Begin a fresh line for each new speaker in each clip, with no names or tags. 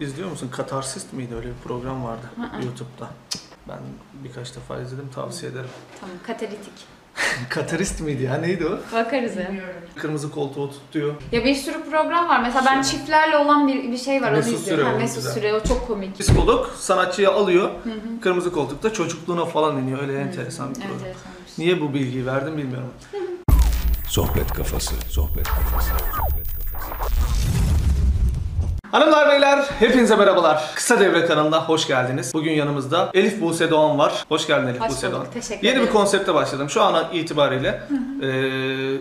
İzliyor musun? Katarsist miydi? Öyle bir program vardı YouTube'da. Ben birkaç defa izledim. Tavsiye ederim.
Tamam, katalitik.
Katarist miydi ya? Neydi o?
Bakarız ya.
Kırmızı koltuğu tutuyor.
Ya bir sürü program var. Mesela ben çiftlerle olan bir, bir şey var.
Mesut
onu izliyorum.
Süre
Ha,
o
Mesut
güzel.
Süre o çok komik.
Psikolog sanatçıyı alıyor. Kırmızı koltukta çocukluğuna falan iniyor. Öyle enteresan bir program.
Evet,
Niye bu bilgiyi verdim bilmiyorum.
Sohbet kafası, sohbet kafası, sohbet kafası.
Hanımlar beyler hepinize merhabalar. Kısa Devre kanalına hoş geldiniz. Bugün yanımızda Elif Buse Doğan var. Hoş geldin Elif
Hoş
Buse
bulduk,
Doğan.
teşekkür
Yeni bir
ederim.
konsepte başladım. Şu an itibariyle e,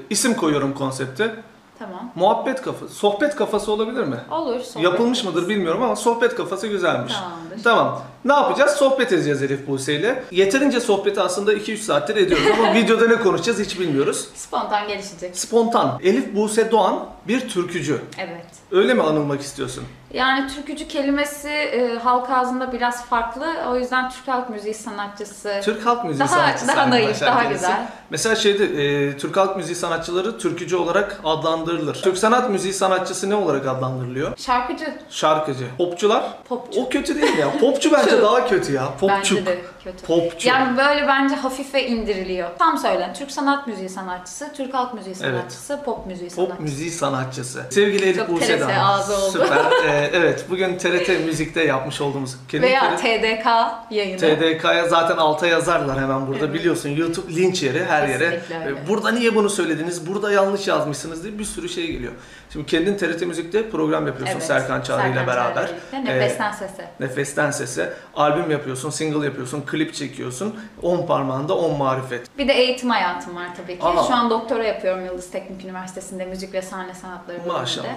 isim koyuyorum konsepte.
Tamam.
Muhabbet kafası, sohbet kafası olabilir mi?
Olur. sohbet
Yapılmış
ederiz.
mıdır bilmiyorum ama sohbet kafası güzelmiş.
Tamamdır.
Tamam. Ne yapacağız? Sohbet edeceğiz Elif Buse ile. Yeterince sohbeti aslında 2-3 saattir ediyoruz ama videoda ne konuşacağız hiç bilmiyoruz.
Spontan gelişecek.
Spontan. Elif Buse Doğan bir türkücü.
Evet.
Öyle mi anılmak istiyorsun?
Yani türkücü kelimesi e, halk ağzında biraz farklı. O yüzden Türk halk müziği sanatçısı.
Türk halk müziği
Daha-
sanatçısı.
daha naif,
arkadaşlar
daha
kendisi.
güzel.
Mesela şeyde e, Türk halk müziği sanatçıları türkücü olarak adlandırılır. Türk sanat müziği sanatçısı ne olarak adlandırılıyor?
Şarkıcı,
Şarkıcı. Popçular?
popçu.
O kötü değil ya. Popçu bence
Çığ.
daha kötü ya. Popçu.
Bence de kötü.
Popçu.
Yani böyle bence hafife indiriliyor. Tam söylen. Türk sanat müziği sanatçısı, Türk halk müziği
Evet.
sanatçısı, pop müziği
Pop
sanatçısı.
müziği sanatçısı. Sevgili Elif
Çok
Buse
TRT
Dağ.
ağzı oldu.
Süper. Ee, evet bugün TRT Müzik'te yapmış olduğumuz kelime.
Veya TDK yayını.
TDK'ya zaten alta yazarlar hemen burada biliyorsun YouTube linç yeri her yere.
Kesinlikle öyle.
Ee, Burada niye bunu söylediniz? Burada yanlış yazmışsınız diye bir sürü şey geliyor. Şimdi kendin TRT Müzik'te program yapıyorsun Serkan Çağrı ile beraber.
Yani
Ee,
Nefesten Sese.
Nefesten sese albüm yapıyorsun, single yapıyorsun, klip çekiyorsun. 10 parmağında 10 marifet.
Bir de eğitim hayatım var tabii ki.
Aa.
Şu an doktora yapıyorum Yıldız Teknik Üniversitesi'nde müzik ve sahne sanatları bölümünde.
Maşallah.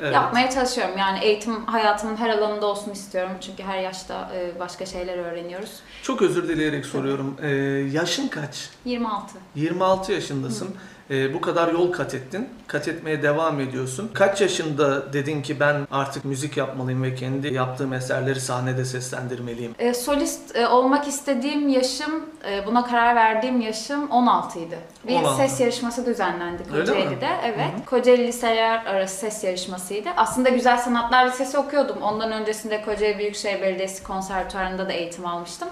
Evet.
Yapmaya çalışıyorum yani eğitim hayatımın her alanında olsun istiyorum çünkü her yaşta e, başka şeyler öğreniyoruz.
Çok özür dileyerek soruyorum. Ee, yaşın kaç?
26.
26 yaşındasın. Ee, bu kadar yol kat ettin. Kat etmeye devam ediyorsun. Kaç yaşında dedin ki ben artık müzik yapmalıyım ve kendi yaptığım eserleri sahnede seslendirmeliyim?
E, solist e, olmak istediğim yaşım, e, buna karar verdiğim yaşım 16 idi. Bir
16.
ses yarışması düzenlendi
Öyle mi?
Kocaeli'de. Evet. Kocaeli Liseler Arası Ses Yarışması'ydı. Aslında Güzel Sanatlar Lisesi okuyordum. Ondan öncesinde Kocaeli Büyükşehir Belediyesi Konservatuarı'nda da eğitim almıştım.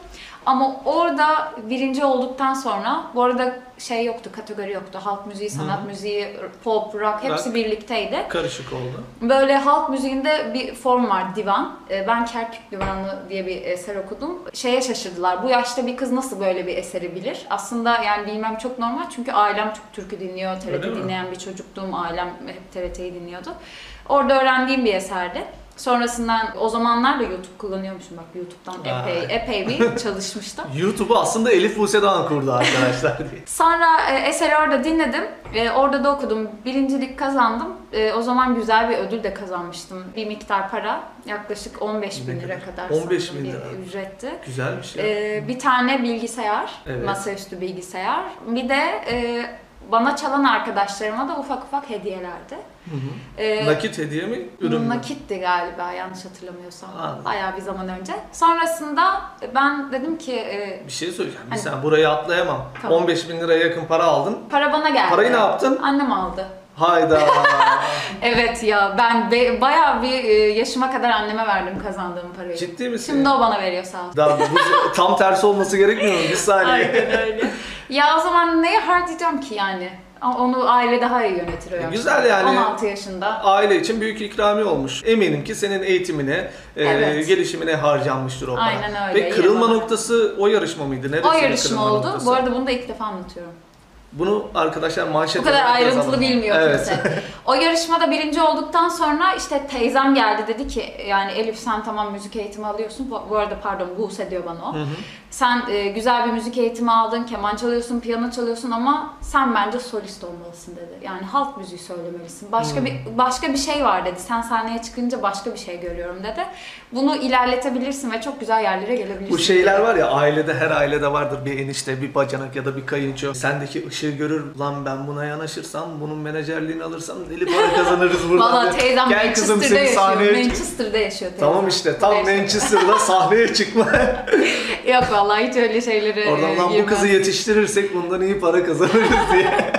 Ama orada birinci olduktan sonra, bu arada şey yoktu, kategori yoktu. Halk müziği, sanat müziği, pop, rock hepsi
Rock.
birlikteydi.
Karışık oldu.
Böyle halk müziğinde bir form var divan. Ee, Ben Kerpik Divanı diye bir eser okudum. Şeye şaşırdılar. Bu yaşta bir kız nasıl böyle bir eseri bilir? Aslında yani bilmem çok normal çünkü ailem çok türkü dinliyor. TRT
Öyle mi?
dinleyen bir çocuktum. Ailem hep TRT'yi dinliyordu. Orada öğrendiğim bir eserdi. Sonrasından o zamanlar da YouTube kullanıyormuşum bak YouTube'dan
Vay.
epey epey bir çalışmıştım.
YouTube'u aslında Elif Buse Doğan kurdu arkadaşlar diye.
Sonra e, eseri orada dinledim. E, orada da okudum. Birincilik kazandım. E, o zaman güzel bir ödül de kazanmıştım. Bir miktar para. Yaklaşık 15 bin
Ne
lira
kadar?
kadar
15
sanırım
bin
bir
lira.
ücretti.
Güzel bir şey.
E, bir tane bilgisayar.
Evet.
Masaüstü bilgisayar. Bir de e, bana çalan arkadaşlarıma da ufak ufak hediyelerdi.
Hı hı.
E,
Nakit hediye mi? Ürün mü?
Nakitti galiba yanlış hatırlamıyorsam.
Anladım.
Bayağı bir zaman önce. Sonrasında ben dedim ki e,
Bir şey söyleyeceğim.
Hani-
Mesela burayı atlayamam.
Tamam.
15 bin liraya yakın para aldın.
para bana geldi.
Parayı ne yaptın?
Annem aldı.
Hayda.
Evet ya ben be- bayağı bir e, yaşıma kadar anneme verdim kazandığım parayı.
Ciddi misin?
Şimdi o bana veriyor sağ ol.
Daha bu- tam tersi olması gerekmiyor mu? Bir saniye.
Aynen öyle. ya o zaman neye harcayacağım ki yani? A- Onu aile daha iyi yönetir o yaşta.
E, güzel yani.
16 yaşında.
aile için büyük ikramiye olmuş. Eminim ki senin eğitimine, e,
Evet.
gelişimine harcanmıştır o para.
Aynen öyle,
Ve kırılma
eyvallah.
noktası o yarışma mıydı? Neresi
O
bir
yarışma
kırılma
oldu.
noktası?
Bu arada bunu da ilk defa anlatıyorum.
Bunu arkadaşlar manşet
Bu kadar
olarak yazalım.
ayrıntılı bilmiyor
evet.
kimse. O yarışmada birinci olduktan sonra işte teyzem geldi dedi ki yani Elif sen tamam müzik eğitimi alıyorsun. Bu, bu arada pardon Buse diyor bana o.
Hı hı.
Sen e, güzel bir müzik eğitimi aldın, keman çalıyorsun, piyano çalıyorsun ama sen bence solist olmalısın dedi. Yani halk müziği söylemelisin. Başka
Hmm.
bir başka bir şey var dedi. Sen sahneye çıkınca başka bir şey görüyorum dedi. Bunu ilerletebilirsin ve çok güzel yerlere gelebilirsin.
Bu şey şeyler
dedi.
var ya ailede her ailede vardır bir enişte, bir bacanak ya da bir kayınço. Sendeki ışığı görür lan ben buna yanaşırsam, bunun menajerliğini alırsam deli para kazanırız buradan.
Valla
diye.
teyzem
Gel
Manchester'da
kızım seni
yaşıyor.
sahneye çık-
Manchester'da yaşıyor teyzem.
Tamam işte tam
Burada yaşıyor.
Manchester'da sahneye çıkma.
Yok vallahi hiç öyle şeylere e,
Oradan lan bu
girmem.
kızı yetiştirirsek bundan iyi para kazanırız diye.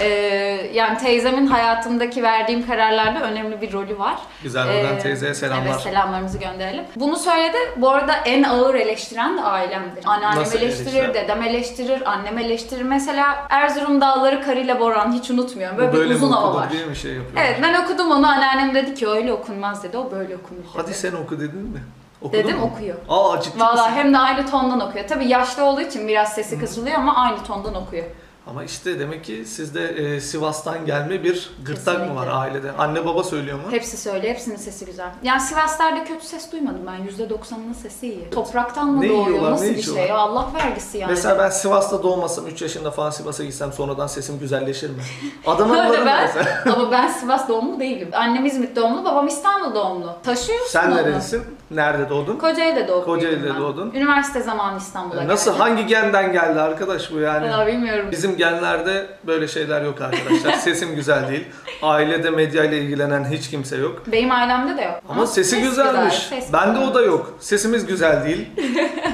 Ee, yani teyzemin hayatımdaki verdiğim kararlarda önemli bir rolü var.
Güzel buradan
Ee,
teyzeye selamlar.
Evet selamlarımızı gönderelim. Bunu söyledi. Bu arada en ağır eleştiren de ailemdir. Anneannem
Nasıl
eleştirir,
eleştiren?
dedem eleştirir, annem eleştirir. Mesela Erzurum Dağları Karıyla Boran hiç unutmuyorum. Böyle,
Bu böyle
bir uzun
mi
hava
okunur
var.
diye mi şey yapıyor?
Evet ben okudum onu. Anneannem dedi ki öyle okunmaz dedi. O böyle okunur dedi.
Hadi sen oku dedin mi? Okudun
Dedim
mu?
okuyor.
Aa ciddi
Vallahi
misin?
hem de aynı tondan okuyor. Tabii yaşlı olduğu için biraz sesi kısılıyor ama aynı tondan okuyor.
Ama işte demek ki sizde e, Sivas'tan gelme bir gırtlak mı var
Kesinlikle.
ailede? Anne baba söylüyor mu?
Hepsi söyle, hepsinin sesi güzel. Yani Sivaslar'da kötü ses duymadım ben. %90'ının sesi iyi. Topraktan mı
Ne
doğuyor?
yiyorlar,
Nasıl
ne
bir şey?
içiyorlar?
Ya Allah vergisi yani.
Mesela ben Sivas'ta doğmasam, 3 yaşında falan Sivas'a gitsem sonradan sesim güzelleşir mi? Adanalıların
Öyle ben.
mesela.
Ama ben Sivas doğumlu değilim. Annem İzmit doğumlu, babam İstanbul doğumlu. Taşıyorsun
Sen
onu.
nerelisin? Nerede doğdun?
Kocaeli'de doğdum.
Kocaeli'de
büyüdüm ben.
doğdun. E,
Üniversite zamanı İstanbul'a
Nasıl?
geldim.
Hangi genden geldi arkadaş bu yani?
Valla bilmiyorum.
Bizim genlerde böyle şeyler yok arkadaşlar. Sesim güzel değil. Ailede medyayla ilgilenen hiç kimse yok.
Benim ailemde de yok.
Ama, sesi
ses
güzelmiş.
güzel, ses
Bende
güzel.
o da yok. Sesimiz güzel değil.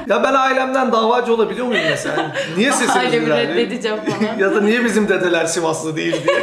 ya ben ailemden davacı olabiliyor muyum mesela? Niye sesimiz
Ailemi
güzel değil?
reddedeceğim falan.
ya da niye bizim dedeler Sivaslı değil diye.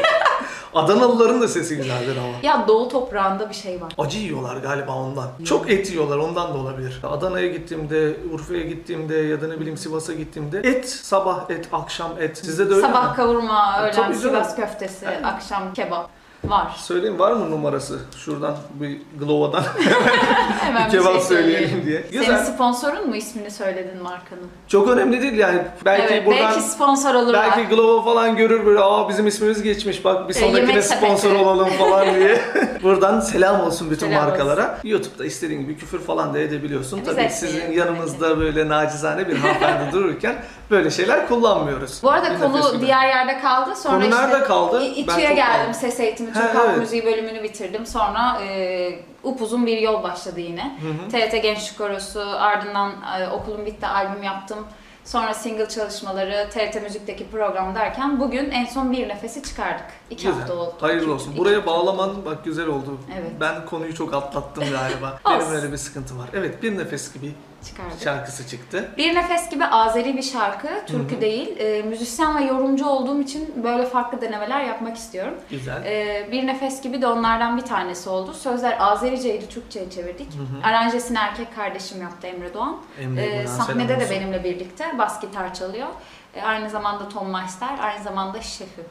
Adanalıların da sesi güzeldir ama.
Ya doğu toprağında bir şey var.
Acı yiyorlar galiba ondan. Çok et yiyorlar ondan da olabilir. Adana'ya gittiğimde, Urfa'ya gittiğimde ya da ne bileyim Sivas'a gittiğimde et sabah et, akşam et. Sizde de öyle mi? E,
Sabah kavurma, öğlen
Tabii canım.
Sivas köftesi, akşam kebap var.
Söyleyeyim var mı numarası? Şuradan bir Glova'dan
Hemen bir
kebap
şey
söyleyelim diye.
Senin
Güzel.
sponsorun mu ismini söyledin markanın?
Çok önemli değil yani. Belki
evet,
buradan
belki sponsor olurlar.
belki Glova falan görür böyle aa bizim ismimiz geçmiş bak bir
E, yemek
sonrakine sponsor
sepeti.
olalım falan diye. buradan selam olsun bütün
Selam E,
markalara. YouTube'da istediğin gibi küfür falan da edebiliyorsun.
Biz
Tabii
etmeyelim
sizin
tabii
yanımızda böyle nacizane bir hanımefendi dururken böyle şeyler kullanmıyoruz.
Bu arada
Bir
konu
nefesine.
diğer yerde kaldı. Sonra
Konu
işte
nerede kaldı?
İ-
Ben
İTÜ'ye
çok
geldim
kaldım.
ses eğitimi,
He,
Türk Halk
evet.
Müziği bölümünü bitirdim. Sonra e, upuzun bir yol başladı yine. TRT Gençlik Korosu, ardından e, okulum bitti, albüm yaptım. Sonra single çalışmaları, TRT Müzik'teki program derken bugün en son bir nefesi çıkardık. İki
Güzel.
hafta oldu.
Hayırlı
İki-
olsun.
iki-
Buraya bağlaman bak güzel oldu.
Evet.
Ben konuyu çok atlattım galiba.
Olsun.
Benim öyle bir sıkıntı var. Evet bir nefes gibi
çıkardık.
şarkısı çıktı.
Bir Nefes gibi Azeri bir şarkı, türkü değil. E, müzisyen ve yorumcu olduğum için böyle farklı denemeler yapmak istiyorum.
Güzel.
Ee, bir nefes gibi de onlardan bir tanesi oldu. Sözler Azerice'ydi, Türkçe'ye çevirdik. Aranjesini erkek kardeşim yaptı Emre Doğan.
Emre
Ee,
buradan selam
sahnede de
olsun.
benimle birlikte bas gitar çalıyor. Ee, aynı zamanda Tom Meister, aynı zamanda şefim.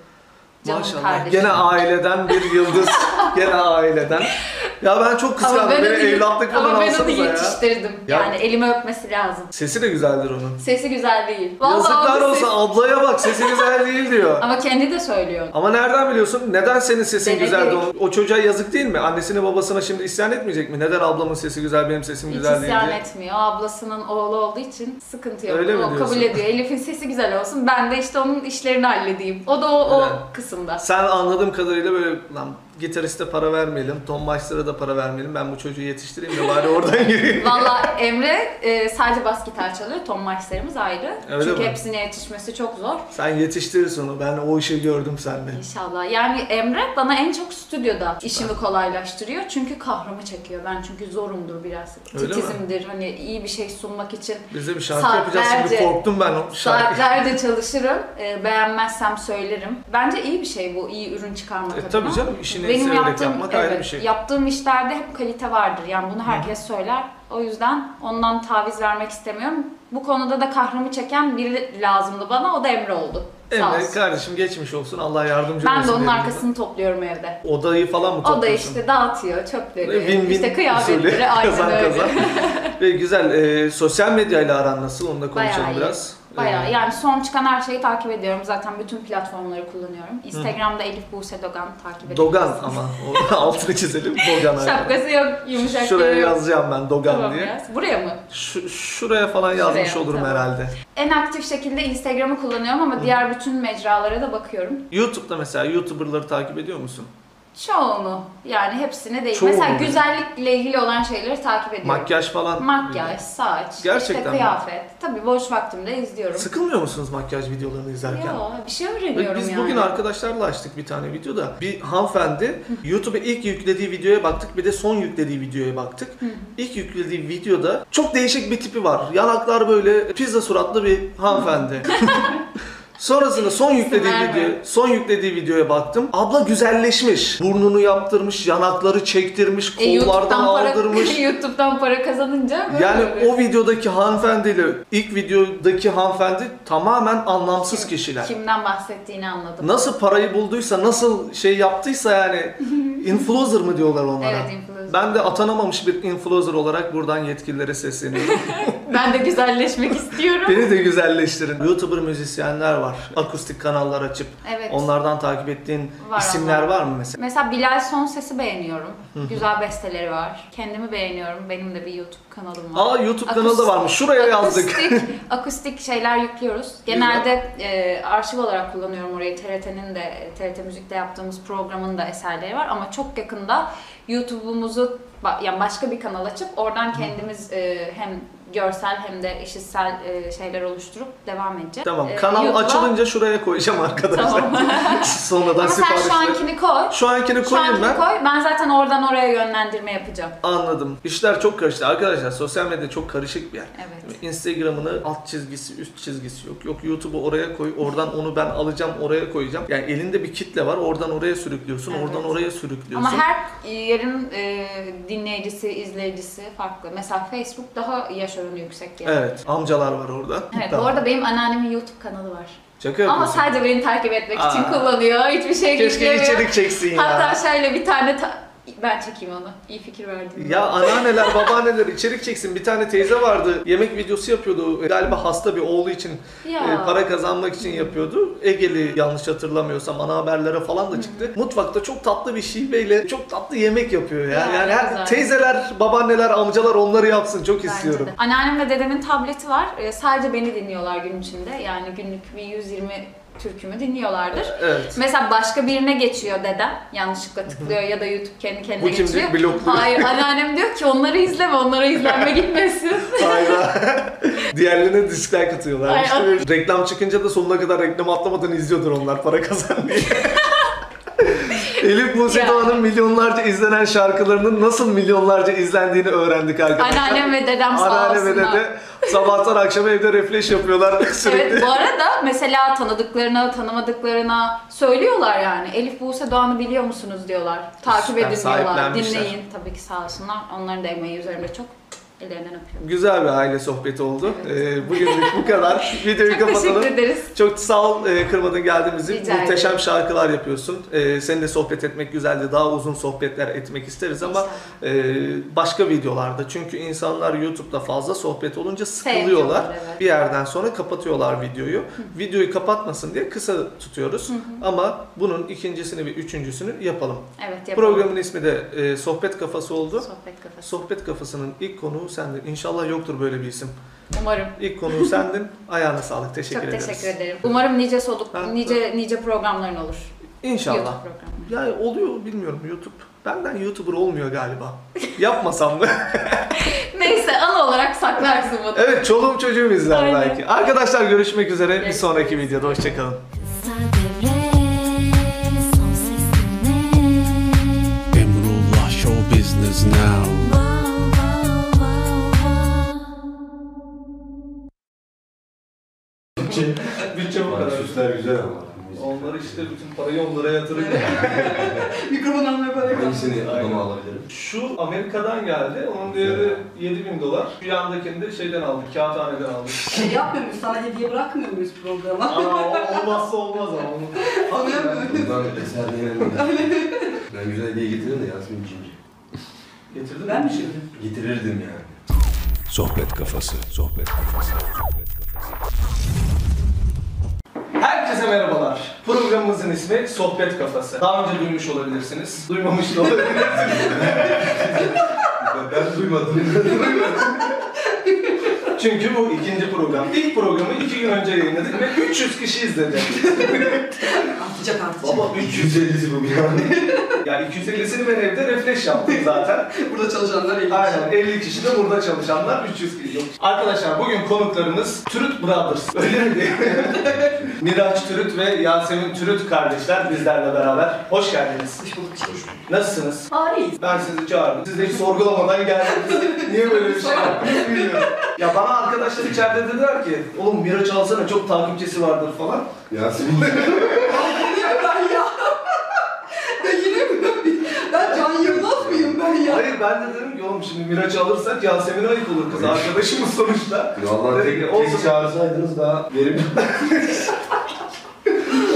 Canım
Maşallah.
kardeşim.
Gene aileden bir yıldız. Gene aileden. Ya ben çok kıskandım. Böyle
onu-
evlatlık falan
ama ben onu
alsanıza ya.
yetiştirdim.
Ya.
Yani elime öpmesi lazım.
Sesi de güzeldir onun.
Sesi güzel değil. Vallahi
Yazıklar
onun
olsun
sesi-
ablaya bak sesi güzel değil diyor.
Ama kendi de söylüyor.
Ama nereden biliyorsun? Neden senin sesin
Denedik.
güzeldi? O, o çocuğa yazık değil mi? Annesine babasına şimdi isyan etmeyecek mi? Neden ablamın sesi güzel benim sesim
Hiç
güzel değil
isyan
diye?
etmiyor. Ablasının oğlu olduğu için sıkıntı yok.
Öyle mi
o
diyorsun?
kabul ediyor. Elif'in sesi güzel olsun. Ben de işte onun işlerini halledeyim. O da o, o
Güzel.
kısımda.
Sen anladığım kadarıyla böyle lan gitariste para vermeyelim, Tom Meister'a da para vermeyelim. Ben bu çocuğu yetiştireyim de bari oradan gireyim.
Valla Emre e, sadece bas gitar çalıyor. Tom Meister'ımız ayrı.
Öyle
Çünkü
mi?
hepsine yetişmesi çok zor.
Sen yetiştirirsin onu. Ben o işi gördüm sende.
İnşallah. Yani Emre bana en çok stüdyoda işimi kolaylaştırıyor. Çünkü kahramı çekiyor. Ben çünkü zorumdur biraz.
Öyle mi?
Titizimdir. Hani iyi bir şey sunmak için
Biz de bir şarkı
Saatlerce-
yapacağız şimdi korktum ben o şarkı.
Saatlerde çalışırım. Ee, beğenmezsem söylerim. Bence iyi bir şey bu. iyi ürün çıkarmak
E,
adına.
tabii canım, işini severek yapmak ayrı bir şey.
Yaptığım işlerde hep kalite vardır. Yani bunu herkes söyler. O yüzden ondan taviz vermek istemiyorum. Bu konuda da kahrımı çeken biri lazımdı bana. O da Emre oldu. Sağ
Emre
olsun.
kardeşim geçmiş olsun. Allah yardımcı olsun.
Ben de onun
diyelim.
arkasını topluyorum evde.
Odayı falan mı
O da
topluyorsun?
işte dağıtıyor çöpleri,
Win-win
işte
usulü.
kıyafetleri, aynen
kazan
öyle.
kazan. Ve güzel. E, sosyal medyayla aran nasıl? Onu da konuşalım
Bayağı iyi.
biraz.
Bayağı
E,
yani son çıkan her şeyi takip ediyorum. Zaten bütün platformları kullanıyorum. Instagram'da Elif Buse Dogan takip ediyorum.
Dogan ama. O- altını çizelim. Dogan. aynen.
Şapkası yok, yumuşak
Şuraya
yeri yok.
yazacağım ben Dogan
Tamam
diye.
yaz. Buraya mı?
Şu- şuraya falan yazmış
Şuraya,
olurum
tamam.
herhalde.
En aktif şekilde Instagram'ı kullanıyorum ama diğer bütün mecralara da bakıyorum.
YouTube'da mesela YouTuber'ları takip ediyor musun?
Çoğunu yani hepsini değil.
Çoğunu
Mesela
mu?
güzellikle ilgili olan şeyleri takip ediyorum.
Makyaj falan.
Makyaj, saç,
Gerçekten
işte
mi?
kıyafet. Tabii boş vaktimde izliyorum.
Sıkılmıyor musunuz makyaj videolarını izlerken?
Yo, bir şey öğreniyorum
Biz
yani.
bugün arkadaşlarla açtık bir tane videoda. Bir hanımefendi YouTube'a ilk yüklediği videoya baktık bir de son yüklediği videoya baktık. İlk yüklediği videoda çok değişik bir tipi var. Yanaklar böyle pizza suratlı bir hanımefendi. Sonrasında son yüklediği
verme.
video, son yüklediği videoya baktım. Abla güzelleşmiş. Burnunu yaptırmış, yanakları çektirmiş,
E,
kollardan aldırmış.
para, YouTube'dan para kazanınca böyle
Yani
oluyor.
o videodaki hanımefendiyle ilk videodaki hanımefendi tamamen anlamsız kişiler.
Kimden bahsettiğini anladım.
Nasıl parayı bulduysa, nasıl şey yaptıysa yani influencer mı diyorlar onlara?
Evet, influencer.
Ben de atanamamış bir influencer olarak buradan yetkililere sesleniyorum.
Ben de güzelleşmek istiyorum.
Beni de güzelleştirin. YouTuber müzisyenler var. Akustik kanallar açıp
Evet.
onlardan takip ettiğin
Var
isimler
ama.
var mı mesela?
Mesela Bilal Son Ses'i beğeniyorum. Güzel besteleri var. Kendimi beğeniyorum. Benim de bir YouTube kanalım var.
Aa YouTube kanalı da varmış. Şuraya yazdık.
Akustik, akustik şeyler yüklüyoruz. Genelde e, arşiv olarak kullanıyorum orayı. TRT'nin de, TRT Müzik'te yaptığımız programın da eserleri var. Ama çok yakında YouTube'umuzu, ba- yani başka bir kanal açıp oradan kendimiz e, hem görsel hem de işitsel e, şeyler oluşturup devam edeceğiz.
Tamam.
E,
Kanal
YouTube'a-
açılınca şuraya koyacağım arkadaşlar.
Tamam.
Sonradan
Ama sen
siparişleri.
şu ankini koy.
Şu ankini
Şu
koyayım
ankini
ben.
koy. Ben zaten oradan oraya yönlendirme yapacağım.
Anladım. İşler çok karıştı arkadaşlar. Sosyal medya çok karışık bir yer.
Evet.
Instagram'ını alt çizgisi, üst çizgisi yok. Yok YouTube'u oraya koy, oradan onu ben alacağım, oraya koyacağım. Yani elinde bir kitle var. Oradan oraya sürüklüyorsun,
Evet.
oradan oraya sürüklüyorsun.
Ama her yerin e, dinleyicisi, izleyicisi farklı. Mesela Facebook daha yaş oranı yüksek yani.
Evet, amcalar var orada.
Evet,
Tamam.
bu arada benim anneannemin YouTube kanalı var.
Şaka
Ama
yapıyorsun.
sadece beni takip etmek için
Aa.
kullanıyor. Hiçbir şey
Keşke
yüklemiyor.
içerik çeksin ya.
Hatta şöyle bir tane ta- ben çekeyim onu. İyi fikir verdin.
Ya anneanneler, babaanneler içerik çeksin. Bir tane teyze vardı. Yemek videosu yapıyordu. Galiba hasta bir oğlu için
Ya.
e, para kazanmak için yapıyordu. Egeli yanlış hatırlamıyorsam ana haberlere falan da çıktı. Mutfakta çok tatlı bir şiveyle çok tatlı yemek yapıyor ya.
Ya,
yani
ne
her
güzel.
teyzeler, babaanneler, amcalar onları yapsın. Çok
Bence
istiyorum.
de. Anneannem ve dedemin tableti var. E, sadece beni dinliyorlar gün içinde. Yani günlük bir 120 türkümü dinliyorlardır.
E, Evet.
Mesela başka birine geçiyor dedem. Yanlışlıkla tıklıyor ya da YouTube kendi kendine
Bu kim
geçiyor.
diyor? Blokluyor.
Hayır anneannem diyor ki onları izleme, onlara izlenme gitmesin.
Hayda. Diğerlerine diskler katıyorlar.
Ay,
İşte
ay.
böyle reklam çıkınca da sonuna kadar reklam atlamadan izliyordur onlar para kazan diye. Elif Buse
Ya.
Doğan'ın milyonlarca izlenen şarkılarının nasıl milyonlarca izlendiğini öğrendik arkadaşlar.
Anneannem ve dedem sağ
Anneanne ve
olsunlar.
dede sabahtan akşama evde refresh yapıyorlar sürekli.
Evet bu arada mesela tanıdıklarına, tanımadıklarına söylüyorlar yani. Elif Buse Doğan'ı biliyor musunuz diyorlar. Takip
Süper,
edin diyorlar.
sahiplenmişler.
Dinleyin tabii ki sağ olsunlar. Onların da emeği üzerimde çok ellerinden öpüyorum.
Güzel bir aile sohbeti oldu. Ee, bugünlük bu kadar. Videoyu
Çok
kapatalım.
teşekkür ederiz.
Çok sağ ol e, kırmadın geldiğimiz için.
Rica ederim.
Muhteşem şarkılar yapıyorsun. E, seninle sohbet etmek güzeldi. Daha uzun sohbetler etmek isteriz ama e, başka videolarda. Çünkü insanlar YouTube'da fazla sohbet olunca sıkılıyorlar.
Sevmiyorlar, evet.
Bir yerden sonra kapatıyorlar videoyu. Videoyu kapatmasın diye kısa tutuyoruz. Ama bunun ikincisini ve üçüncüsünü yapalım.
Evet yapalım.
Programın ismi de e, Sohbet Kafası oldu.
Sohbet kafası.
Sohbet Kafası'nın ilk konuğu sendin. İnşallah yoktur böyle bir isim.
Umarım.
İlk konuğu sendin. Ayağına sağlık. Teşekkür
Çok
ederiz.
teşekkür ederim. Umarım nice soluk,
Ben-
nice nice programların olur.
İnşallah.
YouTube programları.
Ya oluyor bilmiyorum YouTube. Benden YouTuber olmuyor galiba. Yapmasam mı?
Neyse anı olarak saklarsın bunu.
evet çoluğum çocuğum izler
Aynen.
belki. Arkadaşlar görüşmek üzere. Bir
Görüşürüz.
sonraki videoda hoşçakalın.
Kısa devre son sesine
Emrullah Show Business Now
Vav vav vav vav
Bütçe bu
Süsler güzel ama.
Onları işte bütün parayı onlara yatırıyor. Mikrofon almaya
Hangisini adama alabilirim?
Şu Amerika'dan geldi. Onun değeri 7000 dolar. Şu yandakini de şeyden aldık. Kağıthaneden aldık.
şey yapmıyor muyuz? Sana hediye bırakmıyor muyuz programa?
Aa, olmazsa olmaz ama.
Buradan eser denemedim. ben güzel hediye getiririm de Yasemin Cinci.
Getirdin
Ben mi
mi?
şimdi?
Getirirdim yani.
Sohbet kafası. Sohbet kafası. Sohbet kafası.
Herkese merhabalar. Programımızın ismi Sohbet Kafası. Daha önce duymuş olabilirsiniz. Duymamış da olabilirsiniz.
Ben, ben duymadım.
Çünkü bu ikinci program. İlk programı iki gün önce yayınladık ve 300 kişi izledi.
Atacak artık.
Baba 350'si bu yani.
Yani 250'sini ben evde refresh yaptım zaten.
Burada çalışanlar iyi.
Aynen 50 kişi de burada çalışanlar 300 kişi. Yok. Arkadaşlar bugün konuklarımız Türüt Brothers. Öyle mi değil mi? Miraç Türüt ve Yasemin Türüt kardeşler bizlerle beraber. Hoş geldiniz.
Hoş bulduk.
Nasılsınız?
Harikayız.
Ben sizi çağırdım. Siz de hiç sorgulamadan geldiniz. Niye böyle bir şey yaptınız bilmiyorum. Ya bana arkadaşlar içeride dediler ki oğlum Miraç alsana çok takipçisi vardır falan.
Yasemin.
Yine ben ya. Ben yine mi? Ben Can Yılmaz mıyım ben ya?
Hayır ben de dedim ki oğlum şimdi Miraç'ı alırsak Yasemin ayıp olur kız arkadaşımız sonuçta.
Vallahi
Dedi ki,
tek,
"Olsun."
tek çağırsaydınız daha verimli.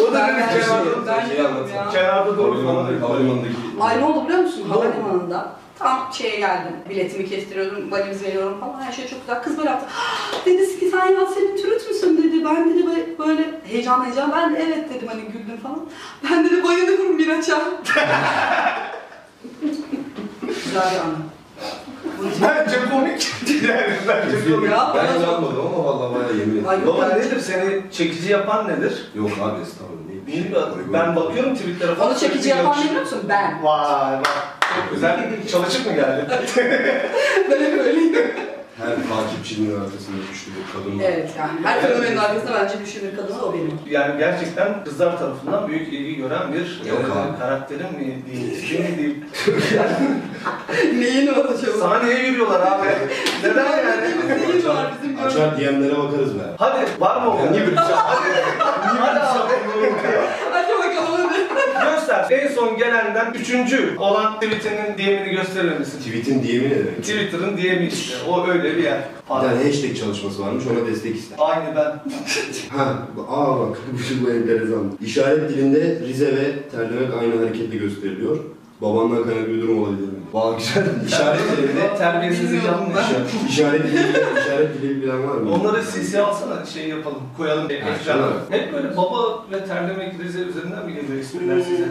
O da
Ben-
dedi
ben-
kenarda
ben
şey
yokum
anlatayım.
ya.
Kenarda doğru falan.
Havalimanı- Havalimanındaki.
Ay ne oldu biliyor musun? Havalimanında tam şeye geldim. Biletimi kestiriyorum, valiz veriyorum falan. Her şey çok güzel. Kız böyle yaptı. "Ah!" dedi ki sen Yasemin Türüt müsün dedi. Ben dedi böyle- böyle heyecan heyecan. Ben de evet dedim hani güldüm falan. Ben dedi bayılıyorum Miraç'a. güzel bir anı. Bunun için-
Bence komik. yani bence komik.
Ya,
Ben
bana-
inanmadım ama vallahi bayağı yemin
Ay,
ederim.
yok.
Baba nedir seni çekici yapan nedir?
Yok abi estağfurullah. değil.
Bilmiyorum. Ben bakıyorum tweetlere falan.
Onu çekici
şey.
yapan ne biliyor musun? Ben.
Vay bak. Çok güzel. Çalışıp mı geldi?
Böyle böyle.
Her takipçinin arkasında güçlü bir kadın var.
Evet yani. Her fenomenin arkasında bence düşünür kadın o benim.
Yani gerçekten kızlar tarafından büyük ilgi gören bir
Yok
e,
abi.
karakterim mi diyeyim, değil mi diyeyim.
Neyin var acaba?
Sahneye yürüyorlar abi. Neden yani?
Neyin var bizim gördüğümüz?
Açar diyenlere bakarız be.
Hadi var mı o?
Ya niye böyle bir şey
Hadi abi.
Hadi bakalım hadi.
Göster. En son gelenden üçüncü olan tweetinin DM'ini gösterir misin?
Tweet'in DM'i ne demek?
Twitter'ın DM'i işte. O öyle bir yer.
Bir tane hashtag çalışması varmış ona destek ister.
Aynı ben.
Ha, bu- aa bak bu bu enteresan. İşaret dilinde Rize ve terlemek aynı hareketle gösteriliyor. Babandan kaynaklı bir durum olabilir mi? Vallahi güzel. İşaret dilinde...
Ne terbiyesizlik
Bilmiyorum
yapmış.
ben.
İşaret- İşaret dilinde, işaret dili bilen var mı?
Onları CC alsana şey yapalım, koyalım ekrana.
şöyle.
Hep böyle baba ve terlemek Rize üzerinden mi geliyor isimler size?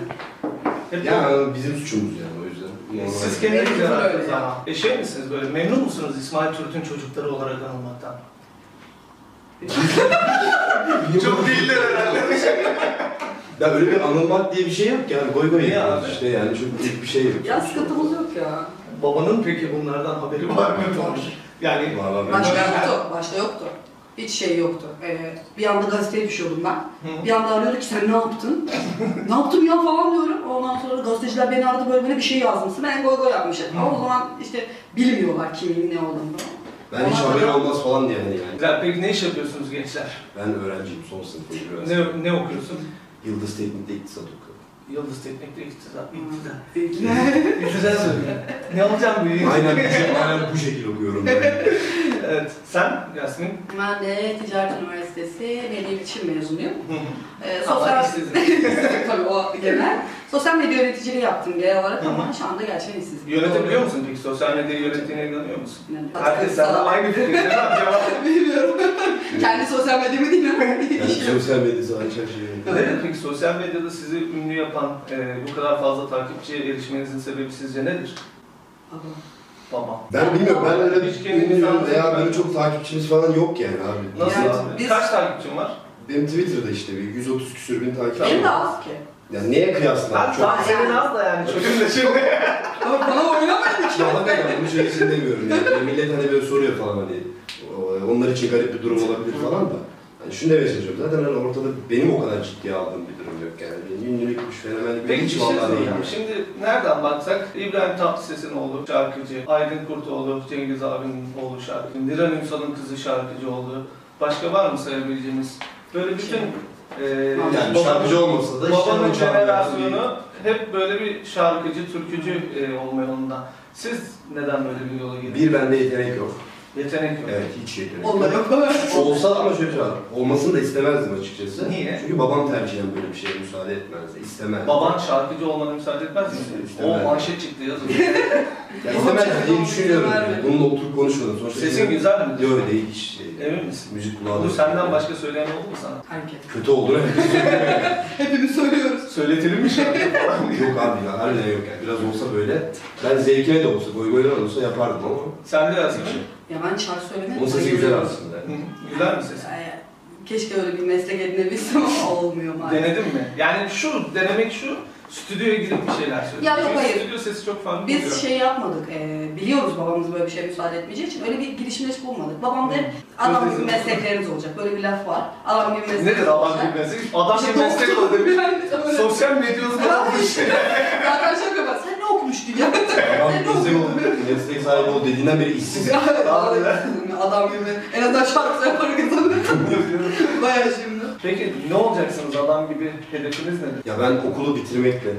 Hep böyle.
Ya bizim suçumuz yani o yüzden.
Siz
Normal.
kendiniz
Benim
yarattınız
öyle ya.
ama. E şey misiniz böyle, memnun musunuz İsmail Türk'ün çocukları olarak anılmaktan? Çok değiller herhalde.
Ya öyle bir anılmak diye bir şey yok ki abi. Goy goy
Niye
yapıyoruz
abi?
işte yani çok büyük bir şey yok.
Ya sıkıntımız yok ya.
Babanın peki bunlardan haberi var mı? Yani
Var var.
Başta
Ben-
yoktu. Başta yoktu. Hiç şey yoktu. Ee, bir anda gazeteye düşüyordum ben.
Hı.
Bir anda arıyordu ki sen ne yaptın? ne yaptım ya falan diyorum. Ondan sonra gazeteciler beni aradı böyle böyle bir şey yazmışsın. Ben goy goy yapmışım. Ama o zaman işte bilmiyorlar kimin ne olduğunu.
Ben hiç haberim olmaz falan diye hani yani.
Güzel, peki ne iş yapıyorsunuz gençler?
Ben öğrenciyim son sınıftayım
Ne,
biraz.
ne okuyorsun?
Yıldız Teknik'te iktisat okuyorum.
Yıldız Teknik'te iktidar. İktidar. İktidar mı? Ne olacağım büyüyünce?
Aynen, bu şey- aynen bu şekil okuyorum ben.
Evet. Sen Yasmin?
Ben de Ticaret Üniversitesi Medya İletişim mezunuyum. Ee,
Allah
sosyal...
işsizlik.
Tabii o genel. Sosyal medya yöneticiliği yaptım genel olarak ama şu anda gerçekten işsizim.
Yönetebiliyor musun peki? Sosyal medyayı yönettiğine inanıyor musun?
İnanıyorum.
Herkes seninle aynı fikirde değil mi? Cevap.
Bilmiyorum. Kendi sosyal medyamı
Yani
dinlemem.
sosyal medyası açar şey.
Nedir peki sosyal medyada sizi ünlü yapan, e, bu kadar fazla takipçiye erişmenizin sebebi sizce nedir? Babam.
Ben bilmiyorum ben öyle
Hiç
bir
kendimi
bilmiyorum
tanımıyorum.
veya böyle çok takipçimiz falan yok yani abi.
Nasıl?
Yani
abi?
biz-
Kaç takipçin var?
Benim Twitter'da işte bir 130 küsür bin takipçim
Benim de
var.
az ki.
Ya neye kıyasla?
Ben
Çok.
daha senin az da yani çocuğun da şimdi.
Ama bana oynamayın ki.
Ya hakikaten bunun şey için demiyorum yani. Millet hani böyle soruyor falan hani. o- Onlar için garip bir durum olabilir falan da. Hani şunu demeye çalışıyorum. Zaten hani ortada benim o kadar ciddiye aldığım bir durum yok yani. Hani Benim Ünlülükmüş, fenomenlikmiş
Peki bir
hiç
şey
vallahi değil.
soracağım. Şimdi nereden baksak İbrahim Tatlıses'in oğlu şarkıcı, Aydın Kurtoğlu, Cengiz abinin oğlu şarkıcı, Niran Ünsal'ın kızı şarkıcı oldu. Başka var mı sayabileceğimiz? Böyle bütün e,
Yani
babanın-
şarkıcı olmasa da işte
Babanın
o çağlarda bir-
jenerasyonu hep böyle bir şarkıcı, türkücü e, olma yolunda. Siz neden böyle bir yola girdiniz?
Bir bende yetenek yok.
Yetenek yok.
Evet hiç yetenek yok.
Onlar yok bana.
Olsa ama şöyle şey var. Olmasını da istemezdim açıkçası.
Niye?
Çünkü babam tercihen böyle bir şeye müsaade etmezdi. İstemezdi.
Baban şarkıcı olmanı müsaade etmez mi?
İstemez.
O manşet çıktı yazın.
Ya istemezdi diye
Babam
düşünüyorum.
istemezdi.
Bununla oturup konuşmadım. Sonuçta
Sesin güzel mi?
Yok değil hiç şey.
Emin misin?
Müzik kulağı da
Bunu
yok.
senden başka söyleyen oldu mu sana?
Herkes.
Kötü olduğunu
Hepimiz söylüyoruz.
Söyletelim mi şarkı falan?
Yok abi ya harbiden yok yani. Biraz olsa böyle. Ben zevkime de olsa, goy goylar olsa yapardım ama. Şey,
Sen de yazmış.
Ya ben şarkı söylemeye
Onun sesi güzel
bayılıyorum.
aslında.
Güzel mi sesin?
Ay, Keşke öyle bir meslek edinebilsem ama olmuyor maalesef.
Denedin mi? Yani şu, denemek şu. Stüdyoya girip bir şeyler söyledi.
Ya yok,
Çünkü
hayır.
Stüdyo sesi çok farklı oluyor.
Biz şey yapmadık, e, biliyoruz babamız böyle bir şey müsaade etmeyeceği için öyle bir girişimde hiç bulmadık. Babam da hep adam gibi meslekleriniz olacak, böyle bir laf var. Adam gibi meslekleriniz
Nedir adam
olacak.
gibi meslek? Adam
İşte
gibi meslek
doktor.
o demiş.
Öyle.
Sosyal medyada da bu şey.
Zaten şaka yapar, sen ne okumuştun ya?
Adam
Sen ne
meslek
okudun?
ol, meslek sahibi ol dediğinden beri işsiz.
Adam gibi, adam gibi. En azından şarkı yapar kızım. Baya şimdi.
Peki ne olacaksınız adam gibi hedefiniz nedir?
Ya ben okulu bitirmekle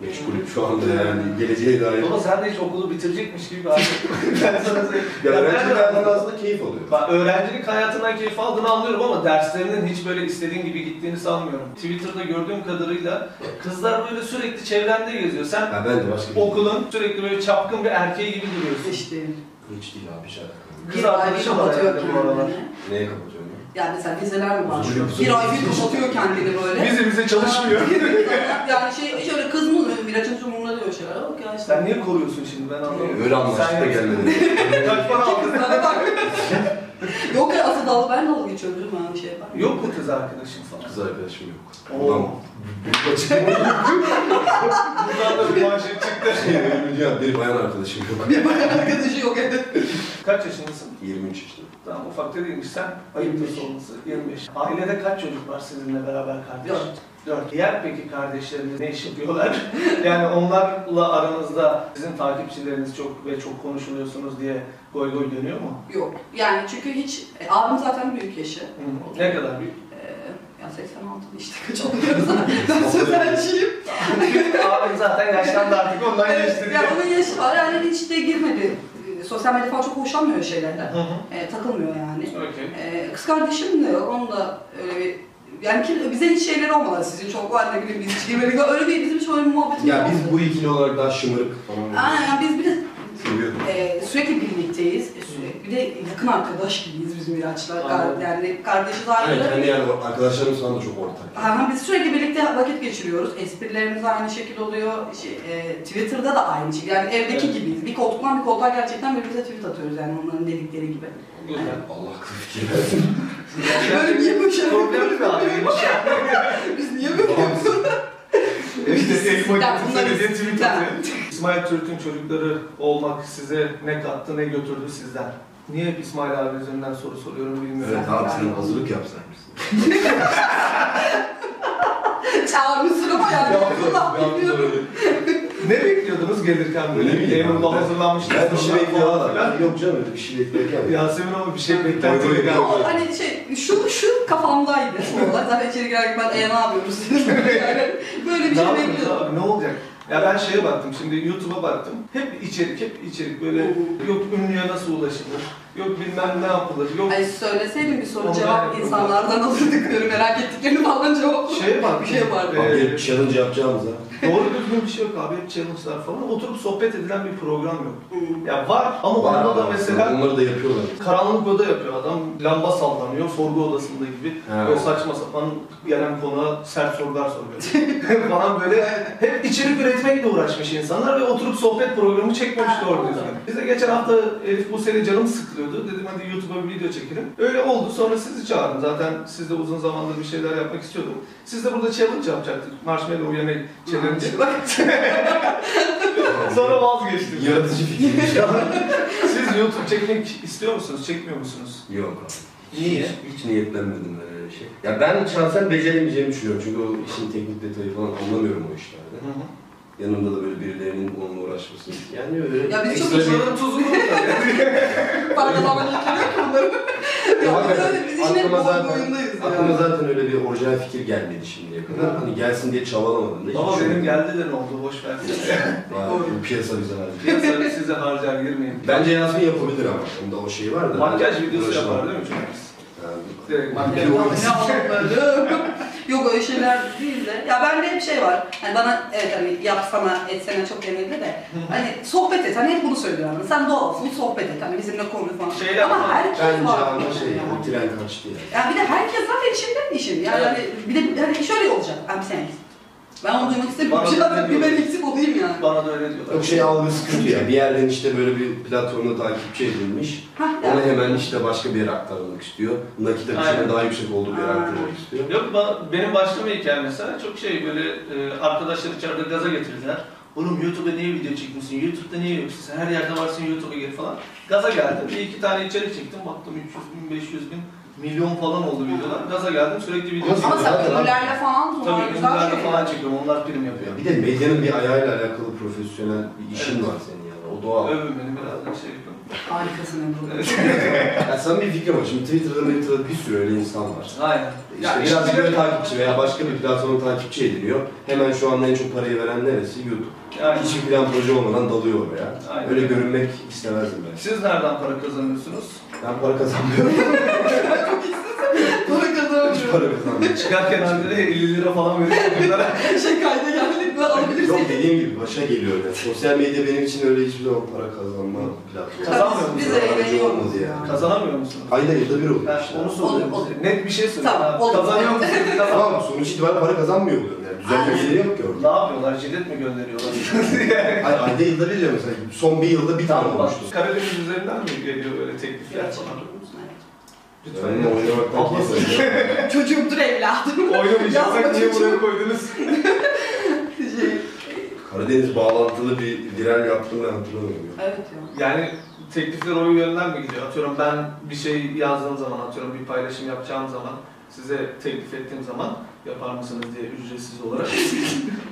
meşgulüm şu anda yani geleceğe dair.
Baba sen de hiç okulu bitirecekmiş gibi artık. ben sana söyleyeyim.
Ya öğrenci
nereden
hayatında
anladın?
aslında keyif alıyor.
Bak öğrencilik hayatından keyif aldığını anlıyorum ama derslerinin hiç böyle istediğin gibi gittiğini sanmıyorum. Twitter'da gördüğüm kadarıyla kızlar böyle sürekli çevrende geziyor. Sen
Ya ben de başka bir
okulun sürekli böyle çapkın bir erkeği gibi duruyorsun.
İşte.
Hiç değil abi şarkı.
Kız arkadaşım var herhalde bu aralar.
Neye kapatıyorsun? ya?
Yani mesela vizeler mi var?
Üzülüyor musun?
Bir ay bir kapatıyor kendini böyle.
Bize bize çalışmıyor.
yani şey şöyle kız mı oluyor? Bir açın umurumda diyor şeyler. Yok ya işte.
Sen niye koruyorsun şimdi ben anlamadım.
Öyle anlaştık
Sen
da gelmedi.
Kaç para aldın?
Sana bak. Yok ya asıl dalga ben dalga geçiyorum canım ben bir şey ben.
Yok mu kız arkadaşın falan?
Kız arkadaşım yok.
Oo.
Ulan büyük açıklama.
Buradan da bir manşet çıktı.
Ya Şey, bir bayan arkadaşım yok.
Bir bayan arkadaşı yok evet.
Kaç yaşındasın?
23 yaşında.
Tamam ufak da değilmiş. Sen ayıptır olması. 25. Ailede kaç çocuk var sizinle beraber kardeş?
Dört.
4. Diğer peki kardeşleriniz ne iş yapıyorlar? yani onlarla aranızda sizin takipçileriniz çok ve çok konuşuluyorsunuz diye goy goy dönüyor mu?
Yok. Yani çünkü hiç e, abim zaten büyük yaşı.
Hı. Ne kadar büyük?
E, ya 86'lı işte kaç oluyorsa ben sözelciyim.
Abim zaten yaşlandı artık ondan geçti diye.
ya onun yaşı var yani hiç de girmedi. E, Sosyal medya falan çok hoşlanmıyor öyle şeylerden.
Hı hı.
E, takılmıyor yani.
Okey.
Ee, kız kardeşim de yok, onun da öyle bir... Yani ki- bize hiç şeyler olmadı, sizin çok var ne bileyim, biz hiç girmedik, Şey öyle bir bizim hiç öyle bir muhabbetimiz
Ya
olmadı.
biz şey bu ikili olarak daha şımarık falan.
Aa, yani biz bir de
Seviyorum.
e, sürekli birlikteyiz, E, sürekli, bir de yakın arkadaş gibiyiz biz Miraç'la,
Anladım.
Kar- yani kardeşiz
Aynen
ayrı.
kendi hani yani arkadaşlarımız falan da çok ortak.
Ha, biz sürekli birlikte vakit geçiriyoruz. Esprilerimiz aynı şekilde oluyor. Şey, e, Twitter'da da aynı şey. Yani evdeki
Evet.
gibiyiz. Bir koltuktan bir koltuğa gerçekten birbirimize tweet atıyoruz yani onların dedikleri gibi.
Güzel.
Allah akıl fikir versin.
Böyle niye bu şey?
Problemli bir abiymiş.
Biz niye böyle yapıyoruz?
İşte elma
Ya
gibi
bunlar
söylediğin tweet
istiklal.
atıyor. İsmail Türk'ün çocukları olmak size ne kattı ne götürdü sizden? Niye hep İsmail abi üzerinden soru soruyorum bilmiyorum.
Evet abi sen hazırlık yapsaymışsın.
Çağırmışsınız yani. Allah bilmiyorum.
Ne bekliyordunuz gelirken böyle?
Ne
Bir
bileyim abi.
Eyvallah hazırlanmıştınız.
Ben bir şey
falan
bekliyorum
filan.
Yok canım öyle bir şey beklerken.
Yasemin ama bir şey beklentiyle
Yok,
geldi.
yok.
Hani şey, şu, şu kafamdaydı. Vallahi Zaten içeri girerken ben e ne yapıyoruz dedim. Yani böyle bir
Ne
şey
yaptınız
bekliyordum.
abi? Ne olacak? Ya ben şeye baktım şimdi YouTube'a baktım. Hep içerik, hep içerik böyle yok ünlüye nasıl ulaşılır, yok bilmem ne yapılır, yok
Ay söyleseydim bir soru
Ondan
cevap
yapıyorum.
insanlardan alırdık diyorum. Merak ettiklerini falan cevap
şeye baktım.
bir şey yapardı.
Ee,
Abi hep challenge yapacağımız ha.
Doğru düzgün bir şey yok abi. Hep challenge'lar falan. Oturup sohbet edilen bir program yok.
Hmm.
Ya var ama
Var
onda da
abi,
mesela
Onları da yapıyorlar.
karanlık oda yapıyor adam. Lamba sallanıyor. Sorgu odasında gibi.
He.
Böyle saçma sapan gelen konuğa sert sorular soruyor. falan böyle hep içerik üretmekle uğraşmış insanlar ve oturup sohbet programı çekmemiş
Ha,
doğru
anladım.
düzgün. Biz de geçen hafta Elif bu sene canım sıkılıyordu. Dedim hadi YouTube'a bir video çekelim. Öyle oldu. Sonra sizi çağırdım. Zaten siz de uzun zamandır bir şeyler yapmak istiyordum. Siz de burada challenge yapacaktık. Marshmallow yemek challenge. Sonra vazgeçtim.
Yaratıcı fikirmiş ama.
Siz YouTube çekmek istiyor musunuz, çekmiyor musunuz?
Yok abi.
Niye?
Hiç, hiç niyetlenmedim ben öyle bir şey. Ya ben şahsen beceremeyeceğimi düşünüyorum. Çünkü o işin teknik detayı falan anlamıyorum o işlerde. Yanımda da böyle birilerinin onunla uğraşmasını. Yani öyle
Ya biz çok
ekstra bir-
uğraşıyoruz.
Bunların tuzunu da
Pardon ama yetiliyor ki bunları. Ya
Abi,
biz öyle- biz yine
aklıma
bu
zaten-
oyundayız ya.
Aklıma zaten öyle bir orijinal fikir gelmedi şimdiye kadar. Hani gelsin diye çabalamadım. da hiç
Baba benim
düşünmedim.
geldi de ne oldu, boş ver.
Vay, bu piyasa bize harcıyor.
Piyasa size harcar girmeyin.
Bence Yasmin yapabilir ama. Onda o şey var da. Ee,
Makyaj videosu
Uğraşamam.
yapar değil mi çocuk?
Yani-
Direkt makyaj.
Ya
şey
ne anlatmadım. Yok öyle şeyler değil de. Ya bende hep şey var. Hani bana evet hani yapsana etsene çok denildi de. Hani sohbet et. Hani hep bunu söylüyorum. Sen doğalsın sohbet et. Hani bizimle konuş falan.
Şeyler
Ama
falan.
herkes
Bence
var.
ama şey, o tren kaçtı ya.
Ya bir de herkes zaten içinden işin. Yani
Evet.
hani bir de hani şöyle olacak. Abi sen Ben onu duymak istemiyorum.
Bana
Şey
da
zaten bir
diyor.
ben eksik olayım yani.
Bana da öyle diyorlar.
Yok şey algısı kötü ya. Bir yerden işte böyle bir platformda takipçi edilmiş.
Hah,
Ona
ya.
hemen işte başka bir yere aktarılmak istiyor. Nakit
Aynen.
akışının daha yüksek olduğu bir yere
Aynen.
aktarılmak istiyor.
Yok ba- benim başlama hikayem mesela çok şey böyle e, arkadaşlar içeride gaza getirdiler. Oğlum YouTube'a niye video çekmişsin? YouTube'da niye yoksun? Sen her yerde varsın YouTube'a gir falan. Gaza geldim. Bir iki tane içerik çektim. Baktım 300 bin, 500 bin, milyon falan oldu videolar. Gaza geldim. Sürekli video
Ama
Ama
çekiyorum.
sen
Zaten-
ödüllerle falan bunlar
Tabii
güzel
ünlülerde
şeyler.
falan çekiyorum. Onlar prim yapıyor.
Ya bir de medyanın bir ayağıyla alakalı profesyonel bir işin
Evet.
var senin yani. O doğal.
Övün beni biraz da şey yapın.
Harikasın Emre.
Ya sana bir fikrim var. Şimdi Twitter'da Twitter'da bir sürü öyle insan var.
Aynen.
İşte
Ya
birazcık
işte-
böyle takipçi veya başka bir platformda takipçi ediliyor. Hemen şu anda en çok parayı veren neresi? YouTube.
Aynen.
Hiçbir plan proje olmadan dalıyor oraya.
Aynen.
Öyle görünmek istemezdim ben.
Siz nereden para kazanıyorsunuz?
Ben para kazanmıyorum.
para
Hiç para kazanmıyorum.
Çıkarken halde 50 lira falan veriyorum.
şey kayda geldik mi
Yok
alabilirsin.
dediğim gibi başa geliyor. Yani. Sosyal medya benim için öyle hiçbir zaman para kazanma platformu.
Kazanmıyor
Biz-
musun?
Biz
Aracı
eğleniyoruz
olmadı
ya.
yani.
Kazanamıyor musunuz?
Ayda yılda bir oluyor.
Ha,
işte.
onu soruyorum
Olur,
size. Net bir şey söyle.
Tamam,
Ha,
olur.
Kazanıyor musunuz? Kazanamıyor
Tamam sonuç itibariyle para kazanmıyor oluyorum yani. Düzenli bir geliri yok ki
Ne
orada.
yapıyorlar? Jilet mi gönderiyorlar?
Hayır ayda yılda bir diyor mesela. Son bir yılda bir tane
tamam bak.
olmuştu.
Karadeniz üzerinden mi geliyor böyle teklifler falan? Lütfen.
Benimle oynamaktan
Abla-
keyif alıyorum.
Çocuğumdur evladım.
Oynamayacaksak
Yazma
niye buraya
çocuğum.
koydunuz?
Şey,
Karadeniz bağlantılı bir viral yaptığını hatırlamıyorum.
Evet ya.
Yani teklifler o yönden mi gidiyor? Atıyorum ben bir şey yazdığım zaman, atıyorum bir paylaşım yapacağım zaman, size teklif ettiğim zaman yapar mısınız diye ücretsiz olarak.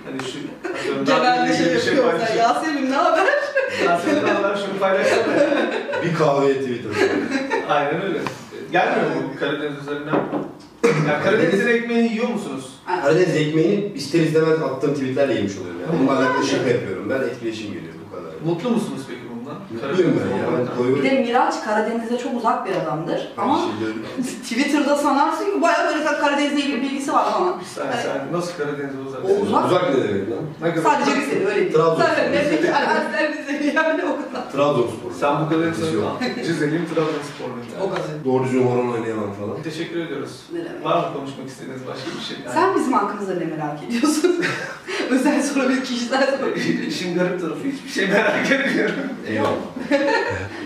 hani şu atıyorum
Genelde şey yapıyor mesela.
paylaşıyorum.
Yasemin ne haber?
Ya senin adına şunu paylaşsana.
Bir kahveye tweet atıyorum.
Aynen öyle. Gelmiyor mu bu Karadeniz üzerinden? Ya Karadeniz'in ekmeğini yiyor musunuz?
Karadeniz ekmeğini ister istemez attığım tweetlerle yemiş oluyorum yani. Bununla alakalı şaka yapıyorum. Ben etkileşim geliyor bu kadar.
Mutlu musunuz peki bundan?
Mutluyum ben ya.
olmaktan.
Ben
Bir
koyuyorum.
de Miraç Karadeniz'e çok uzak bir adamdır. Ama
Şey diyorum.
Twitter'da sanarsın ki bayağı böyle sen Karadeniz'le ilgili bilgisi var Hani falan.
Sen, sen nasıl Karadeniz'e uzak?
O uzak.
Uzak ne demek lan?
Ne kadar?
Sadece bir seni öyle değil.
Trabzon.
Zaten ne peki alakaslar bize yani o kadar.
Trabzonspor.
Sen bu kadar
Ötesi yok.
sen Cizel'in Trabzonspor'un.
O kadar.
Doğru düzgün horon oynayamam falan.
Teşekkür ediyoruz.
Ne demek?
Var mı konuşmak istediğiniz başka bir şey?
Sen bizim hakkımızda ne merak ediyorsun? Özel sorabilir, kişisel sorabilir.
Yani işin garip tarafı hiçbir şey merak etmiyorum.
Eyvallah.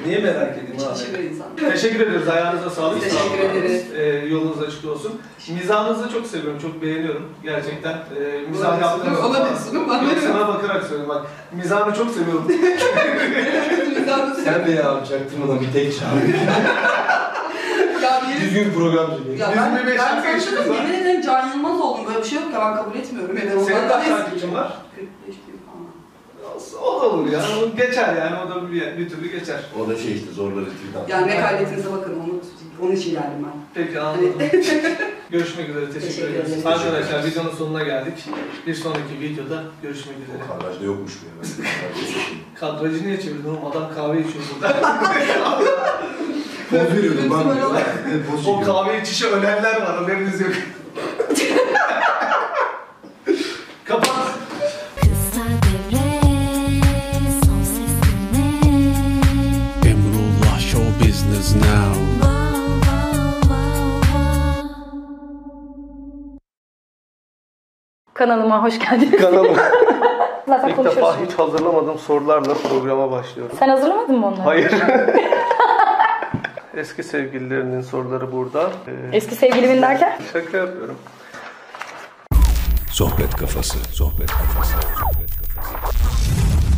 Niye merak edeyim
Şaşırır
abi?
insan.
Teşekkür ederiz. Ayağınıza sağlık.
Teşekkür
Sağ olun.
ederiz.
Ee, yolunuz açık olsun. Mizahınızı çok seviyorum, çok beğeniyorum. Gerçekten e, mizah
Olabilirsin,
yaptığınız zaman-
olabilirsin, olabilirsin.
Yok, sana bakarak söylüyorum bak. Mizahını çok seviyorum.
Sen de ya çaktırmadan bir tek çağır.
Ya bir
Düzgün programcı değil.
Ya
Biz
ben,
bir beş
ben
dakika
sana
işimiz var.
şunu yemin ederim Can Yılmaz oldum. Böyle bir şey yok ya ben kabul etmiyorum. Yani
Senin
ondan
kaç
daha
takipçin var?
45 bin falan.
O da olur ya. O geçer yani. O da bir, bir türlü geçer.
O da şey işte zorları tweet atıyor.
Yani ne kaybettiğinize bakın onu onun için geldim ben.
Peki anladım. görüşmek üzere. Teşekkür,
Hani- Teşekkür
ederiz.
ederim.
Arkadaşlar videonun sonuna geldik. Bir sonraki videoda görüşmek üzere.
O kadrajda yokmuş bu ya.
Kadrajı niye çevirdin oğlum? Adam kahve içiyor burada.
Poz veriyordum ben.
Böyle olay.
Poz
o
çekiyordum.
kahve içişe ölenler var. Haberiniz yok. Kapat.
Kısa devre son sesine
Emrullah Show Business Now.
Wow wow wow wow
Kanalıma hoş geldin.
Kanalıma.
Zaten konuşuyoruz.
hiç hazırlamadığım sorularla programa başlıyorum.
Sen hazırlamadın mı onları?
Hayır. Eski sevgililerinin soruları burada. Ee,
Eski sevgilimin derken?
şaka yapıyorum.
Sohbet kafası. Sohbet kafası. Sohbet kafası.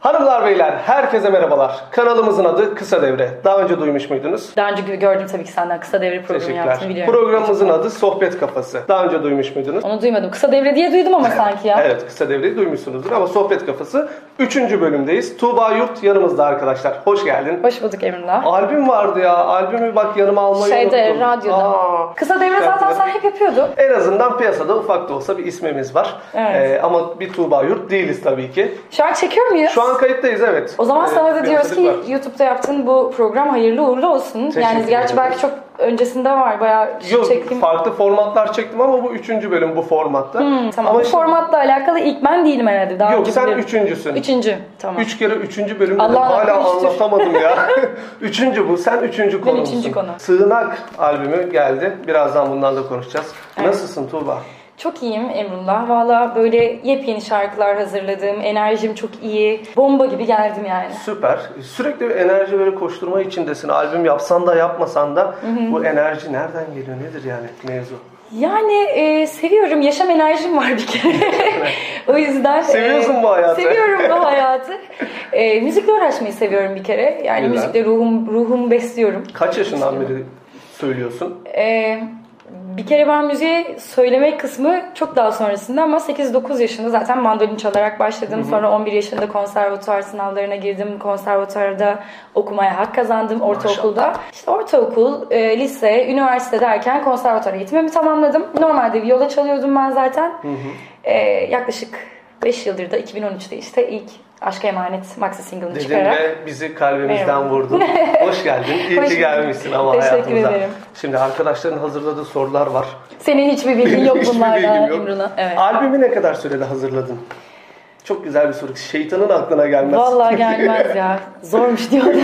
Hanımlar beyler herkese merhabalar. Kanalımızın adı Kısa Devre. Daha önce duymuş muydunuz?
Daha önce gördüm tabii ki senden. Kısa devre programı yaptığını
Teşekkürler.
biliyorum.
Programımızın adı Sohbet Kafası. Daha önce duymuş muydunuz?
Onu duymadım. Kısa devre diye duydum ama sanki ya.
Evet Kısa Devre'yi duymuşsunuzdur ama Sohbet Kafası 3. bölümdeyiz. Tuğba Yurt yanımızda arkadaşlar. Hoş geldin.
Hoş bulduk Emrullah.
Albüm vardı ya. Albümü bak yanıma almayı
Şeyde,
unuttum.
radyoda.
Aa.
Kısa devre zaten sen hep yapıyordun.
En azından piyasada ufak da olsa bir ismimiz var.
Evet.
Ee, ama bir Tuğba Yurt değiliz tabii ki.
Şu an çekiyor muyuz?
Şu an kayıttayız evet.
O zaman
Ee,
sana da
bir
diyoruz
hazırlık
ki
var.
YouTube'da yaptığın bu program hayırlı uğurlu olsun. yani
Teşekkür
gerçi
ederim.
belki çok öncesinde var bayağı şey
Yok,
çektiğim.
farklı formatlar çektim ama bu üçüncü bölüm bu formatta.
Hmm, Tamam.
Ama
bu
işte-
formatla alakalı ilk ben değilim herhalde. Daha
Yok
önce
sen
biliyorum.
üçüncüsün.
Üçüncü. Tamam.
Üç kere üçüncü bölüm dedim,
Allah'ın
hala
hakkı üçtür.
anlatamadım ya. üçüncü bu, sen üçüncü
Ben
konumsun.
üçüncü konu.
Sığınak albümü geldi, birazdan bundan da konuşacağız. Nasılsın Tuğba?
Çok iyiyim Emrullah. Valla böyle yepyeni şarkılar hazırladım. Enerjim çok iyi. Bomba gibi geldim yani.
Süper. Sürekli bir enerji böyle koşturma içindesin. Albüm yapsan da yapmasan da bu enerji nereden geliyor? Nedir yani mevzu?
Yani e, seviyorum. Yaşam enerjim var bir kere. o yüzden... e,
Seviyorsun bu hayatı.
Seviyorum bu hayatı. E, müzikle uğraşmayı seviyorum bir kere. Yani
Güzel.
müzikle ruhum, ruhumu besliyorum.
Kaç yaşından beri söylüyorsun?
E, bir kere ben müziğe söylemek kısmı çok daha sonrasında ama 8-9 yaşında zaten mandolin çalarak başladım. Sonra 11 yaşında konservatuar sınavlarına girdim. Konservatuarda okumaya hak kazandım ortaokulda. İşte ortaokul, e, lise, üniversite derken konservatuar eğitimimi tamamladım. Normalde viola çalıyordum ben zaten. E, yaklaşık 5 yıldır da 2013'te işte ilk Aşka Emanet maxi single'ını
Dedin
çıkararak.
ve bizi kalbimizden
Merhaba.
vurdun. Hoş geldin. İyi
Hoş
ki
bulduk.
gelmişsin ama
Teşekkür
hayatımıza.
ederim.
Şimdi arkadaşların hazırladığı sorular var.
Senin hiçbir bilgin yok
Hiçbir
bunlarla
bilgim yok.
Emrullah. Evet.
Albümü ne kadar sürede hazırladın? Çok güzel bir soru. Şeytanın aklına gelmez.
Vallahi gelmez ya. Zormuş diyordum.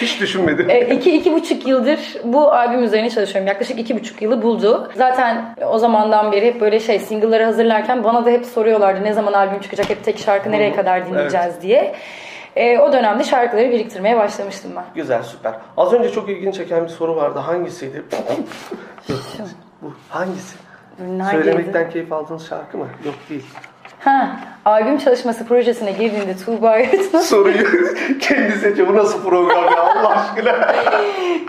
Hiç düşünmedim.
E, iki, iki buçuk yıldır bu albüm üzerine çalışıyorum. Yaklaşık iki buçuk yılı buldu. Zaten o zamandan beri hep böyle şey single'ları hazırlarken bana da hep soruyorlardı ne zaman albüm çıkacak hep tek şarkı nereye kadar dinleyeceğiz diye. E, o dönemde şarkıları biriktirmeye başlamıştım ben.
Güzel, süper. Az önce çok ilgini çeken bir soru vardı. Hangisiydi? Bu hangisi?
Ürünler
Söylemekten
girdi.
keyif aldığınız şarkı mı? Yok değil.
Ha, albüm çalışması projesine girdiğinde Tuğba Yaratı'nın
Soruyu kendi seçiyor. Bu nasıl program ya Allah aşkına?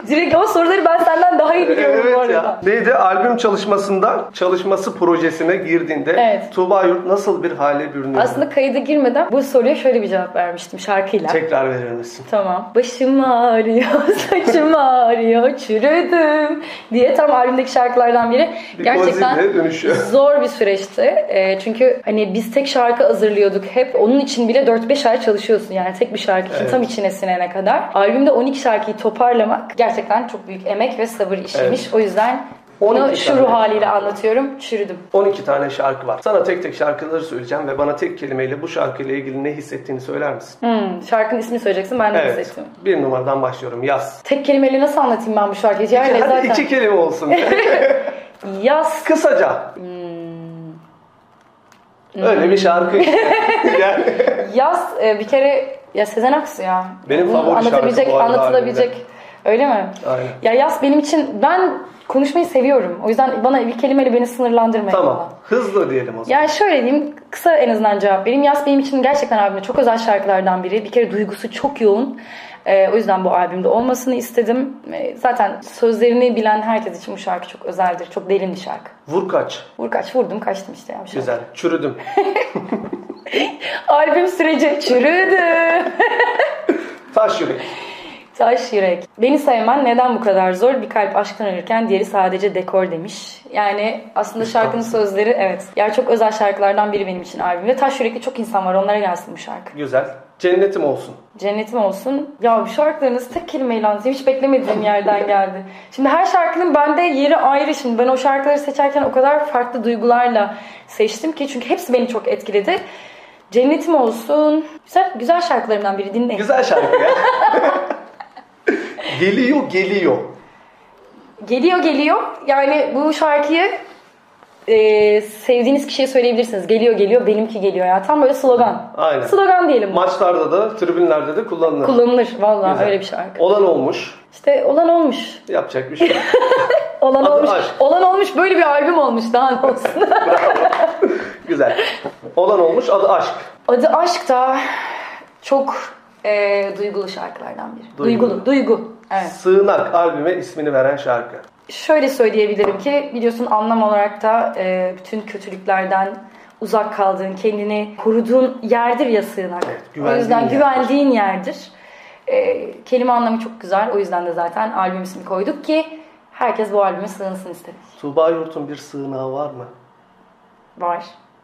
direkt o soruları ben senden daha iyi biliyorum bu
evet
arada.
ya. Neydi? Albüm çalışmasında çalışması projesine girdiğinde
Evet.
Tuğba Yurt nasıl bir hale bürünüyor?
Aslında kayıda girmeden bu soruya şöyle bir cevap vermiştim şarkıyla.
Tekrar verir misin?
Tamam. Başım ağrıyor, saçım ağrıyor, çürüdüm diye tam albümdeki şarkılardan biri.
Bir
Gerçekten
kozine dönüşüyor.
zor bir süreçti. Ee, çünkü hani biz tek şarkı hazırlıyorduk hep. Onun için bile 4-5 ay çalışıyorsun yani tek bir şarkı için
Evet.
tam içine sinene kadar. Albümde 12 şarkıyı toparlamak gerçekten çok büyük emek ve sabır işiymiş. O yüzden
12
onu şu ruh
tane.
haliyle anlatıyorum. Çürüdüm.
12 tane şarkı var. Sana tek tek şarkıları söyleyeceğim ve bana tek kelimeyle bu şarkıyla ilgili ne hissettiğini söyler misin?
Hmm, şarkının ismini söyleyeceksin ben de hissettim.
Bir numaradan başlıyorum. Yaz.
Tek kelimeyle nasıl anlatayım ben bu şarkıyı? Yani
Hadi
zaten
iki kelime olsun.
yaz Hmm.
Kısaca. Öyle bir şarkı işte. yani,
Yaz e, bir kere ya Sezen Aksu ya.
Benim
Bunu
favori şarkı
anlatabilecek,
bu arada
anlatılabilecek.
albümde.
Öyle mi?
Aynen.
Ya Yaz benim için ben konuşmayı seviyorum. O yüzden bana bir kelimeyle beni sınırlandırmayın.
tamam. Hızlı diyelim o zaman.
Yani şöyle diyeyim, kısa en azından cevap vereyim. Yas benim için gerçekten albümde çok özel şarkılardan biri. Bir kere duygusu çok yoğun. Ee, o yüzden bu albümde olmasını istedim. Ee, zaten sözlerini bilen herkes için bu şarkı çok özeldir. Çok derin bir şarkı.
Vur kaç.
Vur kaç vurdum kaçtım işte ya. bir şarkı.
Güzel. Çürüdüm.
Albüm süreci çürüdü.
Taş yürek.
Taş yürek. Beni sevmen neden bu kadar zor? Bir kalp aşktan ölürken diğeri sadece dekor demiş. Yani aslında şarkının sözleri evet. Yani çok özel şarkılardan biri benim için albümde. Taş yürekli çok insan var onlara gelsin bu şarkı.
Güzel. Cennetim olsun.
Cennetim olsun. Ya bu şarkılarınızı tek kelimeyle anlatayım. Hiç beklemediğim yerden geldi. Şimdi her şarkının bende yeri ayrı. Şimdi ben o şarkıları seçerken o kadar farklı duygularla seçtim ki. Çünkü hepsi beni çok etkiledi. Cennetim olsun. Güzel, güzel şarkılarımdan biri dinleyin.
Güzel şarkı ya. geliyor geliyor.
Geliyor geliyor. Yani bu şarkıyı e, sevdiğiniz kişiye söyleyebilirsiniz. Geliyor geliyor benimki geliyor ya. Tam böyle slogan.
Aynen.
Slogan diyelim. bu.
Maçlarda da tribünlerde de kullanılır.
Kullanılır valla
Güzel.
öyle bir şarkı.
Olan olmuş.
İşte olan olmuş.
Yapacak bir şey. yok.
Olan
Adı
olmuş.
aşk.
Olan olmuş böyle bir albüm olmuş daha ne olsun.
Güzel. Olan olmuş adı aşk.
Adı aşk da çok e, duygulu şarkılardan biri.
Duygulu.
Duygulu. Duygu. Evet.
Sığınak albüme ismini veren şarkı.
Şöyle söyleyebilirim ki biliyorsun anlam olarak da e, bütün kötülüklerden uzak kaldığın, kendini koruduğun yerdir ya sığınak. o
güvendiğin
yüzden
yer.
güvendiğin yerdir. E, kelime anlamı çok güzel. O yüzden de zaten albüm ismi koyduk ki herkes bu albüme sığınsın istedik.
Tuğba Yurt'un bir sığınağı var mı?
Var.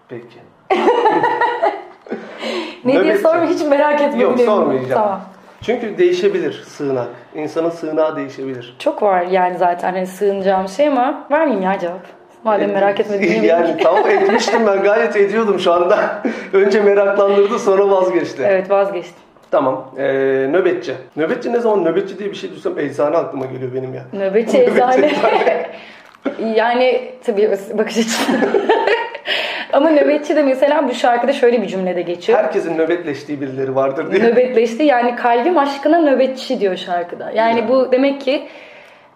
Peki.
Ne diye
Nöbetçi.
sorma hiç merak etme.
Yok,
bilmiyorum.
sormayacağım.
Tamam.
Çünkü değişebilir sığınak. İnsanın sığınağı değişebilir.
Çok var yani zaten hani sığınacağım şey ama vermeyeyim ya cevap. Madem merak etmediğini
E, Yani tamam etmiştim ben gayet ediyordum şu anda. Önce meraklandırdı sonra vazgeçti.
Evet vazgeçtim.
Tamam. Ee, nöbetçi. Nöbetçi ne zaman nöbetçi diye bir şey duysam eczane aklıma geliyor benim ya.
Nöbetçi eczane. Yani tabii bakış açısı. Ama nöbetçi de mesela bu şarkıda şöyle bir cümlede geçiyor.
Herkesin nöbetleştiği birileri vardır diye.
Nöbetleşti yani kalbim aşkına nöbetçi diyor şarkıda. Yani bu demek ki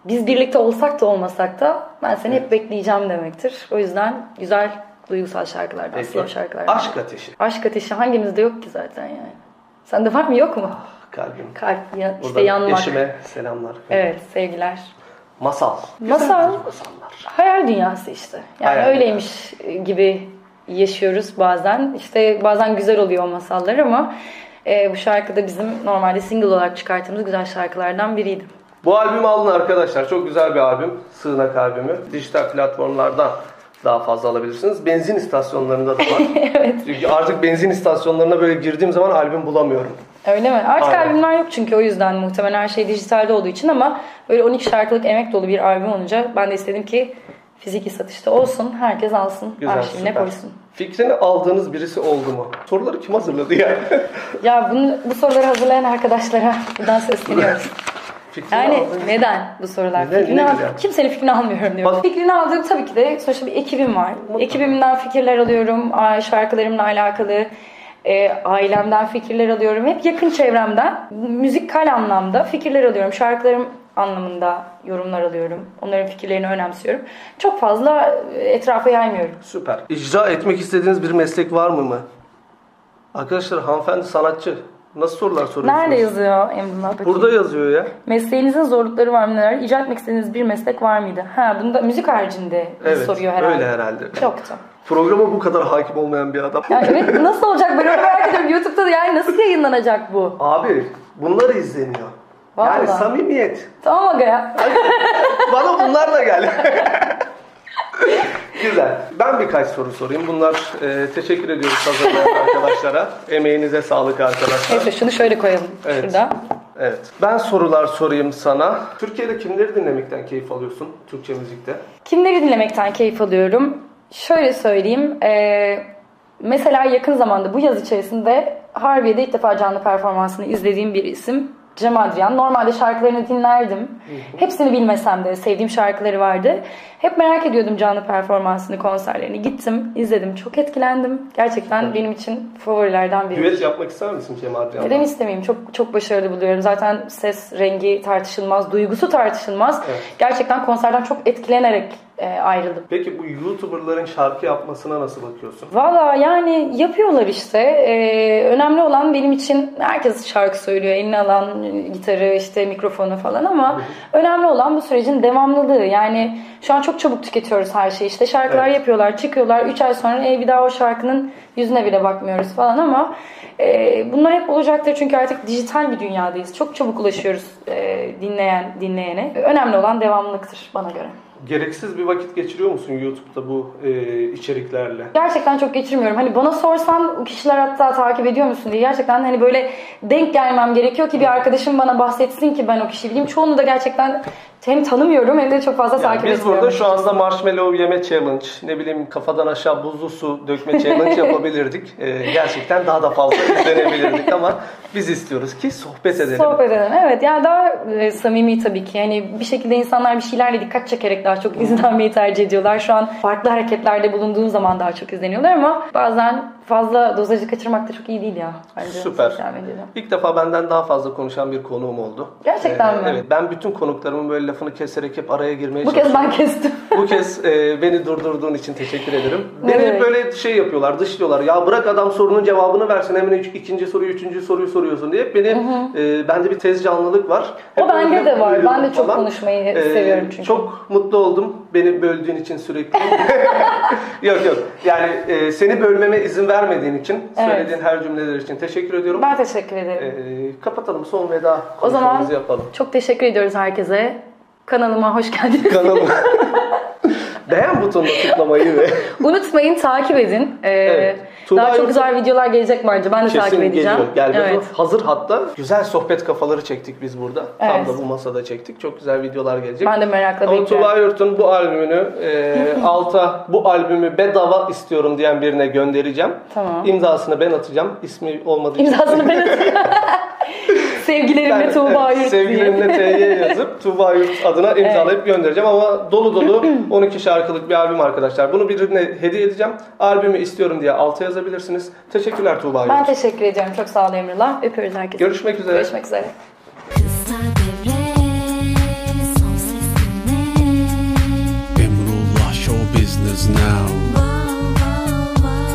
biz birlikte olsak da olmasak da ben seni hep bekleyeceğim demektir. O yüzden güzel duygusal şarkılardan,
Peki.
slow şarkılardan.
Aşk ateşi.
Aşk ateşi hangimizde yok ki zaten yani. Sende var mı yok mu?
Kalbim.
Kalp, ya, işte
Buradan
yanmak.
Ah. eşime selamlar.
Evet sevgiler.
Masal.
Masal
Masallar.
hayal dünyası işte. Yani
Hayal
öyleymiş gibi yaşıyoruz bazen. İşte bazen güzel oluyor o masallar ama e, bu şarkı da bizim normalde single olarak çıkarttığımız güzel şarkılardan biriydi.
Bu albümü alın arkadaşlar. Çok güzel bir albüm. Sığınak albümü. Dijital platformlardan daha fazla alabilirsiniz. Benzin istasyonlarında da var. Çünkü artık benzin istasyonlarına böyle girdiğim zaman albüm bulamıyorum.
Öyle mi? Artık
Aynen.
albümler yok çünkü o yüzden muhtemelen her şey dijitalde olduğu için ama böyle 12 şarkılık emek dolu bir albüm olunca ben de istedim ki fiziki satışta olsun, herkes alsın,
Güzel,
arşivine
süper.
koysun.
Fikrini aldığınız birisi oldu mu? Soruları kim hazırladı ya?
Ya bunu, bu soruları hazırlayan arkadaşlara buradan sesleniyoruz.
Fikrini
Yani
aldığınız-
neden bu sorular?
Neden?
fikrini
Ne
al-
güzel.
kimsenin fikrini almıyorum diyorum.
Bak-
Fikrini aldığım tabii ki de sonuçta bir ekibim var. Ekibimden fikirler alıyorum, a- şarkılarımla alakalı, e, ailemden fikirler alıyorum. Hep yakın çevremden müzikal anlamda fikirler alıyorum. Şarkılarım anlamında yorumlar alıyorum. Onların fikirlerini önemsiyorum. Çok fazla e, etrafa yaymıyorum.
Süper. İcra etmek istediğiniz bir meslek var mı mı? Arkadaşlar hanımefendi sanatçı. Nasıl sorular soruyorsunuz?
Nerede yazıyor Emrullah? Bakayım.
Burada yazıyor ya.
Mesleğinizin zorlukları var mı neler? İcat etmek istediğiniz bir meslek var mıydı? Ha bunu da müzik haricinde
Evet.
soruyor herhalde.
Öyle herhalde.
Yoktu.
Programa bu kadar hakim olmayan bir adam.
Ya evet nasıl olacak ben onu merak ediyorum. YouTube'da da yani nasıl yayınlanacak bu?
Abi bunlar izleniyor. Yani
Vallahi.
samimiyet.
Tamam aga ya.
Bana bunlarla gel. Güzel. Ben birkaç soru sorayım. Bunlar e, teşekkür ediyoruz hazırlayan arkadaşlara. Emeğinize sağlık arkadaşlar.
Neyse şunu şöyle koyalım
Evet.
şurada.
Evet. Ben sorular sorayım sana. Türkiye'de kimleri dinlemekten keyif alıyorsun Türkçe müzikte?
Kimleri dinlemekten keyif alıyorum? Şöyle söyleyeyim. eee, mesela yakın zamanda bu yaz içerisinde Harbiye'de ilk defa canlı performansını izlediğim bir isim. Cem Adrian. Normalde şarkılarını dinlerdim. Hepsini bilmesem de sevdiğim şarkıları vardı. Hep merak ediyordum canlı performansını, konserlerini. Gittim, izledim. Çok etkilendim. Gerçekten benim için favorilerden biri.
Düet yapmak ister misin Cem Adrian'la?
Neden istemeyeyim? Çok çok başarılı buluyorum. Zaten ses rengi tartışılmaz, duygusu tartışılmaz.
Evet.
Gerçekten konserden çok etkilenerek e, ayrıldım.
Peki bu YouTuber'ların şarkı yapmasına nasıl bakıyorsun?
Valla yani yapıyorlar işte. E, önemli olan benim için herkes şarkı söylüyor. Eline alan e, gitarı, işte mikrofonu falan ama önemli olan bu sürecin devamlılığı. Yani şu an çok çabuk tüketiyoruz her şeyi. İşte şarkılar
Evet.
yapıyorlar, çıkıyorlar. 3 ay sonra e, bir daha o şarkının yüzüne bile bakmıyoruz falan ama e, bunlar hep olacaktır çünkü artık dijital bir dünyadayız. Çok çabuk ulaşıyoruz e, dinleyen dinleyene. Önemli olan devamlılıktır bana göre.
Gereksiz bir vakit geçiriyor musun YouTube'da bu e, içeriklerle?
Gerçekten çok geçirmiyorum. Hani bana sorsan kişiler hatta takip ediyor musun diye gerçekten hani böyle denk gelmem gerekiyor ki bir arkadaşım bana bahsetsin ki ben o kişiyi bileyim. Çoğunu da gerçekten hem tanımıyorum hem de çok fazla
Yani
takip
biz
etmiyorum.
burada şu anda marshmallow yeme challenge, ne bileyim kafadan aşağı buzlu su dökme challenge yapabilirdik. E, gerçekten daha da fazla izlenebilirdik ama biz istiyoruz ki sohbet edelim.
Sohbet edelim. Evet yani daha e, samimi tabii ki. Yani bir şekilde insanlar bir şeylerle dikkat çekerek daha çok izlenmeyi tercih ediyorlar. Şu an farklı hareketlerde bulunduğum zaman daha çok izleniyorlar ama bazen fazla dozajı kaçırmak da çok iyi değil ya. Bence
Süper.
sosyal medyada.
İlk defa benden daha fazla konuşan bir konuğum oldu.
Gerçekten
Ee,
mi?
Evet. Ben bütün konuklarımın böyle lafını keserek hep araya girmeye
Bu kez ben kestim.
Bu kez e, beni durdurduğun için teşekkür ederim.
Ne
Beni
demek?
böyle şey yapıyorlar, dışlıyorlar. Ya bırak adam sorunun cevabını versin hemen üç- ikinci soruyu, üçüncü soruyu soruyorsun diye. Hep Beni, e, bende bir tez canlılık var.
O
Hep
bende
öyle
de var.
buyuruyorum
Ben de çok
falan.
konuşmayı
E,
seviyorum çünkü.
Çok mutlu oldum beni böldüğün için sürekli. yok yok. Yani e, seni bölmeme izin vermediğin için,
Evet.
söylediğin her cümleler için teşekkür ediyorum.
Ben teşekkür ederim.
Ee, kapatalım son veda
O zaman
konuşmamızı yapalım.
çok teşekkür ediyoruz herkese. Kanalıma hoş geldiniz.
Kanalı. Beğen butonuna tıklamayı ve
Unutmayın takip edin. Ee,
Evet. Tuğba
daha çok
Yurtta-
güzel videolar gelecek bence. Ben de takip
kesin
edeceğim.
geliyor. Gel
evet.
bakalım. hazır hatta. Güzel sohbet kafaları çektik biz burada. Tam
Evet.
da bu masada çektik. Çok güzel videolar gelecek.
Ben de merakla
Ama
bekliyorum.
Tuğba Yurt'un bu albümünü e, alta bu albümü bedava istiyorum diyen birine göndereceğim.
Tamam.
İmzasını ben atacağım. İsmi olmadığı için.
İmzasını ben atayım. Sevgilerimle
Yani,
Tuğba
evet,
Yurt
Sevgilimle
diye.
TY yazıp Tuğba Yurt adına imzalayıp göndereceğim ama dolu dolu 12 şarkılık bir albüm arkadaşlar. Bunu birine hediye edeceğim. Albümü istiyorum diye alta yazabilirsiniz. Teşekkürler Tuğba Yurt.
Ben teşekkür ediyorum. Çok sağ ol Emrullah. Öpüyoruz herkese.
Görüşmek üzere.
Görüşmek üzere.
Kısa devre son ses güne
Emrullah Show Business Now.
Wow wow wow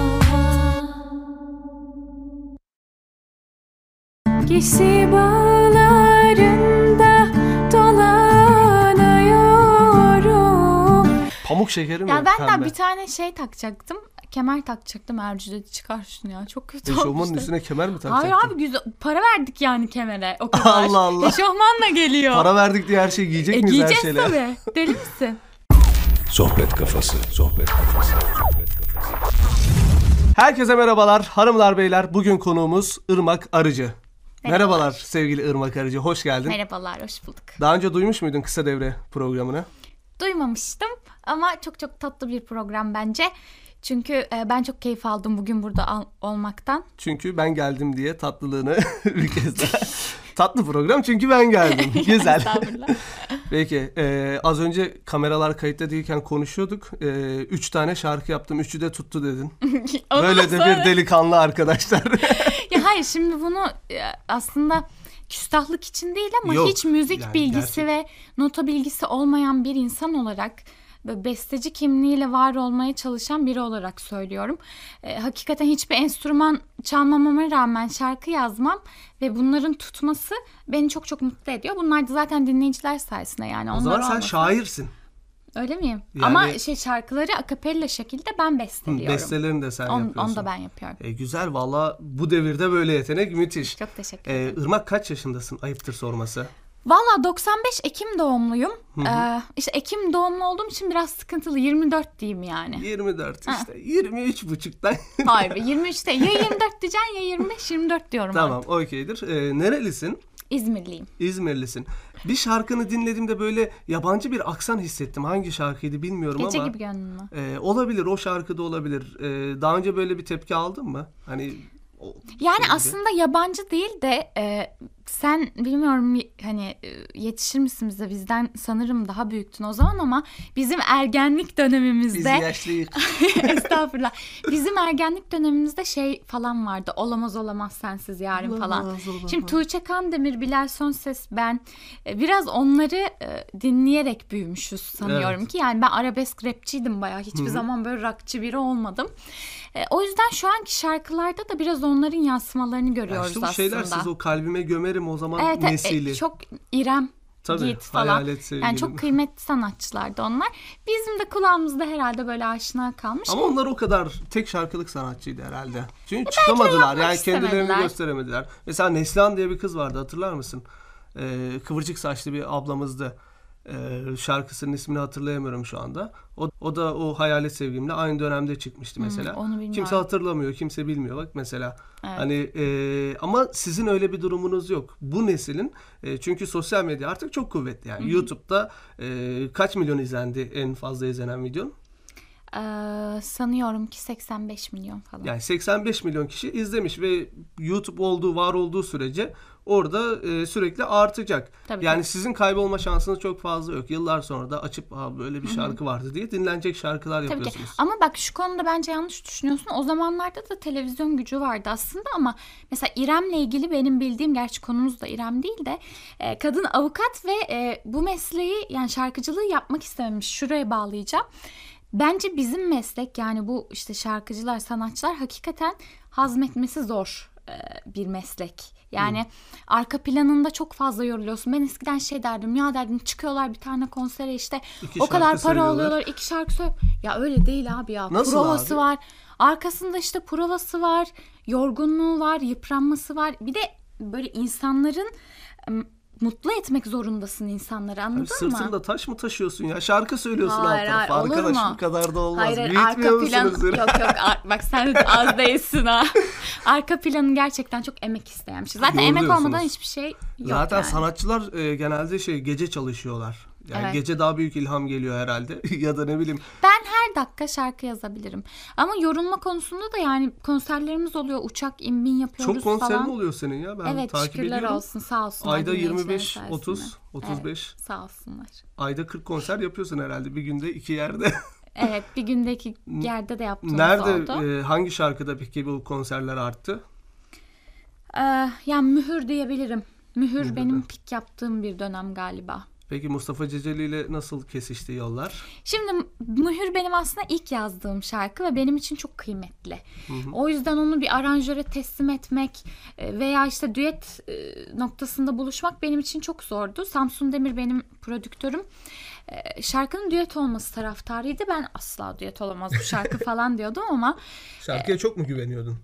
Kişi bağlarında dolanıyorum.
Pamuk şekeri mi?
Ya ben de bir tane şey takacaktım. Kemer takacaktım Ercü'de çıkar şunu ya. Çok kötü olmuştu.
kemer mi
Hayır abi güzel. Para verdik yani kemere o kadar.
Allah Allah.
Eşofmanla geliyor.
verdik diye her şeyi
e,
giyecek
giyeceğiz tabii. Deli misin?
Sohbet kafası. Sohbet kafası. Sohbet kafası.
Herkese merhabalar. Hanımlar beyler bugün konuğumuz Irmak Arıcı.
Merhabalar.
Merhabalar sevgili Irmak Arıcı. Hoş geldin.
Merhabalar, hoş bulduk.
Daha önce duymuş muydun kısa devre programını?
Duymamıştım ama çok çok tatlı bir program bence. Çünkü e, ben çok keyif aldım bugün burada al- olmaktan.
Çünkü ben geldim diye tatlılığını bir kez daha. Tatlı program çünkü ben geldim. Güzel.
Estağfurullah.
Peki e, az önce kameralar kayıtta değilken konuşuyorduk. E, üç tane şarkı yaptım. Üçü de tuttu dedin.
Ondan
Böyle de
sonra-
bir delikanlı arkadaşlar.
Ya hayır şimdi bunu e, aslında küstahlık için değil ama
Yok,
hiç müzik
yani
bilgisi ve nota bilgisi olmayan bir insan olarak böyle besteci kimliğiyle var olmaya çalışan biri olarak söylüyorum. E, hakikaten hiçbir enstrüman çalmamama rağmen şarkı yazmam ve bunların tutması beni çok çok mutlu ediyor. Bunlar da zaten dinleyiciler sayesinde yani.
o
Onlar
zaman sen
olmasa-
şairsin.
Öyle miyim?
Yani-
Ama şey şarkıları akapella şekilde ben besteliyorum.
Bestelerini de sen
Onu-
yapıyorsun.
onu da ben yapıyorum.
E, güzel valla bu devirde böyle yetenek müthiş.
Çok teşekkür ederim.
E, Irmak kaç yaşındasın? Ayıptır sorması.
Valla 95 Ekim doğumluyum. Ee, işte Ekim doğumlu olduğum için biraz sıkıntılı. 24 diyeyim yani.
24 işte.
Ha.
23 buçuktan.
Harbi 23'te ya 24 diyeceksin ya 25 24 diyorum.
tamam
artık.
okeydir. E, nerelisin?
İzmirliyim.
İzmirlisin. Bir şarkını dinlediğimde böyle yabancı bir aksan hissettim. Hangi şarkıydı bilmiyorum
Gece
ama.
gibi gönlüm var.
E, olabilir o şarkıda olabilir. E, daha önce böyle bir tepki aldın mı? Hani o-
Yani
şey gibi.
aslında yabancı değil de e, sen bilmiyorum y- hani e, yetişir misin bize bizden sanırım daha büyüktün o zaman ama bizim ergenlik
biz
dönemimizde
yaşlıyız.
Estağfurullah. Bizim ergenlik dönemimizde şey falan vardı. Olamaz olamaz sensiz yarın falan. Şimdi Tuğçe Kandemir, Bilal Sönses, ben e, biraz onları e, dinleyerek büyümüşüz sanıyorum
Evet.
ki. Yani ben arabesk rapçiydim bayağı. Hiçbir zaman böyle rockçı biri olmadım. E, o yüzden şu anki şarkılarda da biraz onların yansımalarını
Ya
görüyoruz
işte bu
aslında.
şeyler siz o kalbime gömerim o zaman
Evet, e,
nesili.
çok İrem
Tabii,
Yiğit falan.
hayalet sevgilim.
Yani çok kıymetli sanatçılardı onlar. Bizim de kulağımızda herhalde böyle aşina kalmış. E,
Ama onlar o kadar tek şarkılık sanatçıydı herhalde. Çünkü çıkamadılar yani kendilerini
istemediler.
gösteremediler. Mesela Neslihan diye bir kız vardı hatırlar mısın? Ee, kıvırcık saçlı bir ablamızdı. Ee, şarkısının ismini hatırlayamıyorum şu anda. O, o da o hayalet sevgimle aynı dönemde çıkmıştı mesela.
Hmm, onu bilmiyorum.
kimse hatırlamıyor, kimse bilmiyor bak mesela.
Evet.
Hani e, ama sizin öyle bir durumunuz yok. Bu neslin e, çünkü sosyal medya artık çok kuvvetli yani. YouTube'da e, kaç milyon izlendi en fazla izlenen videon?
Ee, sanıyorum ki 85 milyon falan.
Yani 85 milyon kişi izlemiş ve YouTube olduğu, var olduğu sürece orada e, sürekli artacak.
Tabii,
yani
tabii.
sizin kaybolma şansınız çok fazla yok. Yıllar sonra da açıp "Aa, böyle bir şarkı vardı diye dinlenecek şarkılar
Tabii ki.
yapıyorsunuz.
Ama bak şu konuda bence yanlış düşünüyorsun. O zamanlarda da televizyon gücü vardı aslında ama mesela İrem'le ilgili benim bildiğim gerçi konumuz da İrem değil de e, kadın avukat ve e, bu mesleği yani şarkıcılığı yapmak istememiş. Şuraya bağlayacağım. Bence bizim meslek yani bu işte şarkıcılar, sanatçılar hakikaten hazmetmesi zor e, bir meslek. Yani arka planında çok fazla yoruluyorsun. Ben eskiden şey derdim ya derdim çıkıyorlar bir tane konsere işte
İki
o kadar
şarkı
para
söylüyorlar.
alıyorlar iki şarkı söyle. Ya öyle değil abi ya.
Nasıl
provası
abi?
var. Arkasında işte provası var. Yorgunluğu var. Yıpranması var. Bir de böyle insanların ım, mutlu etmek zorundasın insanları anladın
Abi
mı?
Hani sırtında taş mı taşıyorsun ya? Şarkı söylüyorsun
Hayır,
alt tarafa.
hayır, olur
Arkadaş
mu?
bu kadar da olmaz.
Hayır, hayır,
Büyütmüyor
arka plan
musunuz?
yok yok ar- bak sen de az değilsin ha. Arka planı gerçekten çok emek isteyen bir şey. Zaten emek
Yoruluyorsunuz.
olmadan hiçbir şey yok
Zaten
yani.
sanatçılar e, genelde şey gece çalışıyorlar. Yani
Evet.
gece daha büyük ilham geliyor herhalde. ya da ne bileyim
her dakika şarkı yazabilirim. Ama yorulma konusunda da yani konserlerimiz oluyor. Uçak inbin yapıyoruz
çok konserin
falan.
oluyor senin ya. Ben
evet
takip
şükürler
ediyorum.
olsun sağ olsun.
Ayda 25, 30, 35.
Sağ olsunlar.
Ayda 40 konser yapıyorsun herhalde. Bir günde iki yerde.
Evet bir gündeki yerde de yaptığımız
Nerede,
oldu.
e, hangi şarkıda peki bu konserler arttı?
Ee, yani mühür diyebilirim. Mühür
Mühür
benim
de.
pik yaptığım bir dönem galiba.
Peki Mustafa Ceceli ile nasıl kesişti yollar?
Şimdi Mühür benim aslında ilk yazdığım şarkı ve benim için çok kıymetli. O yüzden onu bir aranjöre teslim etmek e, veya işte düet e, noktasında buluşmak benim için çok zordu. Samsun Demir benim prodüktörüm. E, Şarkının düet olması taraftarıydı. Ben asla düet olamaz bu şarkı falan diyordum ama
Şarkıya çok mu güveniyordun?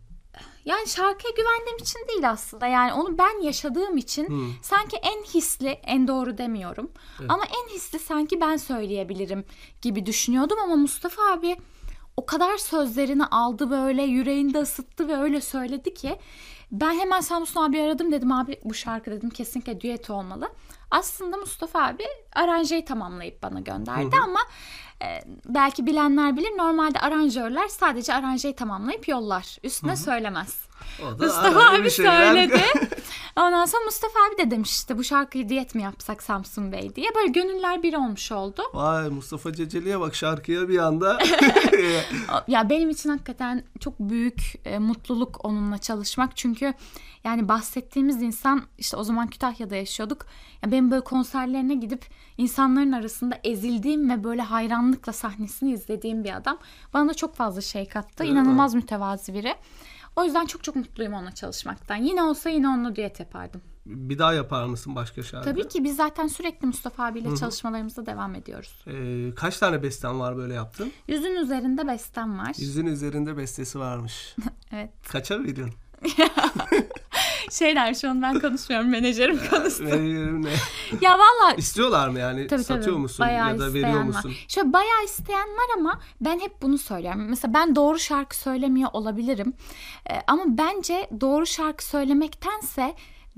yani şarkıya güvendiğim için değil aslında. Yani onu ben yaşadığım için sanki en hisli, en doğru demiyorum. Ama en hisli sanki ben söyleyebilirim gibi düşünüyordum ama Mustafa abi o kadar sözlerini aldı böyle yüreğinde ısıttı ve öyle söyledi ki ben hemen Samsun abi aradım dedim abi bu şarkı dedim kesinlikle düet olmalı. Aslında Mustafa abi aranjeyi tamamlayıp bana gönderdi ama e, belki bilenler bilir normalde aranjörler sadece aranjeyi tamamlayıp yollar. Üstüne söylemez.
O da
Mustafa
arada bir
abi
şeyler-
söyledi. Ondan sonra Mustafa abi de demiş işte bu şarkıyı diyet mi yapsak Samsun Bey diye. Böyle gönüller bir olmuş oldu.
Vay Mustafa Ceceli'ye bak şarkıya bir anda.
Ya benim için hakikaten çok büyük e, mutluluk onunla çalışmak. Çünkü yani bahsettiğimiz insan işte o zaman Kütahya'da yaşıyorduk. Ya benim böyle konserlerine gidip insanların arasında ezildiğim ve böyle hayranlıkla sahnesini izlediğim bir adam. Bana da çok fazla şey kattı. İnanılmaz mütevazi biri. O yüzden çok çok mutluyum onunla çalışmaktan. Yine olsa yine onunla düet yapardım.
bir daha yapar mısın başka şarkı?
Tabii ki biz zaten sürekli Mustafa abiyle çalışmalarımıza devam ediyoruz.
Ee, kaç tane besten var böyle yaptın?
Yüzün üzerinde bestem var.
Yüzün üzerinde bestesi varmış.
Evet.
Kaça veriyorsun?
Şey der şu an ben konuşmuyorum menajerim konuştu.
Veriyorum ne?
ya valla
İstiyorlar mı yani?
tabii
Hani Satıyor
tabii,
musun
bayağı
ya da
isteyen
veriyor
var.
musun?
Şöyle bayağı isteyen var ama ben hep bunu söylüyorum. Mesela ben doğru şarkı söylemiyor olabilirim. Ee, ama bence doğru şarkı söylemektense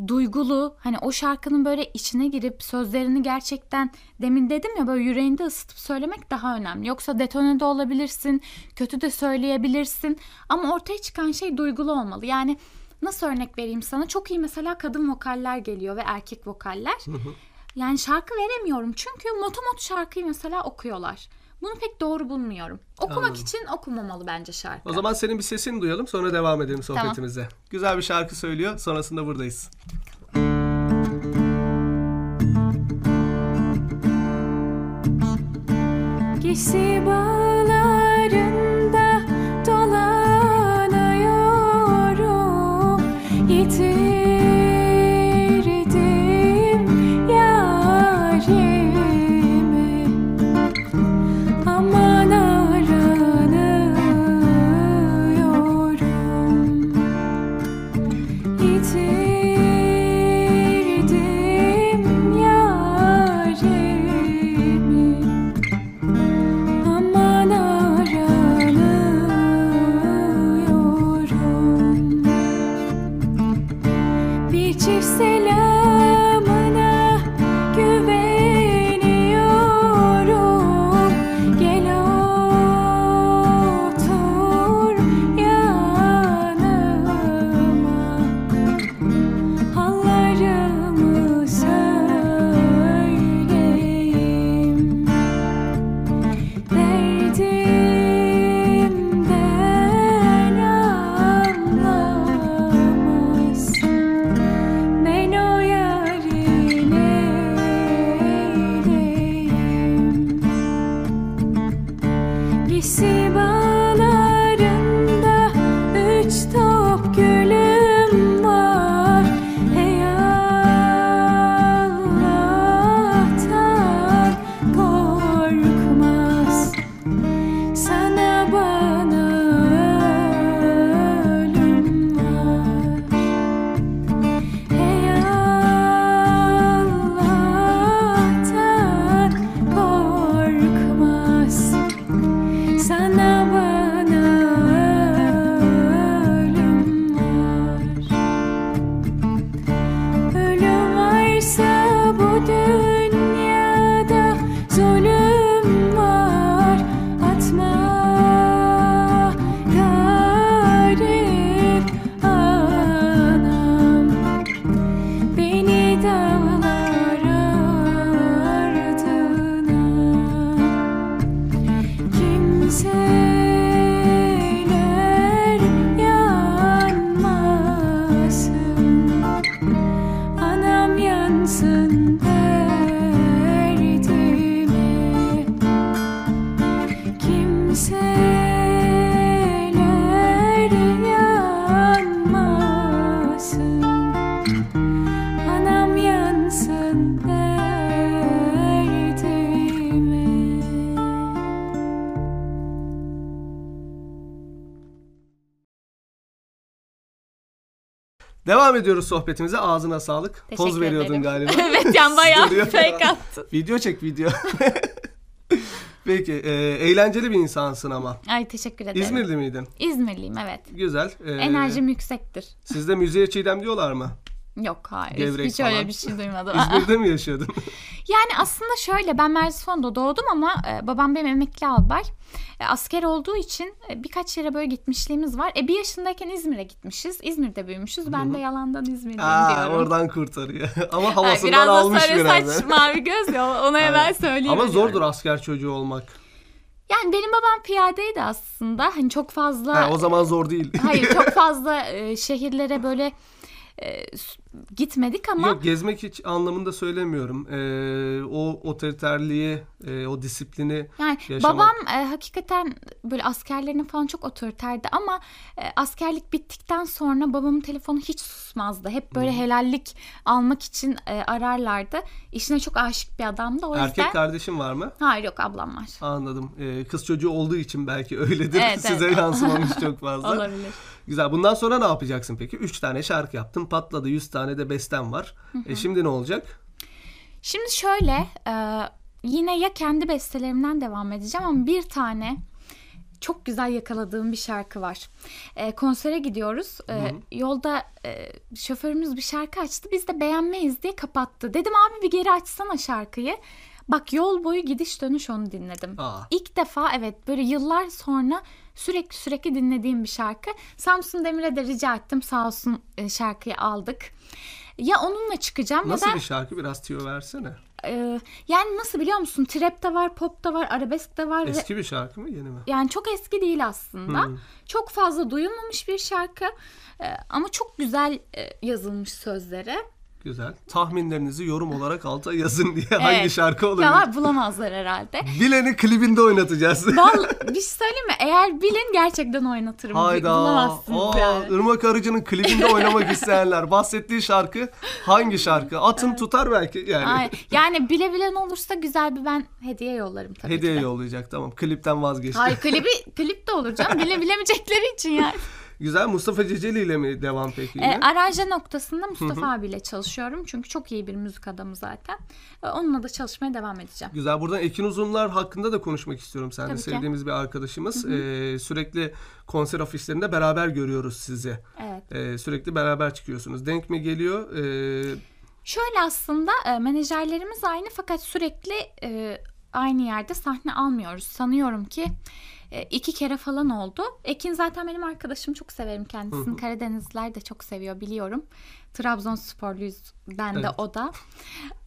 duygulu hani o şarkının böyle içine girip sözlerini gerçekten demin dedim ya böyle yüreğinde ısıtıp söylemek daha önemli. Yoksa detone de olabilirsin, kötü de söyleyebilirsin ama ortaya çıkan şey duygulu olmalı. Yani nasıl örnek vereyim sana? Çok iyi mesela kadın vokaller geliyor ve erkek vokaller. Yani şarkı veremiyorum çünkü motomot şarkıyı mesela okuyorlar. Bunu pek doğru bulmuyorum. Okumak için okumamalı bence şarkı.
O zaman senin bir sesini duyalım sonra devam edelim sohbetimize. Güzel bir şarkı söylüyor sonrasında buradayız.
Kişi bağlarında dolanıyorum Yitirdim yarimi Aman aranıyorum Yitirdim yarimi Aman
Devam ediyoruz sohbetimize. Ağzına sağlık.
Teşekkür
Poz veriyordun
ederim.
galiba.
evet yani bayağı
Duruyor.
fake attın.
video çek video. Peki, e, eğlenceli bir insansın ama.
Ay teşekkür ederim.
İzmirli miydin?
İzmirliyim evet.
Güzel. E,
Enerjim yüksektir.
Sizde müziğe çiğdem diyorlar mı?
Yok hayır.
Gevrek
Hiç
falan.
öyle bir şey duymadım.
İzmir'de mi yaşıyordun?
Yani aslında şöyle ben Merzifon'da doğdum ama e, babam benim emekli albay. E, asker olduğu için e, birkaç yere böyle gitmişliğimiz var. E bir yaşındayken İzmir'e gitmişiz. İzmir'de büyümüşüz. Ben de yalandan İzmirliyim
Aa,
diyorum.
oradan kurtarıyor. ama
Ay,
havasından
biraz da
almış
sarı
biraz.
saç mavi göz ya ona hemen söyleyeyim.
Ama zordur asker çocuğu olmak.
Yani benim babam piyadeydi aslında. Hani çok fazla
Ha, o zaman zor değil.
hayır çok fazla e, şehirlere böyle e, s- gitmedik ama
Yok gezmek hiç anlamında söylemiyorum. Ee, o otoriterliği, e, o disiplini
Yani
yaşamak.
babam e, hakikaten böyle askerlerine falan çok otoriterdi ama e, askerlik bittikten sonra babamın telefonu hiç susmazdı. Hep böyle helallik almak için e, ararlardı. İşine çok aşık bir adamdı o
Erkek
yüzden.
kardeşim var mı?
Hayır yok ablam var.
Anladım. Ee, kız çocuğu olduğu için belki öyledir.
Evet,
Size
evet.
yansımamış çok fazla.
Olabilir.
Güzel. Bundan sonra ne yapacaksın peki? 3 tane şarkı yaptın, patladı. 100 tane de besten var. E şimdi ne olacak?
Şimdi şöyle e, yine ya kendi bestelerimden devam edeceğim ama bir tane çok güzel yakaladığım bir şarkı var. E, konsere gidiyoruz. E, yolda e, şoförümüz bir şarkı açtı. Biz de beğenmeyiz diye kapattı. Dedim abi bir geri açsana şarkıyı. Bak yol boyu gidiş dönüş onu dinledim.
Aa.
İlk defa evet böyle yıllar sonra sürekli sürekli dinlediğim bir şarkı. Samsun Demir'e de rica ettim sağ olsun e, şarkıyı aldık. Ya onunla çıkacağım ya
Nasıl
da
bir şarkı? Biraz tüyo versene.
ee, yani nasıl biliyor musun? Trap de var, pop da var, arabesk de var. ve-
Eski bir şarkı Hmm. mı, yeni mi?
Yani çok eski değil aslında. Çok fazla duyulmamış bir şarkı. Ee, ama çok güzel e, yazılmış sözleri.
Güzel. Tahminlerinizi yorum olarak alta yazın diye hangi
Evet.
şarkı olabilir?
Ya bulamazlar herhalde.
Bileni klibinde oynatacağız.
Vallahi bir şey söyleyeyim mi? Eğer bilin gerçekten oynatırım. Bi-
Hayda.
Bulamazsınız
Aa,
yani.
Irmak Arıcı'nın klibinde oynamak isteyenler. Bahsettiği şarkı hangi şarkı? Atın tutar belki yani.
Ay, yani bile bilen olursa güzel bir ben hediye yollarım tabii
Hediye
ki de.
yollayacak tamam. Klipten vazgeçti.
Hayır klibi, klip de olur canım. Bile bilemeyecekleri için yani.
Güzel. Mustafa Ceceli ile mi devam peki yine?
E, aranje noktasında Mustafa abiyle çalışıyorum. Çünkü çok iyi bir müzik adamı zaten. E, onunla da çalışmaya devam edeceğim.
Güzel. Buradan Ekin Uzunlar hakkında da konuşmak istiyorum seninle.
Tabii ki.
Sevdiğimiz bir arkadaşımız. Ee, sürekli konser afişlerinde beraber görüyoruz sizi.
Evet.
Ee, sürekli beraber çıkıyorsunuz. Denk mi geliyor? Ee,
Şöyle aslında e, menajerlerimiz aynı fakat sürekli e, aynı yerde sahne almıyoruz. Sanıyorum ki e, iki kere falan oldu. Ekin zaten benim arkadaşım. Çok severim kendisini. Karadenizliler de çok seviyor biliyorum. Trabzonsporluyuz ben de
Evet.
o da.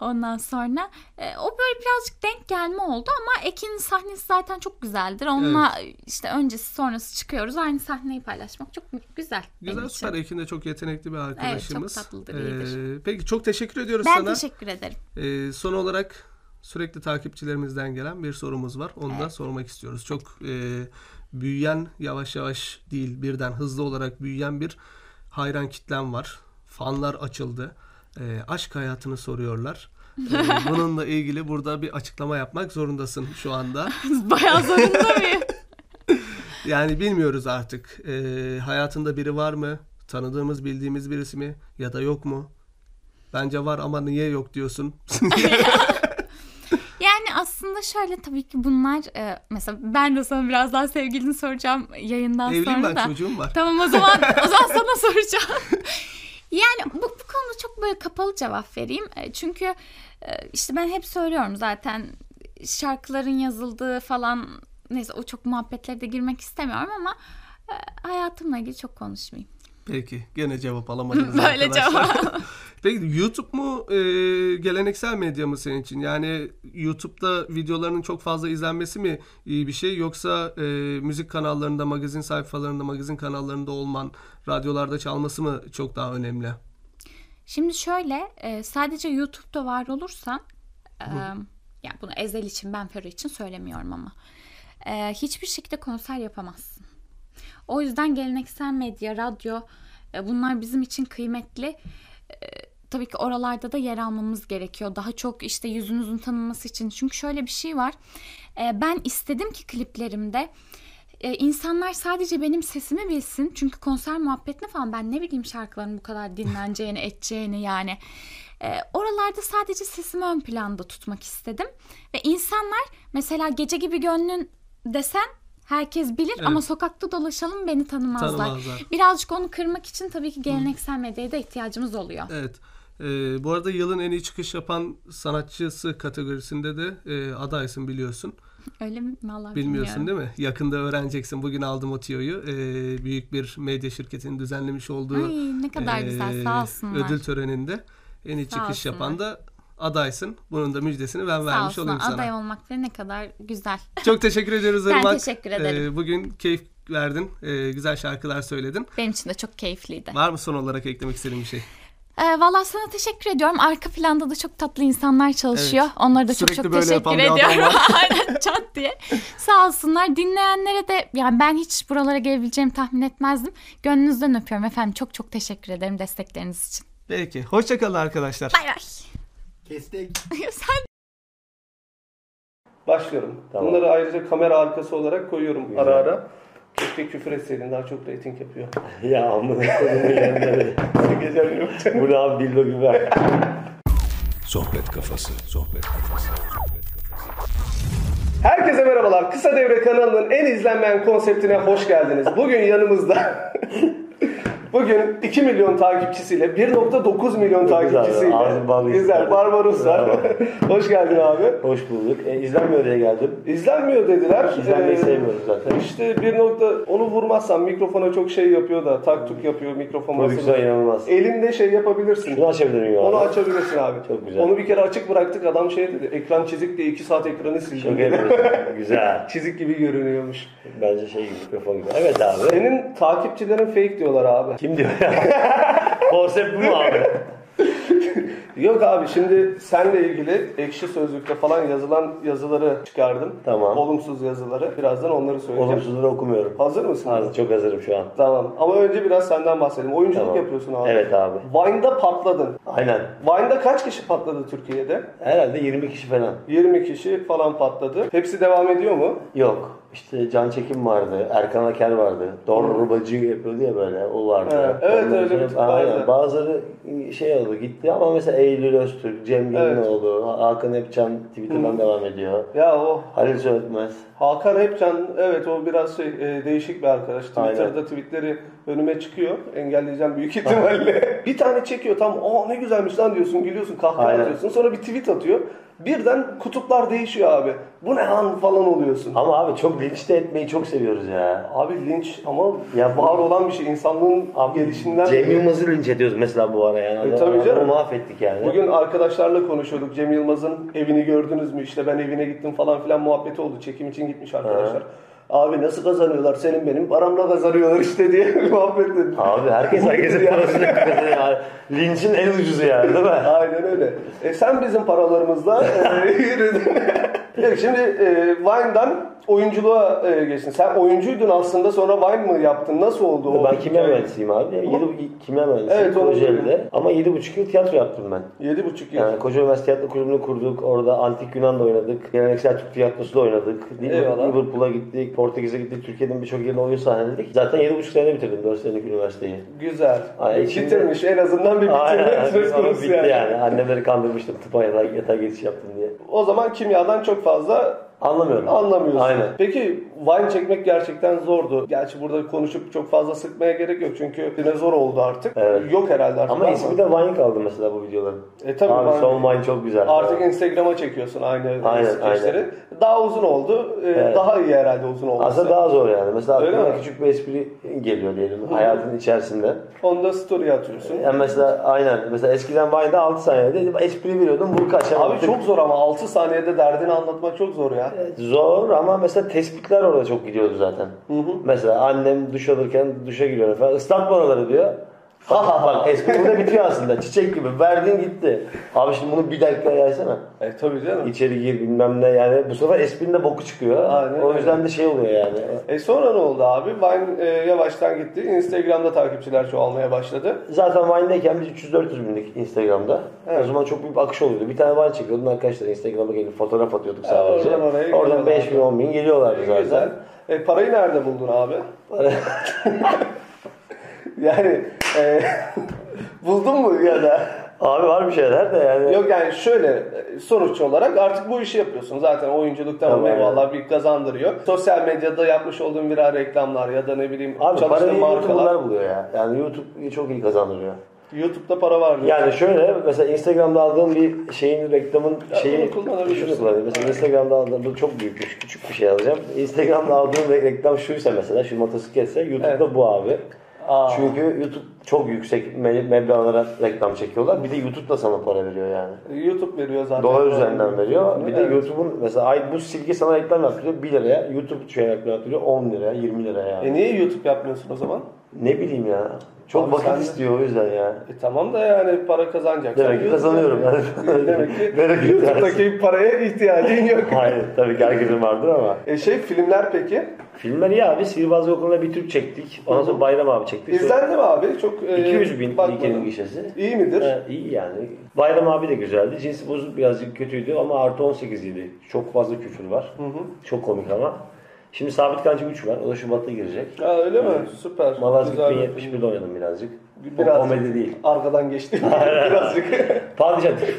Ondan sonra e, o böyle birazcık denk gelme oldu ama Ekin'in sahnesi zaten çok güzeldir. Onunla işte öncesi sonrası çıkıyoruz. Aynı sahneyi paylaşmak çok güzel. benim
güzel
için.
süper. Ekin de çok yetenekli bir arkadaşımız.
tatlıdır, iyidir.
Ee, peki çok teşekkür ediyoruz
Ben
sana.
teşekkür ederim.
Ee, son olarak sürekli takipçilerimizden gelen bir sorumuz var. Onu da sormak istiyoruz. Çok e, büyüyen, yavaş yavaş değil birden hızlı olarak büyüyen bir hayran kitlem var. Fanlar açıldı. Ee, aşk hayatını soruyorlar. Ee, bununla ilgili burada bir açıklama yapmak zorundasın şu anda.
Bayağı zorunda mıyım?
Yani bilmiyoruz artık. Ee, hayatında biri var mı? Tanıdığımız, bildiğimiz birisi mi? Ya da yok mu? Bence var ama niye yok diyorsun?
Yani aslında şöyle tabii ki bunlar e, mesela ben de sana biraz daha sevgilini soracağım yayından
Evliyim
sonra
ben,
da.
çocuğum var.
Tamam o zaman o zaman sana soracağım. Yani bu, bu konuda çok böyle kapalı cevap vereyim. E, Çünkü e, işte ben hep söylüyorum zaten şarkıların yazıldığı falan neyse o çok muhabbetlere de girmek istemiyorum ama e, hayatımla ilgili çok konuşmayayım.
Peki. Gene cevap alamadınız
Böyle
arkadaşlar. Peki YouTube mu e, geleneksel medya mı senin için? Yani YouTube'da videolarının çok fazla izlenmesi mi iyi bir şey? Yoksa e, müzik kanallarında, magazin sayfalarında, magazin kanallarında olman, radyolarda çalması mı çok daha önemli?
Şimdi şöyle e, sadece YouTube'da var olursan e, ya bunu Ezel için ben Fero için söylemiyorum ama e, hiçbir şekilde konser yapamazsın. O yüzden geleneksel medya, radyo e, bunlar bizim için kıymetli. E, Tabii ki oralarda da yer almamız gerekiyor. Daha çok işte Ee, yüzümüzün tanınması için. Çünkü şöyle bir şey var. E, Ben istedim ki kliplerimde e, insanlar sadece benim sesimi bilsin. Çünkü konser muhabbetini falan ben ne bileyim şarkıların bu kadar dinleneceğini, edeceğini yani. E, oralarda sadece sesimi ön planda tutmak istedim. Ve insanlar mesela gece gibi gönlün desen herkes bilir ama sokakta dolaşalım beni tanımazlar.
Tanımazlar.
Birazcık onu kırmak için tabii ki geleneksel medyaya da ihtiyacımız oluyor.
Evet. Ee, bu arada yılın en iyi çıkış yapan sanatçısı kategorisinde de e, adaysın biliyorsun.
Öyle mi? Vallahi
Bilmiyorsun
bilmiyorum.
değil mi? Yakında öğreneceksin. Bugün aldım o tiyoyu. Ee, büyük bir medya şirketinin düzenlemiş olduğu
Ay ne kadar
e,
güzel sağ olsunlar.
ödül töreninde en iyi
Sağ
çıkış
olsunlar.
yapan da adaysın. Bunun da müjdesini ben
Sağ
vermiş
olsunlar.
olayım sana.
Aday olmak da ne kadar güzel.
Çok teşekkür ediyoruz
Ben
Irmak.
teşekkür ederim.
Ee, bugün keyif verdin. Ee, güzel şarkılar söyledin.
Benim için de çok keyifliydi.
Var mı son olarak eklemek istediğin bir şey?
Ee, Valla sana teşekkür ediyorum. Arka planda da çok tatlı insanlar çalışıyor.
Evet.
Onlara da
Sürekli
çok çok
böyle
teşekkür
yapan bir adam
ediyorum.
var.
Aynen çat diye. Sağ olsunlar. Dinleyenlere de yani ben hiç buralara gelebileceğimi tahmin etmezdim. Gönlünüzden öpüyorum efendim. Çok çok teşekkür ederim destekleriniz için.
Peki. Hoşçakalın arkadaşlar.
Bay bay.
Kestik.
Sen
Başlıyorum. Bunları ayrıca kamera arkası olarak koyuyorum ara ara. Keşke küfür etseydin daha çok reyting yapıyor.
Ya amına koyayım.
Geçen yok.
Bu ne abi dildo gibi ver.
Sohbet kafası. Sohbet kafası. Sohbet kafası.
Herkese merhabalar. Kısa Devre kanalının en izlenmeyen konseptine hoş geldiniz. Bugün yanımızda Bugün 2 milyon takipçisiyle 1.9 milyon
güzel,
takipçisiyle
ağzı bağlı
Güzel
izler.
Barbaros var.
Bravo.
hoş geldin abi.
Hoş bulduk. E, izlenmiyor diye geldim.
İzlenmiyor dediler.
İzlenmeyi
Ee,
sevmiyoruz zaten.
İşte bir nokta onu vurmazsan mikrofona çok şey yapıyor da taktuk yapıyor mikrofon
Prodüksiyon
basıyor.
inanılmaz.
Elimde şey yapabilirsin.
Şunu açabilir miyim abi?
Onu açabilirsin abi.
Çok güzel.
Onu bir kere açık bıraktık adam şey dedi. Ekran çizik diye 2 saat ekranı sildim.
Çok
dedi.
eğlenceli. Güzel.
çizik gibi görünüyormuş.
Bence şey gibi mikrofon gibi. Evet abi.
Senin takipçilerin fake diyorlar abi.
Kim diyor ya? Konsept bu mu abi?
Yok abi şimdi senle ilgili ekşi sözlükte falan yazılan yazıları çıkardım.
Tamam.
Olumsuz yazıları. Birazdan onları söyleyeceğim.
Olumsuzları okumuyorum.
Hazır mısın?
Hazır, çok hazırım şu an.
Tamam. Ama önce biraz senden bahsedelim. Oyunculuk
Tamam.
yapıyorsun abi.
Evet abi.
Vine'da patladın.
Aynen.
Vine'da kaç kişi patladı Türkiye'de?
Herhalde 20 kişi falan.
20 kişi falan patladı. Hepsi devam ediyor mu?
Yok. İşte Can Çekim vardı, Erkan Aker vardı, Dorbacı yapıyordu ya böyle, o vardı.
Evet, evet,
Ondan
öyle
sonra-
bir tip
Aynen.
vardı.
Bazıları şey oldu gitti ama mesela Eylül Öztürk, Cem
Evet.
Yılmanoğlu, Hakan Epcan Twitter'dan devam ediyor.
Ya o
Halil Söğütmez.
Hakan Hepcan evet o biraz şey e, değişik bir arkadaş. Twitter'da
Aynen.
tweetleri önüme çıkıyor. Engelleyeceğim büyük ihtimalle. bir tane çekiyor tam o ne güzelmiş lan diyorsun gülüyorsun kahkaha
Aynen.
atıyorsun. Sonra bir tweet atıyor. Birden kutuplar değişiyor abi. Bu ne lan falan oluyorsun.
Ama abi çok linç de etmeyi çok seviyoruz ya.
Abi linç ama
Ya bu-
var olan bir şey insanlığın
Abi,
gelişinden.
Cem Yılmaz'ı linç ediyoruz mesela bu ara yani.
E,
Adamı,
tabii canım.
adamı mahvettik yani.
Bugün arkadaşlarla konuşuyorduk. Cem Yılmaz'ın evini gördünüz mü? İşte ben evine gittim falan filan muhabbeti oldu. Çekim için gitmiş arkadaşlar. Abi nasıl kazanıyorlar? Senin benim paramla kazanıyorlar işte diye muhabbet dedi.
Abi herkes herkesin parasını kazanıyor yani. Linçin en ucuzu yani değil mi?
Aynen öyle. E sen bizim paralarımızla e, yürüdün. Evet, Şimdi e, Vine'dan oyunculuğa e, geçtin. Sen oyuncuydun aslında sonra Vine mı yaptın? Nasıl oldu o?
Ben kimya mühendisiyim abi. Yedi, kimya mühendisiyim
Evet, onu biliyorum.
Kocaeli'de. Ama yedi buçuk yıl tiyatro yaptım ben.
Yedi buçuk yıl.
Yani Koca Üniversite Tiyatro Kulübü'nü kurduk. Orada Antik Yunan'da oynadık. Geleneksel Türk Tiyatrosu'da oynadık. Değil mi?
Eyvallah.
Liverpool'a gittik, Portekiz'e gittik. Türkiye'nin birçok yerine oyun sahneledik. Zaten yedi buçuk sene bitirdim. Dört senelik üniversiteyi.
Güzel.
Aynen.
E, Bitirmiş. En azından bir bitirme
Aynen.
söz
Ama
konusu
bitti yani. Annemleri kandırmıştım. Tıpa yatağa, yatağa geçiş yaptım diye.
O zaman kimyadan çok fazla
Anlamıyorum.
Anlamıyorsun.
Aynen.
Peki wine çekmek gerçekten zordu. Gerçi burada konuşup çok fazla sıkmaya gerek yok çünkü yine zor oldu artık.
Evet.
Yok herhalde artık.
Ama ismi de Vine kaldı mesela bu videoların.
E tabii
Abi
Vine-
son Vine çok güzel.
Artık Instagram'a çekiyorsun aynı
Aynen,
skeçleri.
aynen.
Daha uzun oldu. Ee,
Evet.
Daha iyi herhalde uzun olması.
Aslında daha zor yani. Mesela
Öyle
aklına
mi?
küçük bir espri geliyor diyelim hayatın içerisinde.
Onu da story atıyorsun.
Yani mesela aynen. Mesela eskiden Vine'da 6 saniyede espri veriyordum. Bunu kaçamadım.
Abi çok zor ama 6 saniyede derdini anlatmak çok zor ya.
Zor ama mesela tespitler orada çok gidiyordu zaten. Mesela annem duş alırken duşa giriyor falan. Islat oraları diyor. Haha bak espri burada bitiyor aslında. Çiçek gibi verdin gitti. Abi şimdi bunu bir dakika yaysana.
E tabii canım.
İçeri gir bilmem ne yani. Bu sefer esprinin de boku çıkıyor. o yüzden de şey oluyor yani.
E sonra ne oldu abi? Vine e, yavaştan gitti. Instagram'da takipçiler çoğalmaya başladı.
Zaten Vine'deyken biz 300-400 binlik Instagram'da.
Evet.
O zaman çok büyük bir akış oluyordu. Bir tane Vine çekiyordun arkadaşlar Instagram'a gelip fotoğraf atıyorduk
E,
sadece.
oradan oraya
Oradan
geliyorlardı.
5 bin 10 bin geliyorlardı
E,
zaten.
Güzel. E, parayı nerede buldun abi? yani e, buldun mu ya da?
Abi var bir şeyler de yani.
Yok yani şöyle e, sonuç olarak artık bu işi yapıyorsun. Zaten oyunculuk tamam
Tamam, evet.
eyvallah bir kazandırıyor. Sosyal medyada yapmış olduğun viral reklamlar ya da ne bileyim
Abi
çalıştığın
parayı
markalar.
YouTube'lar buluyor ya. Yani YouTube çok iyi kazandırıyor.
YouTube'da para var. diyor.
Yani şöyle mesela Instagram'da aldığım bir şeyin reklamın
Ya
şeyi
bunu kullanabilirsin.
şunu kullanayım. Mesela Instagram'da aldığım bu çok büyükmüş küçük bir şey alacağım. Instagram'da aldığım re- reklam şuysa mesela şu motosikletse YouTube'da bu abi. Çünkü YouTube çok yüksek me- meblağlara reklam çekiyorlar. Bir de YouTube da sana para veriyor yani.
YouTube veriyor zaten.
Dolar üzerinden veriyor. Bir de
Evet.
YouTube'un mesela ay bu silgi sana reklam yaptırıyor 1 liraya. YouTube şey reklam yaptırıyor 10 liraya 20 liraya yani.
E niye YouTube yapmıyorsun o zaman?
Ne bileyim ya. Çok
Abi sen de-
vakit istiyor o yüzden ya.
E tamam da yani para kazanacaksın.
Demek ki kazanıyorum.
E, Demek ki
Merak
YouTube'daki paraya ihtiyacın yok.
Hayır tabii ki herkesin vardır ama.
E şey filmler peki?
Filmler iyi abi. Sihirbazlık okuluna bir Türk çektik. Ondan sonra Bayram abi çektik. Sonra-
İzlendi mi abi? Çok e,
200 bin
bakmadım.
ilkenin gişesi.
İyi midir?
iyi yani. Bayram abi de güzeldi. Cinsi bozuk birazcık kötüydü ama artı 18 idi. Çok fazla küfür var.
Hı hı.
Çok komik ama. Şimdi Sabit Kancı 3 var. O da Şubat'ta girecek.
Ha, öyle mi? Süper.
Malazgirt
Güzel.
1071'de oynadım birazcık.
Birazcık.
O komedi değil.
Arkadan geçti. Birazcık.
Padişah tipi.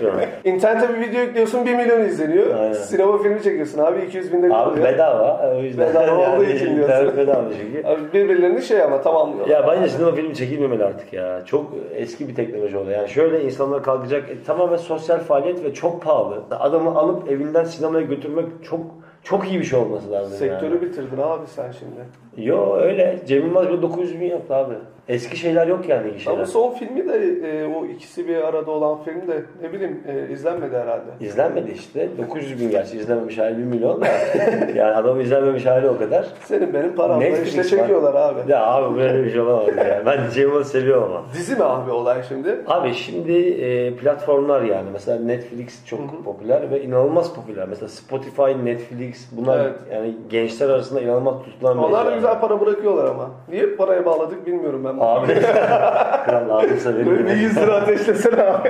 İnternete bir video yüklüyorsun 1 milyon izleniyor. Sinema filmi çekiyorsun abi 200 binde bir
Abi
oluyor.
bedava. O yüzden.
Bedava olduğu için diyorsun.
internet Bedava şey. çünkü.
Abi birbirlerini şey ama tamamlıyorlar.
Ya bence sinema filmi çekilmemeli artık ya. Çok eski bir teknoloji oldu. Yani şöyle insanlar kalkacak e, tamamen sosyal faaliyet ve çok pahalı. Adamı alıp evinden sinemaya götürmek çok çok iyi bir şey olması lazım
Sektörü
yani.
bitirdin abi sen şimdi.
Yo öyle. Cem Yılmaz bile 900 bin yaptı abi. Eski şeyler yok yani iyi şeyler.
Ama son filmi de e, o ikisi bir arada olan film de ne bileyim e, izlenmedi herhalde.
İzlenmedi işte. 900 bin gerçi izlenmemiş hali 1 milyon da. yani adamın izlenmemiş hali o kadar.
Senin benim paramla işte
var.
çekiyorlar abi.
Ya abi böyle bir şey olamaz ya. Ben Cem Yılmaz'ı seviyorum ama.
Dizi mi abi olay şimdi?
Abi şimdi e, platformlar yani mesela Netflix çok popüler ve inanılmaz popüler. Mesela Spotify, Netflix bunlar
Evet.
yani gençler arasında inanılmaz tutulan şey
Onlar da
mecralar.
güzel para bırakıyorlar ama. Niye paraya bağladık bilmiyorum ben.
Abi kral lazımsa verin.
Böyle bir 100 lira ateşlesene abi.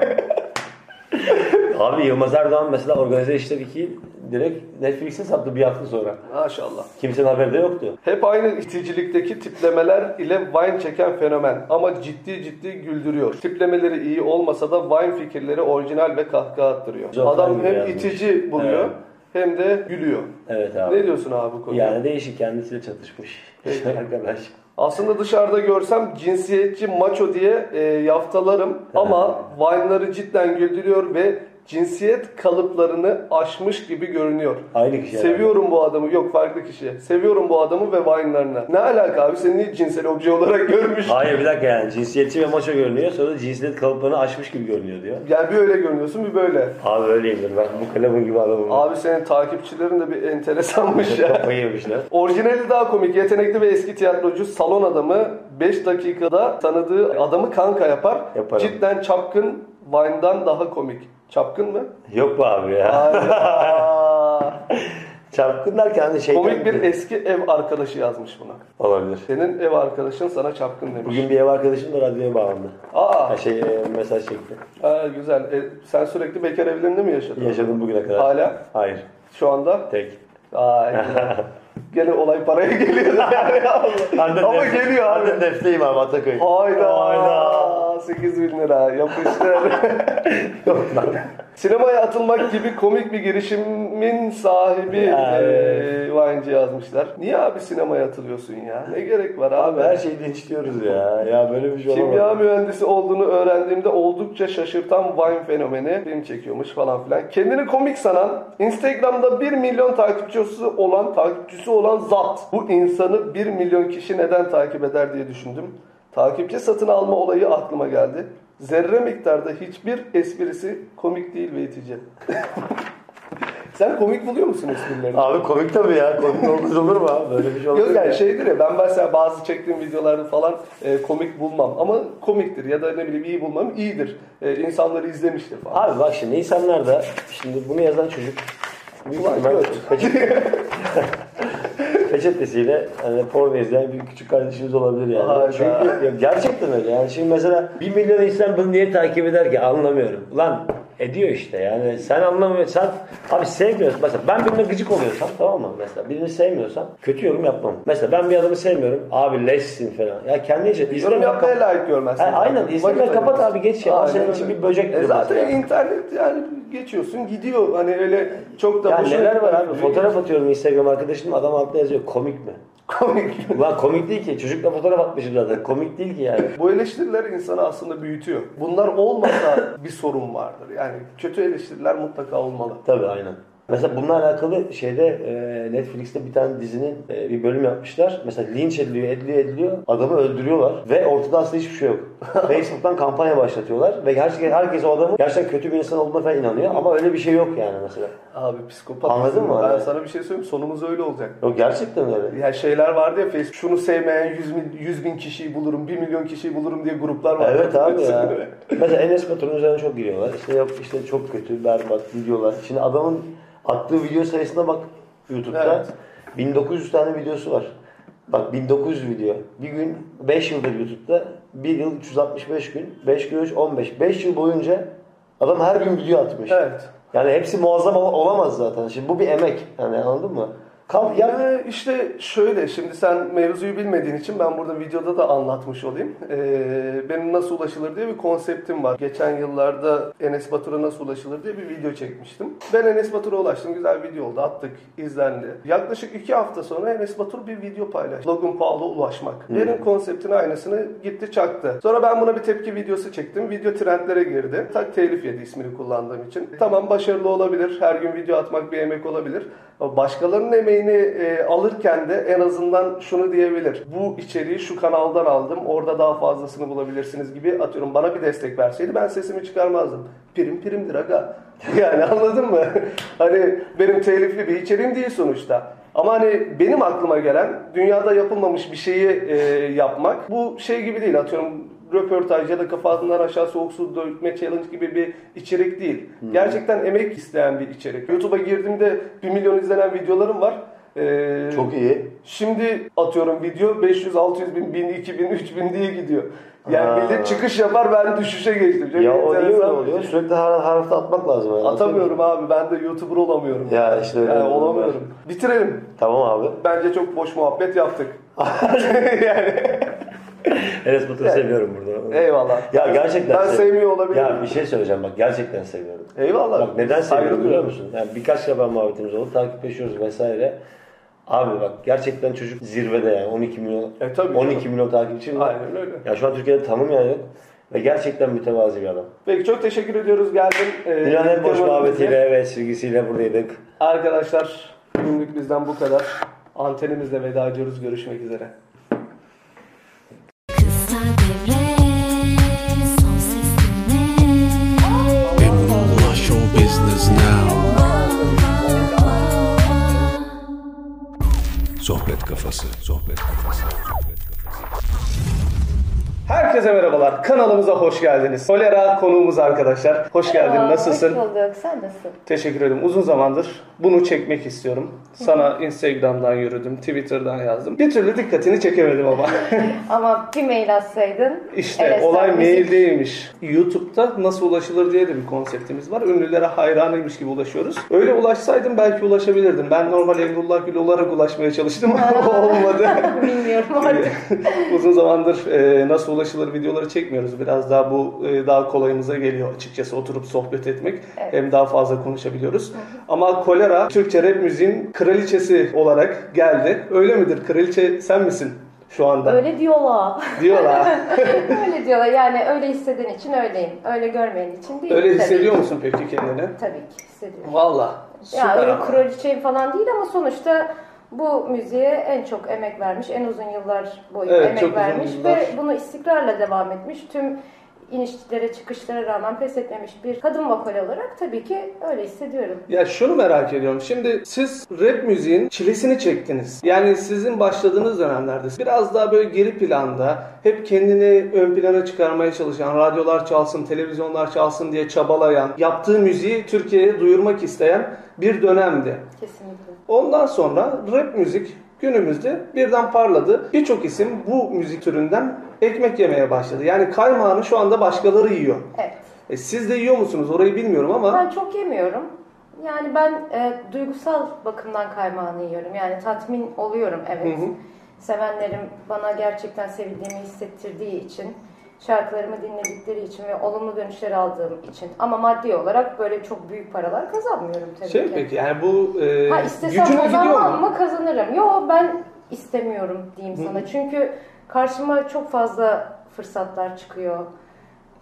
Abi Yılmaz Erdoğan mesela organize işler 2 direkt Netflix'e sattı bir hafta sonra.
Maşallah.
Kimsenin haberi de yoktu.
Hep aynı iticilikteki tiplemeler ile Vine çeken fenomen ama ciddi ciddi güldürüyor. Tiplemeleri iyi olmasa da Vine fikirleri orijinal ve kahkaha attırıyor.
Güzel
Adam
Vine
hem
yazmış.
itici buluyor
Evet.
hem de gülüyor.
Evet abi.
Ne diyorsun abi bu konuda?
Yani değişik kendisiyle çatışmış. Arkadaş.
Aslında dışarıda görsem cinsiyetçi maço diye e, yaftalarım ama Vine'ları cidden güldürüyor ve cinsiyet kalıplarını aşmış gibi görünüyor.
Aynı kişi. herhalde.
Seviyorum bu adamı. Yok farklı kişi. Seviyorum bu adamı ve Vine'larını. Ne alaka abi? Seni niye cinsel obje olarak görmüş?
Hayır bir dakika yani cinsiyetçi ve maço görünüyor sonra cinsiyet kalıplarını aşmış gibi görünüyor diyor.
Yani bir öyle görünüyorsun bir böyle.
Abi öyleyimdir ben bu kalemim gibi adamım.
Abi senin takipçilerin de bir enteresanmış ya.
Kafayı yemişler.
Orijinali daha komik. Yetenekli ve eski tiyatrocu salon adamı 5 dakikada tanıdığı adamı kanka yapar.
Yaparım.
Cidden çapkın Vine'dan daha komik. Çapkın mı?
Yok be abi ya.
Hayda.
Çapkın derken hani şey
komik bir eski ev arkadaşı yazmış buna.
olabilir.
Senin ev arkadaşın sana çapkın demiş.
Bugün bir ev arkadaşım da radyoya bağlandı.
Aa.
Ha, şey e, mesaj çekti.
Ha, güzel. E, sen sürekli bekar evlerinde mi yaşadın?
Yaşadım bugüne kadar.
Hala?
Hayır.
Şu anda?
Tek.
Ay. güzel. Gene olay paraya geliyor yani.
Hande
Ama
Def-
geliyor abi.
Hande Defte'yim abi Ataköy.
Hayda.
Hayda.
8 bin lira yapıştır. Sinemaya atılmak gibi komik bir girişimin sahibi
Ya,
eee Vine'ci yazmışlar. Niye abi sinemaya atılıyorsun ya? Ne gerek var abi?
Abi her şey şeyi dinçliyoruz ya. Ya böyle bir şey olamaz.
Kimya mühendisi olduğunu öğrendiğimde oldukça şaşırtan Vine fenomeni film çekiyormuş falan filan. Kendini komik sanan, Instagram'da 1 milyon takipçisi olan, takipçisi olan zat. Bu insanı 1 milyon kişi neden takip eder diye düşündüm. Takipçi satın alma olayı aklıma geldi. Zerre miktarda hiçbir esprisi komik değil ve itici. Sen komik buluyor musun esprilerini?
Abi komik tabii ya. Komik olmaz olur mu abi? Böyle bir şey olur
Yok
mu
yani
ya?
şeydir ya ben mesela bazı çektiğim videolarda falan e, komik bulmam ama komiktir ya da ne bileyim iyi bulmam iyidir. E, insanları izlemiştir falan.
Abi bak şimdi insanlar da şimdi bunu yazan çocuk büyük
Ulan
ihtimal
göt.
peçete- peçetesiyle hani porno izleyen bir küçük kardeşimiz olabilir yani.
Hayda.
Çünkü ya gerçekten öyle yani. Şimdi mesela bir milyon insan bunu niye takip eder ki anlamıyorum. Lan ediyor işte yani sen anlamıyorsun. Sen abi sevmiyorsun. Mesela ben birine gıcık oluyorsam tamam mı? Mesela birini sevmiyorsam kötü yorum yapmam. Mesela ben bir adamı sevmiyorum. Abi leşsin falan. Ya kendi için
Yorum yapmaya layık görmezsin.
Aynen. İzleme
Vakit
kapat
ayırırsın.
abi geç ya. Al
Aynen
Senin
öyle.
için bir böcek
E
dur
zaten
mesela.
internet yani geçiyorsun gidiyor. Hani öyle çok da
Ya
boşuna-
neler var abi? Fotoğraf atıyorum Instagram arkadaşım adam altta yazıyor komik mi?
Komik.
Ulan komik değil ki. Çocukla fotoğraf atmışım zaten. Komik değil ki yani.
Bu eleştiriler insanı aslında büyütüyor. Bunlar olmasa bir sorun vardır. Yani kötü eleştiriler mutlaka olmalı.
Tabii aynen. Mesela bununla alakalı şeyde e, Netflix'te bir tane dizinin e, bir bölüm yapmışlar. Mesela linç ediliyor, ediliyor, ediliyor. Adamı öldürüyorlar ve ortada aslında hiçbir şey yok. Facebook'tan kampanya başlatıyorlar ve herkes, herkes o adamın gerçekten kötü bir insan olduğuna falan inanıyor ama öyle bir şey yok yani mesela.
Abi psikopat.
Anladın mı?
Ben
Hani-
sana bir şey söyleyeyim. Sonumuz öyle olacak.
Yok gerçekten öyle.
Ya şeyler vardı ya Facebook şunu sevmeyen 100 bin, 100 bin kişiyi bulurum, 1 milyon kişiyi bulurum diye gruplar var.
Evet abi ya. Mesela Enes Batur'un üzerine çok giriyorlar. İşte yok işte çok kötü, berbat videolar. Şimdi adamın attığı video sayısına bak YouTube'da.
Evet.
1900 tane videosu var. Bak 1900 video. Bir gün 5 yıldır YouTube'da. 1 yıl 365 gün. 5 gün 3 15. 5 yıl boyunca adam her gün video atmış.
Evet.
Yani hepsi muazzam ol- olamaz zaten. Şimdi bu bir emek. Yani anladın mı? Kalk yap.
Yani işte şöyle şimdi sen mevzuyu bilmediğin için ben burada videoda da anlatmış olayım. Ee, benim nasıl ulaşılır diye bir konseptim var. Geçen yıllarda Enes Batur'a nasıl ulaşılır diye bir video çekmiştim. Ben Enes Batur'a ulaştım. Güzel bir video oldu. Attık. izlendi. Yaklaşık iki hafta sonra Enes Batur bir video paylaştı. Logan Paul'a ulaşmak.
Hmm.
Hı.
Benim konseptin aynısını gitti çaktı. Sonra ben buna bir tepki videosu çektim. Video trendlere girdi. Tak telif yedi ismini kullandığım için. Tamam başarılı olabilir. Her gün video atmak bir emek olabilir. Ama Başkalarının emeğini e, alırken de en azından şunu diyebilir. Bu içeriği şu kanaldan aldım. Orada daha fazlasını bulabilirsiniz gibi atıyorum. Bana bir destek verseydi ben sesimi çıkarmazdım. Prim primdir aga. Yani anladın mı? hani benim telifli bir içeriğim değil sonuçta. Ama hani benim aklıma gelen dünyada yapılmamış bir şeyi e, yapmak bu şey gibi değil atıyorum röportaj ya da kafadan aşağı soğuk su dökme challenge gibi bir içerik değil. Gerçekten emek isteyen bir içerik. YouTube'a girdiğimde 1 milyon izlenen videolarım var. E,
Çok iyi.
Şimdi atıyorum video 500, 600 bin, 1000, 2000, 3000 diye gidiyor. Yani
Ha.
millet çıkış yapar ben düşüşe geçtim. Çok
ya o niye öyle
enteresan bir
oluyor?
şey.
Sürekli her, her hafta atmak lazım. Yani.
Atamıyorum abi ben de YouTuber olamıyorum.
Ya işte öyle
Yani
bir durum var.
olamıyorum. Bitirelim.
Tamam abi.
Bence çok boş muhabbet yaptık.
Enes Batur'u
Yani.
seviyorum burada.
Eyvallah.
Ya gerçekten.
Ben
sev-
sevmiyor olabilirim.
Ya bir şey söyleyeceğim bak gerçekten seviyorum.
Eyvallah.
Bak neden seviyorum
Ayrılıyorum.
biliyor musun? Yani birkaç defa muhabbetimiz oldu. Takipleşiyoruz vesaire. Abi bak gerçekten çocuk zirvede yani 12 milyon
E, tabii
12 milyon takipçi var.
Aynen öyle.
Ya şu an Türkiye'de tanımayan yok ve gerçekten mütevazi bir adam.
Peki çok teşekkür ediyoruz geldin. Ee,
Dünyanın en boş
temanımıza.
muhabbetiyle ve silgisiyle buradaydık.
Arkadaşlar bugünlük bizden bu kadar. Antenimizle veda ediyoruz. Görüşmek üzere.
Emrullah Show Business Now.
Sohbet kafası. Sohbet kafası. Sohbet kafası.
Herkese merhabalar. Kanalımıza hoş geldiniz. Kolera konuğumuz arkadaşlar. Hoş geldin. Nasılsın?
Hoş bulduk. Sen nasılsın?
Teşekkür ederim. Uzun zamandır bunu çekmek istiyorum. Sana Instagram'dan yürüdüm, Twitter'dan yazdım. Bir türlü dikkatini çekemedim ama.
Ama bir mail atsaydın.
İşte
LSM
olay
müzik-
mail değilmiş. YouTube'da nasıl ulaşılır diye de bir konseptimiz var. Ünlülere hayranıymış gibi ulaşıyoruz. Öyle ulaşsaydım belki ulaşabilirdim. Ben normal Emrullah Gül olarak ulaşmaya çalıştım ama olmadı.
Bilmiyorum artık.
Uzun zamandır e, nasıl ulaşılır videoları çekmiyoruz. Biraz daha bu e, daha kolayımıza geliyor açıkçası oturup sohbet etmek.
Evet.
Hem daha fazla konuşabiliyoruz. Ama kolera Türkçe rap müziğin kraliçesi olarak geldi. Öyle midir? Kraliçe sen misin şu anda?
Öyle diyorlar.
Diyorlar.
öyle diyorlar. Yani öyle hissediğin için öyleyim. Öyle görmeyen için değil.
Öyle
Tabii
hissediyor
ki.
musun peki kendini?
Tabii ki hissediyorum.
Valla.
Ya
Süper.
öyle
ama.
kraliçeyim falan değil ama sonuçta bu müziğe en çok emek vermiş, en uzun yıllar boyu
Evet, çok
emek
uzun
vermiş
yıllar.
ve bunu istikrarla devam etmiş. Tüm inişlere çıkışlara rağmen pes etmemiş bir kadın vokal olarak tabii ki öyle hissediyorum.
Ya şunu merak ediyorum. Şimdi siz rap müziğin çilesini çektiniz. Yani sizin başladığınız dönemlerde biraz daha böyle geri planda hep kendini ön plana çıkarmaya çalışan, radyolar çalsın, televizyonlar çalsın diye çabalayan, yaptığı müziği Türkiye'ye duyurmak isteyen bir dönemdi.
Kesinlikle.
Ondan sonra rap müzik günümüzde birden parladı. Birçok isim bu müzik türünden ekmek yemeye başladı. Yani kaymağını şu anda başkaları yiyor.
Evet.
E siz de yiyor musunuz? Orayı bilmiyorum ama
Ben çok yemiyorum. Yani ben e, duygusal bakımdan kaymağını yiyorum. Yani tatmin oluyorum evet.
Hı hı.
Sevenlerim bana gerçekten sevildiğimi hissettirdiği için, şarkılarımı dinledikleri için ve olumlu dönüşler aldığım için. Ama maddi olarak böyle çok büyük paralar kazanmıyorum tabii
Şey
ki.
peki yani bu e,
Ha
gücüne
istesem
gidiyor
kazanmam
mu?
mı kazanırım. Yo ben istemiyorum diyeyim
Hı.
sana. Çünkü karşıma çok fazla fırsatlar çıkıyor.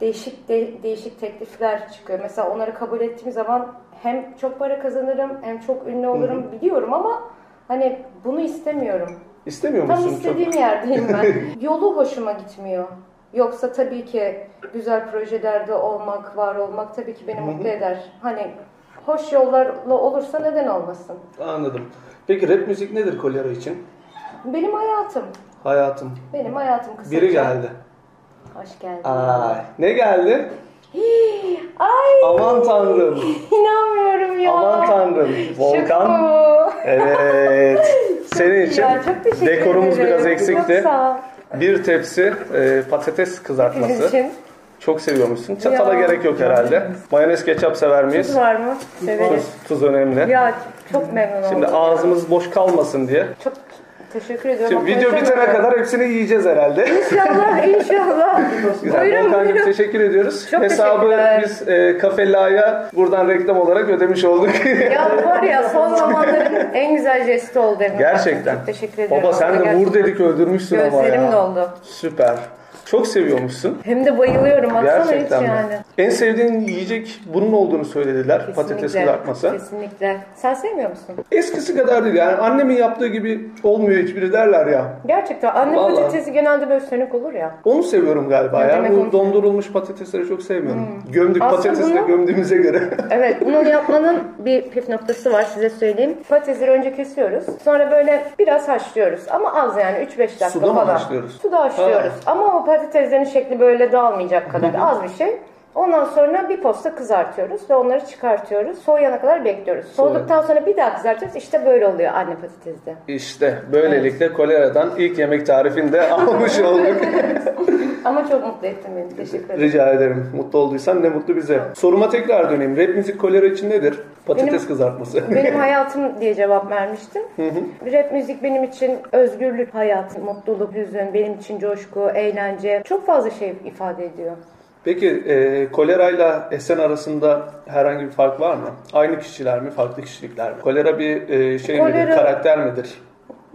Değişik de- değişik teklifler çıkıyor. Mesela onları kabul ettiğim zaman hem çok para kazanırım hem çok ünlü olurum biliyorum ama hani bunu istemiyorum.
İstemiyor
Tam
musun?
istediğim
çok?
yerdeyim ben. Yolu hoşuma gitmiyor. Yoksa tabii ki güzel projelerde olmak, var olmak tabii ki beni
Hı hı.
mutlu eder. Hani hoş yollarla olursa neden olmasın?
Anladım. Peki rap müzik nedir Kolera için?
Benim hayatım.
Hayatım.
Benim hayatım kısaca.
Biri geldi.
Hoş geldin.
Ay, ne geldi?
Hii, Ay
Aman tanrım.
inanmıyorum ya.
Aman tanrım. Volkan.
Oo.
Evet. Senin için
Ya, çok teşekkür
dekorumuz
ederim.
biraz eksikti.
Çok sağ ol.
Bir tepsi e, patates
Sizin
kızartması.
için.
Çok seviyormuşsun. Çatala
Ya.
gerek yok herhalde. Mayonez ketçap sever miyiz?
Tuz var mı? Severiz.
Tuz, tuz önemli.
Ya çok memnun
Şimdi
oldum.
ağzımız boş kalmasın diye.
Teşekkür ediyorum.
Şimdi video
Konuşamadım.
bitene kadar hepsini yiyeceğiz herhalde.
İnşallah inşallah.
Güzel.
buyurun
Volkan'cığım
buyurun.
teşekkür ediyoruz.
Çok
Hesabı
teşekkürler.
biz e, Kafe La'ya buradan reklam olarak ödemiş olduk.
Ya var ya son zamanların en güzel jesti oldu. benim.
Gerçekten.
Çok teşekkür ediyorum.
Baba sen de
Gerçekten.
vur dedik öldürmüşsün ama ya.
Gözlerim doldu.
Süper. Çok seviyormuşsun.
Hem de bayılıyorum. Baksana hiç
Gerçekten mi?
yani.
En sevdiğin yiyecek bunun olduğunu söylediler. Patates
Kesinlikle,
kızartması.
Kesinlikle. Sen sevmiyor musun?
Eskisi kadar değil yani annemin yaptığı gibi olmuyor hiçbiri derler ya.
Gerçekten anne
Vallahi.
patatesi genelde böyle sönük olur ya.
Onu seviyorum galiba
Ne
ya.
demek
Bu
onu-
dondurulmuş patatesleri çok sevmiyorum. Gömdük
Aslında
patatesle
bunu-
gömdüğümüze göre.
Evet bunu yapmanın bir püf noktası var size söyleyeyim. Patatesleri önce kesiyoruz. Sonra böyle biraz haşlıyoruz. Ama az yani 3-5 dakika
Suda mı
falan.
haşlıyoruz?
Suda haşlıyoruz. Ama o patateslerin şekli böyle dağılmayacak kadar
Hı hı.
az bir şey. Ondan sonra bir posta kızartıyoruz ve onları çıkartıyoruz. Soğuyana kadar bekliyoruz.
Soğuyana.
Soğuduktan sonra bir daha kızartıyoruz. İşte böyle oluyor anne patatesde.
işte böylelikle koleradan ilk yemek tarifini de almış olduk.
Ama çok mutlu ettin beni. Teşekkür ederim.
Rica ederim. Mutlu olduysan ne mutlu bize. Soruma tekrar döneyim. Rap müzik kolera için nedir? Patates
Benim-
kızartması.
Benim hayatım diye cevap vermiştim.
Hı hı.
Rap müzik benim için özgürlük, hayat, mutluluk, hüzün, benim için coşku, eğlence. Çok fazla şey ifade ediyor.
Peki e, kolerayla Esen arasında herhangi bir fark var mı? Aynı kişiler mi, farklı kişilikler mi? Kolera bir e, şey midir,
Kolera-
karakter midir?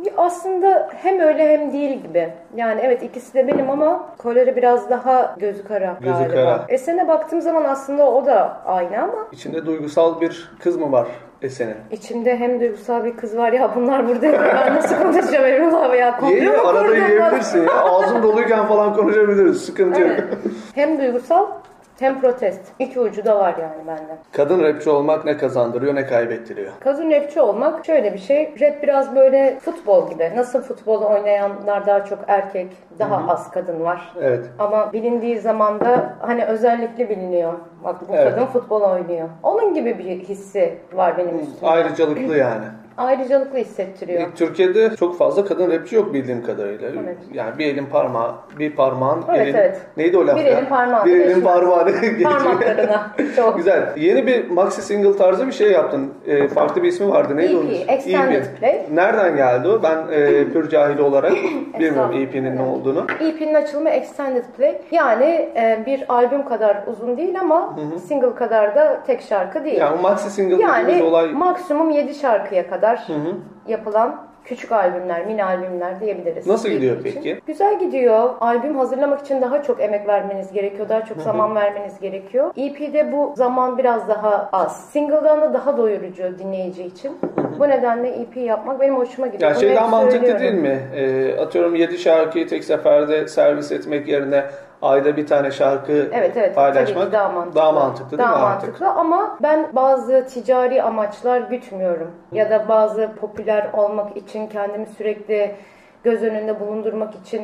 Ya Aslında hem öyle hem değil gibi. Yani evet ikisi de benim ama kolera biraz daha gözü kara
Gözü
galiba.
kara.
Esen'e baktığım zaman aslında o da aynı ama
İçinde duygusal bir kız mı var Esen'in?
içimde hem duygusal bir kız var ya bunlar burada ben nasıl konuşacağım Emrullah abi ya
Ye,
komplo mu
arada
kurdun?
yiyebilirsin ya. Ağzın doluyken falan konuşabiliriz. Sıkıntı yok.
Hem duygusal hem protest. İki ucu da var yani bende.
Kadın rapçi olmak ne kazandırıyor ne kaybettiriyor.
Kadın rapçi olmak şöyle bir şey. Rap biraz böyle futbol gibi. Nasıl futbolu oynayanlar daha çok erkek, daha az kadın var.
Evet.
Ama bilindiği zaman da hani özellikle biliniyor. Bak bu
Evet.
kadın futbol oynuyor. Onun gibi bir hissi var benim üstümde.
Ayrıcalıklı yani.
Ayrıcalıklı hissettiriyor.
Türkiye'de çok fazla kadın rapçi yok bildiğim kadarıyla.
Evet.
Yani bir elin parmağı, bir parmağın
Evet,
elin...
evet.
Neydi o laf
Bir
ya?
elin parmağını
Bir elin
geçmez.
parmağını geçiyor.
Parmaklarına. Çok.
Güzel. Yeni bir maxi single tarzı bir şey yaptın. Ee, farklı bir ismi vardı. Neydi
EP,
onun? ismi?
E Extended
EP.
Play.
Nereden geldi o? Ben e, pür cahil olarak bilmiyorum
Estağfurullah.
EP'nin ne olduğunu.
EP'nin E açılımı Extended Play. Yani e, bir albüm kadar uzun değil ama
Hı hı.
single kadar da tek şarkı değil.
Yani o maxi single
Yani
dediğimiz olay...
maksimum 7 şarkıya kadar
Hı hı.
yapılan küçük albümler, mini albümler diyebiliriz.
Nasıl
İlk
gidiyor
için.
peki?
Güzel gidiyor. Albüm hazırlamak için daha çok emek vermeniz gerekiyor. Daha çok
Hı hı.
zaman vermeniz gerekiyor. EP'de bu zaman biraz daha az. Single'dan da daha doyurucu dinleyici için. Bu nedenle EP yapmak benim hoşuma gidiyor.
Ya
Bunu
şey
hep
daha mantıklı
söylüyorum.
değil mi? Ee, atıyorum 7 şarkıyı tek seferde servis etmek yerine
ayda bir tane şarkı
Evet evet.
paylaşmak
tabii ki daha mantıklı.
daha mantıklı değil
Daha
mi artık?
mantıklı ama ben bazı ticari amaçlar gütmüyorum. Ya da bazı popüler olmak için kendimi sürekli göz önünde bulundurmak için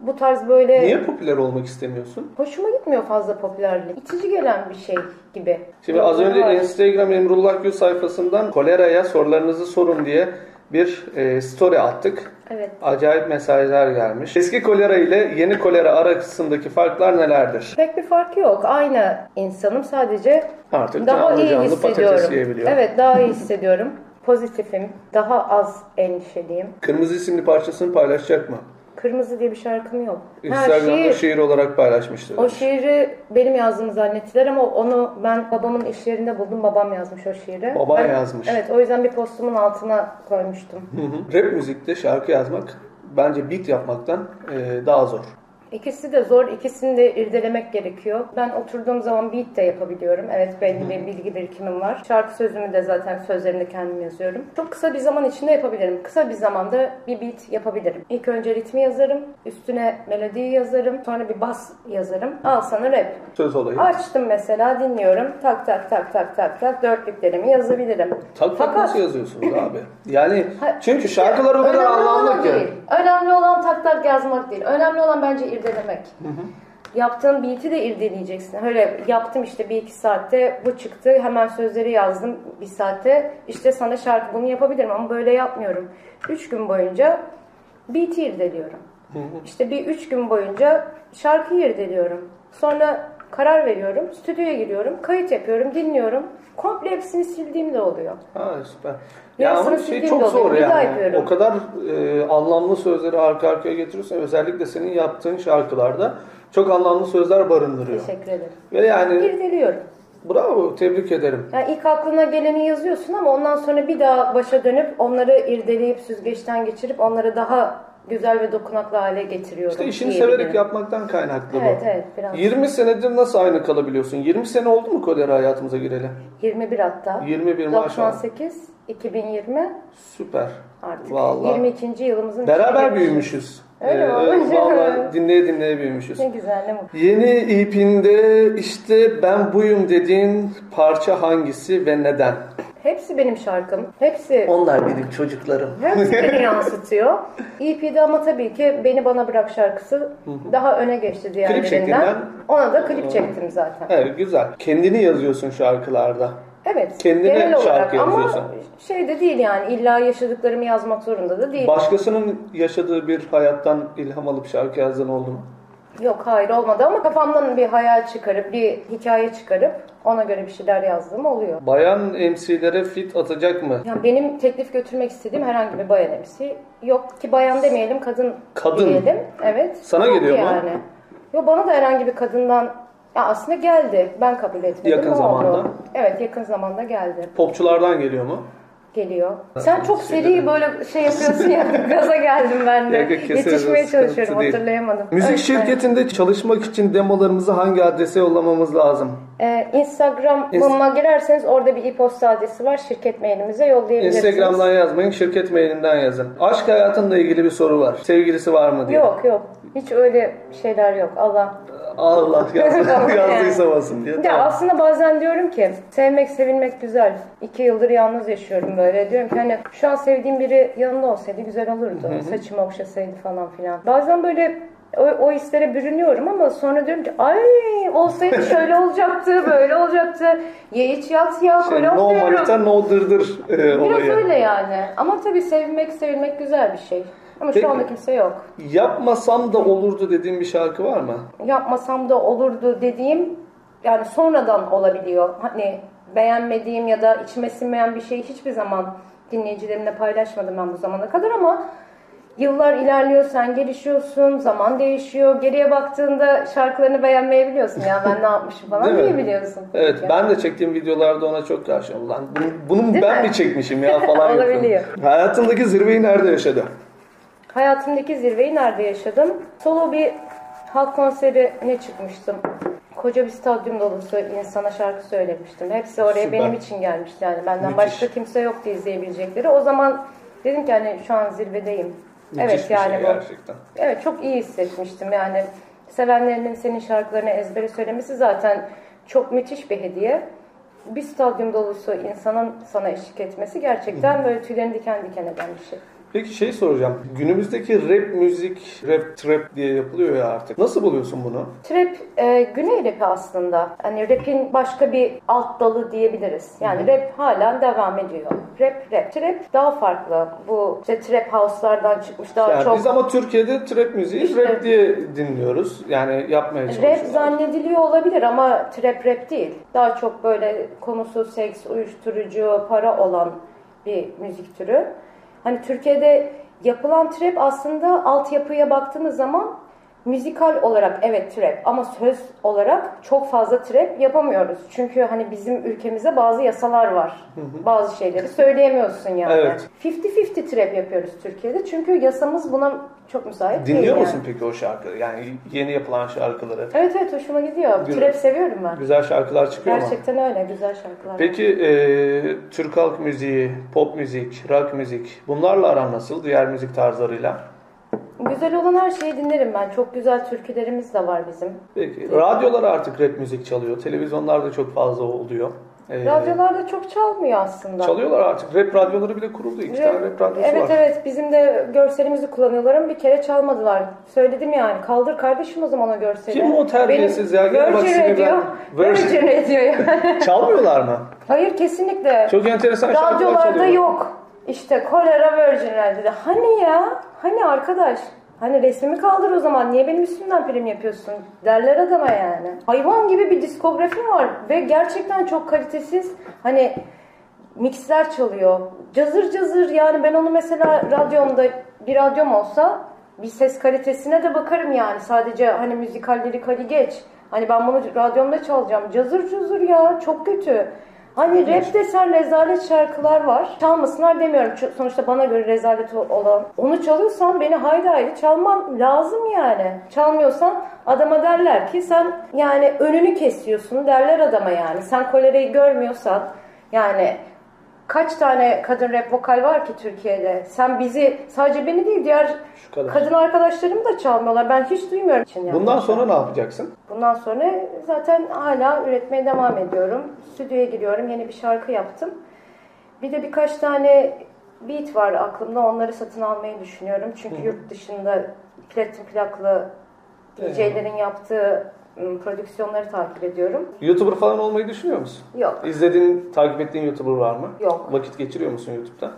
bu tarz böyle
Niye popüler olmak istemiyorsun?
hoşuma gitmiyor fazla popülerlik. İtici gelen bir şey gibi.
Şimdi az önce
Var.
Instagram Emrullah Gül sayfasından koleraya sorularınızı sorun diye bir e, story attık.
Evet.
Acayip mesajlar gelmiş. Eski kolera ile yeni kolera arasındaki farklar nelerdir?
Pek bir farkı yok. Aynı insanım sadece
Artık
daha
canlı
iyi
canlı patates
hissediyorum.
yiyebiliyor.
Evet daha iyi hissediyorum. Pozitifim. Daha az endişeliyim.
Kırmızı isimli parçasını paylaşacak mı?
Kırmızı diye bir şarkım yok. Ha,
Instagram'da şey şiir,
şiir.
olarak paylaşmıştı.
O şiiri benim yazdığımı zannettiler ama onu ben babamın iş yerinde buldum. Babam yazmış o şiiri.
Baban
Ben-
yazmış.
Evet o yüzden bir postumun altına koymuştum.
Hı hı. Rap müzikte şarkı yazmak bence beat yapmaktan e, daha zor.
İkisi de zor, ikisini de irdelemek gerekiyor. Ben oturduğum zaman beat de yapabiliyorum. Evet belli bir bilgi birikimim var. Şarkı sözümü de zaten sözlerini kendim yazıyorum. Çok kısa bir zaman içinde yapabilirim. Kısa bir zamanda bir beat yapabilirim. İlk önce ritmi yazarım, üstüne melodiyi yazarım, sonra bir bas yazarım. Al sana rap.
Söz olayı.
Açtım mesela dinliyorum. Tak tak tak tak tak tak dörtlüklerimi yazabilirim.
Tak tak nasıl yazıyorsunuz abi? Yani çünkü şarkılar o kadar
Önemli
anlamlı
olan
ki.
değil. Önemli olan tak tak yazmak değil. Önemli olan bence irdelemek. Yaptığın beat'i de irdeleyeceksin. Öyle yaptım işte bir iki saatte bu çıktı. Hemen sözleri yazdım bir saatte. İşte sana şarkı bunu yapabilirim ama böyle yapmıyorum. Üç gün boyunca beat'i irdeliyorum. İşte bir üç gün boyunca şarkıyı irdeliyorum. Sonra karar veriyorum. Stüdyoya giriyorum. Kayıt yapıyorum. Dinliyorum. Komple hepsini sildiğim de oluyor.
Ha süper. Ya
Ya
ama
sana
şey
sildiğim
çok
de oluyor,
zor
bir daha
yani.
yapıyorum.
O kadar e, anlamlı sözleri arka arkaya getiriyorsun. Özellikle senin yaptığın şarkılarda çok anlamlı sözler barındırıyor.
Teşekkür ederim.
Ve yani
İrdeliyorum.
bravo tebrik ederim.
Yani ilk aklına geleni yazıyorsun ama ondan sonra bir daha başa dönüp onları irdeleyip süzgeçten geçirip onları daha güzel ve dokunaklı hale getiriyorum.
İşte işini
diyebilirim.
severek yapmaktan kaynaklı bu.
Evet evet biraz.
20 senedir nasıl aynı kalabiliyorsun? 20 sene oldu mu kolera hayatımıza gireli?
21 hatta.
21 maşallah.
98, 2020
Süper.
artık.
Vallahi.
22. yılımızın.
Beraber
içine girmişiz.
büyümüşüz. Ee,
Öyle mi?
vallahi dinleye dinleye büyümüşüz.
Ne güzel ne mutlu.
Yeni ipinde işte ben buyum dediğin parça hangisi ve neden?
Hepsi benim şarkım. Hepsi
Onlar benim çocuklarım.
Hepsi beni yansıtıyor. EP'de ama tabii ki Beni Bana Bırak şarkısı daha öne geçti diğerlerinden.
şeklinden-
Ona da klip çektim zaten.
evet güzel. Kendini yazıyorsun şarkılarda.
Evet.
Kendine
genel olarak
şarkı
ama
yazıyorsun.
şey de değil yani illa yaşadıklarımı yazmak zorunda da değil.
Başkasının yaşadığı bir hayattan ilham alıp şarkı yazdığın oldu mu?
Yok hayır olmadı ama kafamdan bir hayal çıkarıp bir hikaye çıkarıp ona göre bir şeyler yazdığım oluyor.
Bayan MC'lere fit atacak mı?
Yani benim teklif götürmek istediğim herhangi bir bayan emsi yok ki bayan demeyelim kadın,
Kadın.
diyelim. Evet.
Sana
Yok
geliyor mu?
yani. Yo bana da herhangi bir kadından ya aslında geldi. Ben kabul etmedim.
Yakın
ne
zamanda.
Oldu. Evet yakın zamanda geldi.
Popçulardan geliyor mu?
Geliyor.
Ben
Sen çok seri böyle şey yapıyorsun ya. gaza geldim ben de.
Yok, yok, kesinlikle
Yetişmeye
sıkıntı
çalışıyorum.
değil.
Hatırlayamadım.
Müzik
Evet,
şirketinde çalışmak için demolarımızı hangi adrese yollamamız lazım?
Ee, Instagram'ıma
İnst-
girerseniz orada bir e-posta adresi var. Şirket mailimize yollayabilirsiniz.
Instagram'dan yazmayın, şirket mailinden yazın. Aşk hayatınla ilgili bir soru var. Sevgilisi var mı diye.
Yok yok. Hiç öyle şeyler yok. Allah.
Allah yazdı,
Tamam,
yazdıysa basın diye.
Ya
Tamam.
aslında bazen diyorum ki sevmek sevilmek güzel. İki yıldır yalnız yaşıyorum böyle. Diyorum ki hani şu an sevdiğim biri yanında olsaydı güzel olurdu.
Hı hı.
Saçımı okşasaydı falan filan. Bazen böyle o, o hislere bürünüyorum ama sonra diyorum ki ay olsaydı şöyle olacaktı böyle olacaktı. Ye iç yat ya
Şey,
böyle
no manita,
diyorum.
no dırdır e,
Biraz
olayı.
öyle yani. Ama tabii sevmek sevilmek güzel bir şey. Ama
Peki.
şu anda kimse yok.
Yapmasam da olurdu dediğin bir şarkı var mı?
yapmasam da olurdu dediğim yani sonradan olabiliyor. Hani beğenmediğim ya da içime sinmeyen bir şeyi hiçbir zaman dinleyicilerimle paylaşmadım ben bu zamana kadar ama yıllar ilerliyor, sen gelişiyorsun, zaman değişiyor. Geriye baktığında şarkılarını beğenmeyebiliyorsun ya ben ne yapmışım falan
Değil mi?
diyebiliyorsun.
Evet, ben de çektiğim videolarda ona çok karşıyım. Ulan bunu, bunu
Değil
ben
mi?
mi çekmişim ya falan yapıyorum.
Olabiliyor.
Hayatındaki zirveyi nerede yaşadı?
Hayatımdaki zirveyi nerede yaşadım? Solo bir halk konserine çıkmıştım. Koca bir stadyum dolusu insana şarkı söylemiştim. Hepsi oraya
Süper.
benim için gelmiş yani. Benden
Müthiş.
başka kimse yoktu izleyebilecekleri. O zaman dedim ki hani şu an zirvedeyim.
Müthiş
evet
bir
yani
şey
bu.
gerçekten.
Evet çok iyi hissetmiştim yani. sevenlerinin senin şarkılarını ezbere söylemesi zaten çok müthiş bir hediye. Bir stadyum dolusu insanın sana eşlik etmesi gerçekten böyle tüylerini diken diken eden bir şey.
Peki şey soracağım. Günümüzdeki rap müzik, rap trap diye yapılıyor ya artık. Nasıl buluyorsun bunu?
Trap e, güney rapi aslında. Hani rap'in başka bir alt dalı diyebiliriz. Yani rap hala devam ediyor. Rap rap. Trap daha farklı. Bu işte trap house'lardan çıkmış daha
yani
çok.
biz ama Türkiye'de trap müziği rap diye dinliyoruz. Yani yapmaya çalışıyoruz.
Rap zannediliyor olabilir ama trap rap değil. Daha çok böyle konusu seks, uyuşturucu, para olan bir müzik türü. Hani Türkiye'de yapılan trap aslında altyapıya baktığımız zaman müzikal olarak evet trap ama söz olarak çok fazla trap yapamıyoruz. Çünkü hani bizim ülkemizde bazı yasalar var. Bazı şeyleri söyleyemiyorsun yani.
Evet.
50-50 trap yapıyoruz Türkiye'de. Çünkü yasamız buna çok müsait değil.
Dinliyor
yani.
musun peki o şarkıları? Yani yeni yapılan şarkıları.
Evet evet hoşuma gidiyor.
Güzel.
Trap seviyorum ben.
Güzel şarkılar çıkıyor mu?
Gerçekten öyle güzel şarkılar.
Peki e, Türk halk müziği, pop müzik, rock müzik bunlarla aran nasıl? Diğer müzik tarzlarıyla?
Güzel olan her şeyi dinlerim ben. Çok güzel türkülerimiz de var bizim.
Peki radyolar artık rap müzik çalıyor. Televizyonlarda çok fazla oluyor. E,
Radyolarda çok çalmıyor aslında.
Çalıyorlar artık. Rap radyoları bile kuruldu. İki tane rap radyosu
evet
var.
evet bizim de görselimizi kullanıyorlar ama bir kere çalmadılar. Söyledim yani kaldır kardeşim o zaman o görseli.
Kim o terbiyesiz ya? Gel bak
Virgin
seni
Radio.
ben- Virgin-
Virgin Radio ya.
Çalmıyorlar mı?
Hayır kesinlikle.
Çok enteresan şarkılar
Radyolarda
çalıyor.
yok. İşte kolera Virgin Radio'da. Hani ya? Hani arkadaş? Hani resmimi kaldır o zaman. Niye benim üstümden prim yapıyorsun? Derler adama yani. Hayvan gibi bir diskografi var. Ve gerçekten çok kalitesiz. Hani mixler çalıyor. Cazır cazır yani ben onu mesela radyomda bir radyom olsa bir ses kalitesine de bakarım yani. Sadece hani müzikal lirikali geç. Hani ben bunu radyomda çalacağım. Cazır cazır ya çok kötü. Hani rap desen rezalet şarkılar var. Çalmasınlar demiyorum. Ço- Sonuçta bana göre rezalet o- olan. Onu çalıyorsan beni haydi haydi çalman lazım yani. Çalmıyorsan adama derler ki sen yani önünü kesiyorsun derler adama yani. Sen kolereyi görmüyorsan yani kaç tane kadın rap vokal var ki Türkiye'de? Sen bizi sadece beni değil diğer
kadar.
kadın arkadaşlarımı da çalmıyorlar. Ben hiç duymuyorum için yani.
Bundan sonra ne yapacaksın?
Bundan sonra zaten hala üretmeye devam ediyorum. Stüdyoya giriyorum. Yeni bir şarkı yaptım. Bir de birkaç tane beat var aklımda. Onları satın almayı düşünüyorum. Çünkü
Hı hı.
yurt dışında platin plaklı
Evet.
DJ'lerin yaptığı ım, prodüksiyonları takip ediyorum.
YouTuber falan olmayı düşünüyor musun?
Yok.
İzlediğin, takip ettiğin YouTuber var mı?
Yok.
Vakit geçiriyor musun YouTube'da?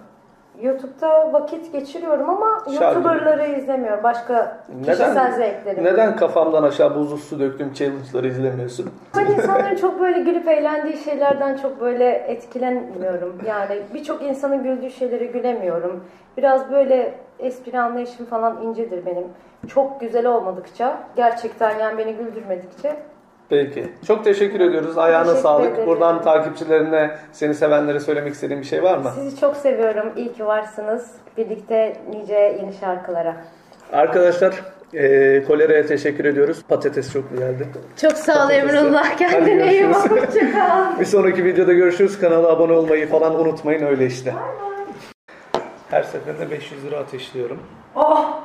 YouTube'da vakit geçiriyorum ama
Şarkı.
YouTuber'ları izlemiyorum. Başka kişisel zevklerim.
Neden kafamdan aşağı buzlu su döktüğüm challenge'ları izlemiyorsun?
Ben Hani insanların çok böyle gülüp eğlendiği şeylerden çok böyle etkilenmiyorum. Yani birçok insanın güldüğü şeylere gülemiyorum. Biraz böyle espri anlayışım falan incedir benim. Çok güzel olmadıkça, gerçekten yani beni güldürmedikçe
Peki. Çok teşekkür ediyoruz. Ayağına
Teşekkür
sağlık.
ederim.
Buradan takipçilerine, seni sevenlere söylemek istediğin bir şey var mı?
sizi çok seviyorum. İyi ki varsınız. Birlikte nice yeni şarkılara.
Arkadaşlar, e, koleraya teşekkür ediyoruz. Patates çok güzeldi.
Çok sağ ol
Emrullah. Kendine iyi bak. Bir sonraki videoda görüşürüz. Kanala abone olmayı falan unutmayın öyle işte. Her seferinde 500 lira ateşliyorum.
Oh!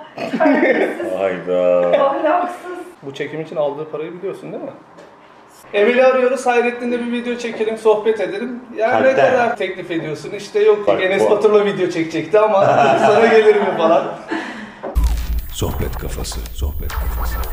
Hayda.
Ahlaksız.
Bu çekim için aldığı parayı biliyorsun değil mi? Emel'i arıyoruz. Hayrettin'le bir video çekelim, sohbet edelim. Yani ne
Kalpten.
kadar teklif ediyorsun? İşte yok
Bak,
Enes
bu-
Batur'la video çekecekti ama sana gelir mi falan.
Sohbet kafası. Sohbet kafası. Sohbet kafası.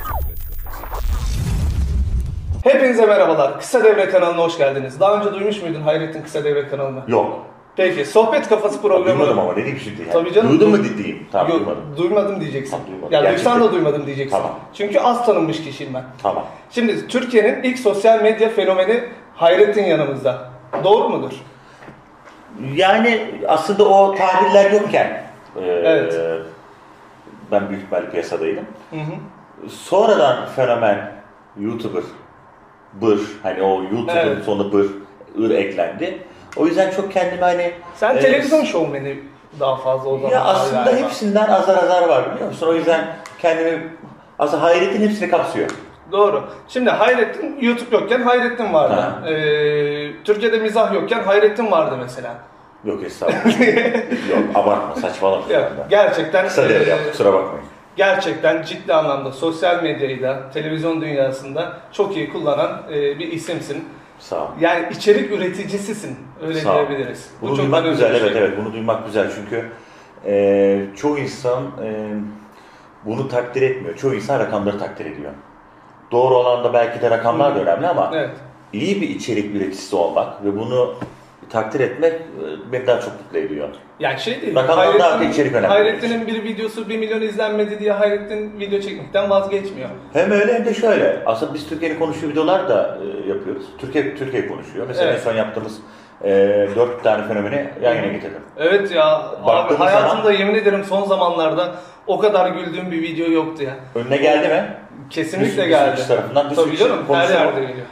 Hepinize merhabalar. Kısa Devre kanalına hoş geldiniz. Daha önce duymuş muydun Hayrettin Kısa Devre kanalını?
Yok.
Peki, Sohbet Kafası programı...
Duymadım ama ne diyeyim şimdi yani.
Tabii canım.
Duydun mu dediğim? Tamam duymadım.
Duymadım diyeceksin.
duymadım.
Yani
Gerçekten.
duysan da duymadım diyeceksin.
Tamam.
Çünkü az tanınmış kişiyim ben.
Tamam.
Şimdi Türkiye'nin ilk sosyal medya fenomeni Hayrettin yanımızda. Doğru mudur?
Yani aslında o tabirler yokken e, ben büyük ihtimalle piyasadaydım.
Hı hı.
Sonradan fenomen YouTuber, bır, hani o YouTuber'ın
Evet.
sonu bır, ır eklendi. O yüzden çok kendimi hani...
Sen
e,
televizyon şovmeni daha fazla o zaman.
Ya aslında hepsinden azar azar var biliyor musun? O yüzden kendimi aslında hayretin hepsini kapsıyor.
Doğru. Şimdi Hayrettin YouTube yokken Hayrettin vardı. Ee, Türkiye'de mizah yokken Hayrettin vardı mesela.
Yok estağfurullah. Yok abartma saçmalama.
Ya, gerçekten e,
Kısa devre yaptım kusura bakmayın.
gerçekten ciddi anlamda sosyal medyayı da televizyon dünyasında çok iyi kullanan e, bir isimsin.
Sağ ol.
Yani içerik üreticisisin öyle
Sağ ol.
diyebiliriz.
Bunu
çok
duymak
önemli
güzel,
bir şey.
evet evet bunu duymak güzel çünkü e, çoğu insan e, bunu takdir etmiyor. Çoğu insan rakamları takdir ediyor. Doğru olan da belki de rakamlar da önemli ama
Evet.
iyi bir içerik üreticisi olmak ve bunu takdir etmek e, beni daha çok mutlu ediyor.
Yani şey değil.
Rakamlardan
Hayrettin-
daha içerik önemli.
Hayrettin'in bir videosu 1 milyon izlenmedi diye Hayrettin video çekmekten vazgeçmiyor.
Hem öyle hem de şöyle. Aslında biz Türkiye'nin konuştuğu videolar da e, yapıyoruz. Türkiye Türkiye konuşuyor. Mesela
Evet.
en son yaptığımız e, dört tane fenomeni yayına getirdim.
Evet ya abi
Baktığımız
hayatımda yemin ederim son zamanlarda o kadar güldüğüm bir video yoktu ya.
Önüne geldi mi?
Kesinlikle
Bir- bir
geldi.
sürü tarafından bir sürü şey
Tabii canım
kişi
her
konuşuyor.
yerde geliyor.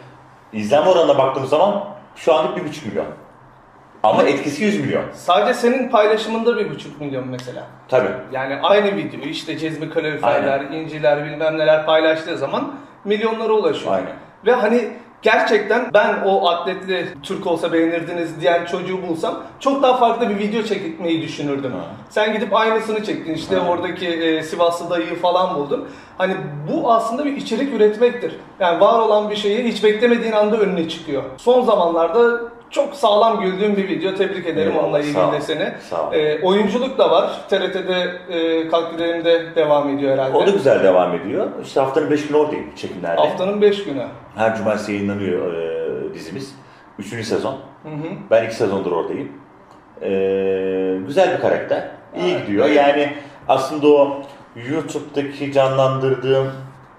İzlenme oranına baktığımız zaman şu anlık bir buçuk milyon. Ama etkisi 100 milyon.
Sadece senin paylaşımında bir buçuk milyon mesela.
Tabii.
Yani aynı video işte cezmi kaloriferler, inciler bilmem neler paylaştığı zaman milyonlara ulaşıyor. Ve hani gerçekten ben o atletli Türk olsa beğenirdiniz diyen çocuğu bulsam çok daha farklı bir video çekmeyi düşünürdüm. Sen gidip aynısını çektin işte oradaki e, Sivaslı dayıyı falan buldun. Hani bu aslında bir içerik üretmektir. Yani var olan bir şeyi hiç beklemediğin anda önüne çıkıyor. Son zamanlarda çok sağlam güldüğüm bir video. Tebrik ederim
Eyvallah,
onunla
sağ
ilgili
ol.
de seni.
Sağ ol.
Ee, oyunculuk da var. TRT'de e, Kalk Gidelim de devam ediyor herhalde.
O da güzel devam ediyor. İşte haftanın 5 günü oradayım çekimlerde.
Haftanın 5 günü.
Her cumartesi yayınlanıyor e, dizimiz. Üçüncü sezon.
Hı hı.
Ben iki sezondur oradayım. E, güzel bir karakter. İyi gidiyor. Yani aslında o YouTube'daki canlandırdığım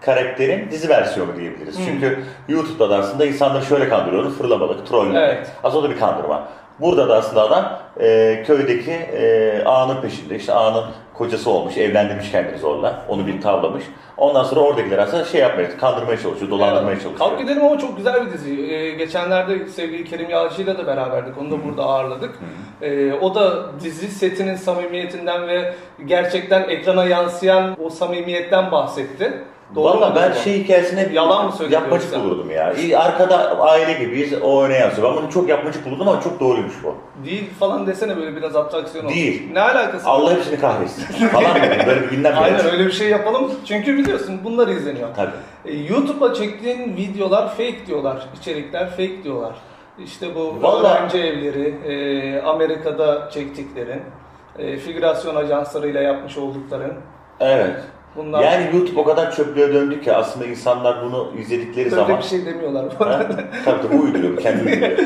karakterin dizi versiyonu diyebiliriz.
Hı.
Çünkü YouTube'da da aslında insanları şöyle kandırıyorum. Fırlamalık, trolllemek.
Evet.
Aslında o da bir kandırma. Burada da aslında adam e, köydeki e, ağanın peşinde. İşte ağanın kocası olmuş, evlendirmiş kendini zorla. Onu bir tavlamış. Ondan sonra oradakiler aslında şey yapmaya, kandırmaya çalışıyor, dolandırmaya çalışıyor.
Kalk Gidelim ama çok güzel bir dizi. Ee, geçenlerde sevgili Kerim Yağcı'yla da beraberdik. Onu da burada ağırladık. Ee, o da dizi setinin samimiyetinden ve gerçekten ekrana yansıyan o samimiyetten bahsetti.
Valla
mu
ben
acaba?
şey hikayesine
Yalan mı söylüyor
yapmacık
yoksa?
bulurdum ya. İyi, Arkada aile gibiyiz, o öne yansıyor. Ben bunu çok yapmacık bulurdum ama çok doğruymuş bu.
Değil falan desene böyle biraz abstraksiyon olsun.
Değil. şey
Ne alakası var?
Allah hepsini kahretsin falan dedim. Böyle bir günden beri.
Aynen öyle bir şey yapalım. Çünkü biliyorsun bunlar izleniyor.
Tabii.
E, YouTube'a çektiğin videolar fake diyorlar. içerikler fake diyorlar. İşte bu
Vallahi-
öğrenci evleri, e, Amerika'da çektiklerin, e, figürasyon ajanslarıyla yapmış oldukların.
Evet.
Bunlar-
Yani YouTube o kadar çöplüğe döndü ki aslında insanlar bunu izledikleri
Böyle
zaman...
bir şey demiyorlar bu
Ha?
arada.
Tabii tabii bu uyduruyor, bu kendi uyduruyor.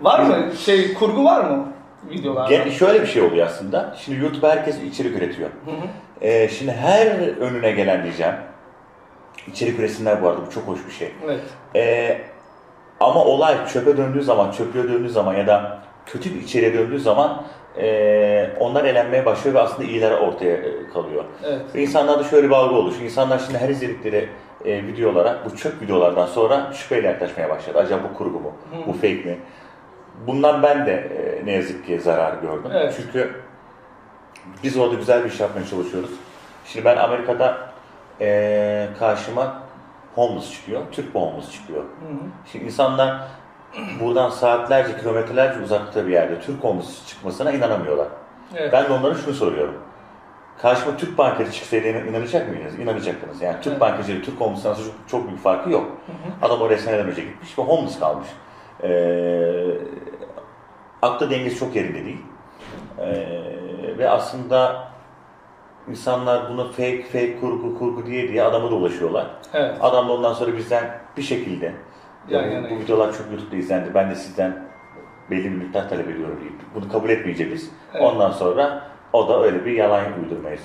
Var mı? Şey, kurgu var mı videolarda?
Gene şöyle bir şey oluyor aslında. Şimdi YouTube herkes içerik üretiyor.
Hı hı.
Ee, şimdi her önüne gelen diyeceğim. İçerik üresinler bu arada bu çok hoş bir şey.
Evet.
Ee, ama olay çöpe döndüğü zaman, çöplüğe döndüğü zaman ya da kötü bir içeriye döndüğü zaman ee, onlar elenmeye başlıyor ve aslında iyiler ortaya e, kalıyor.
Evet.
Ve insanlarda şöyle bir algı oluşuyor. İnsanlar şimdi her izledikleri e, videolara, bu çöp videolardan sonra şüpheyle yaklaşmaya başladı. Acaba bu kurgu mu?
Hı.
Bu fake mi? Bundan ben de e, ne yazık ki zarar gördüm.
Evet.
Çünkü biz orada güzel bir iş yapmaya çalışıyoruz. Şimdi ben Amerika'da e, karşıma homeless çıkıyor, Türk homeless çıkıyor. Şimdi insanlar buradan saatlerce, kilometrelerce uzakta bir yerde Türk homeless çıkmasına inanamıyorlar.
Evet.
Ben de onlara şunu soruyorum. Karşıma Türk bankacı çıksaydı inan- inanacak mıydınız? İnanacaktınız. Yani Türk
Evet.
bankacı ile Türk homeless'ın arasında çok, çok büyük farkı yok. Adam oraya seneden önce gitmiş ve homeless kalmış. Ee, aklı dengesi çok yerinde değil. Ee, ve aslında insanlar bunu fake, fake, kurgu, kurgu diye diye adama da ulaşıyorlar.
Evet.
Adam da ondan sonra bizden bir şekilde
Yan
"Ya bu-
yana
bu videolar çok YouTube'da izlendi. Ben de sizden belli bir miktar talep ediyorum deyip bunu kabul etmeyince biz
Evet.
ondan sonra o da öyle bir yalan uydurmaya e,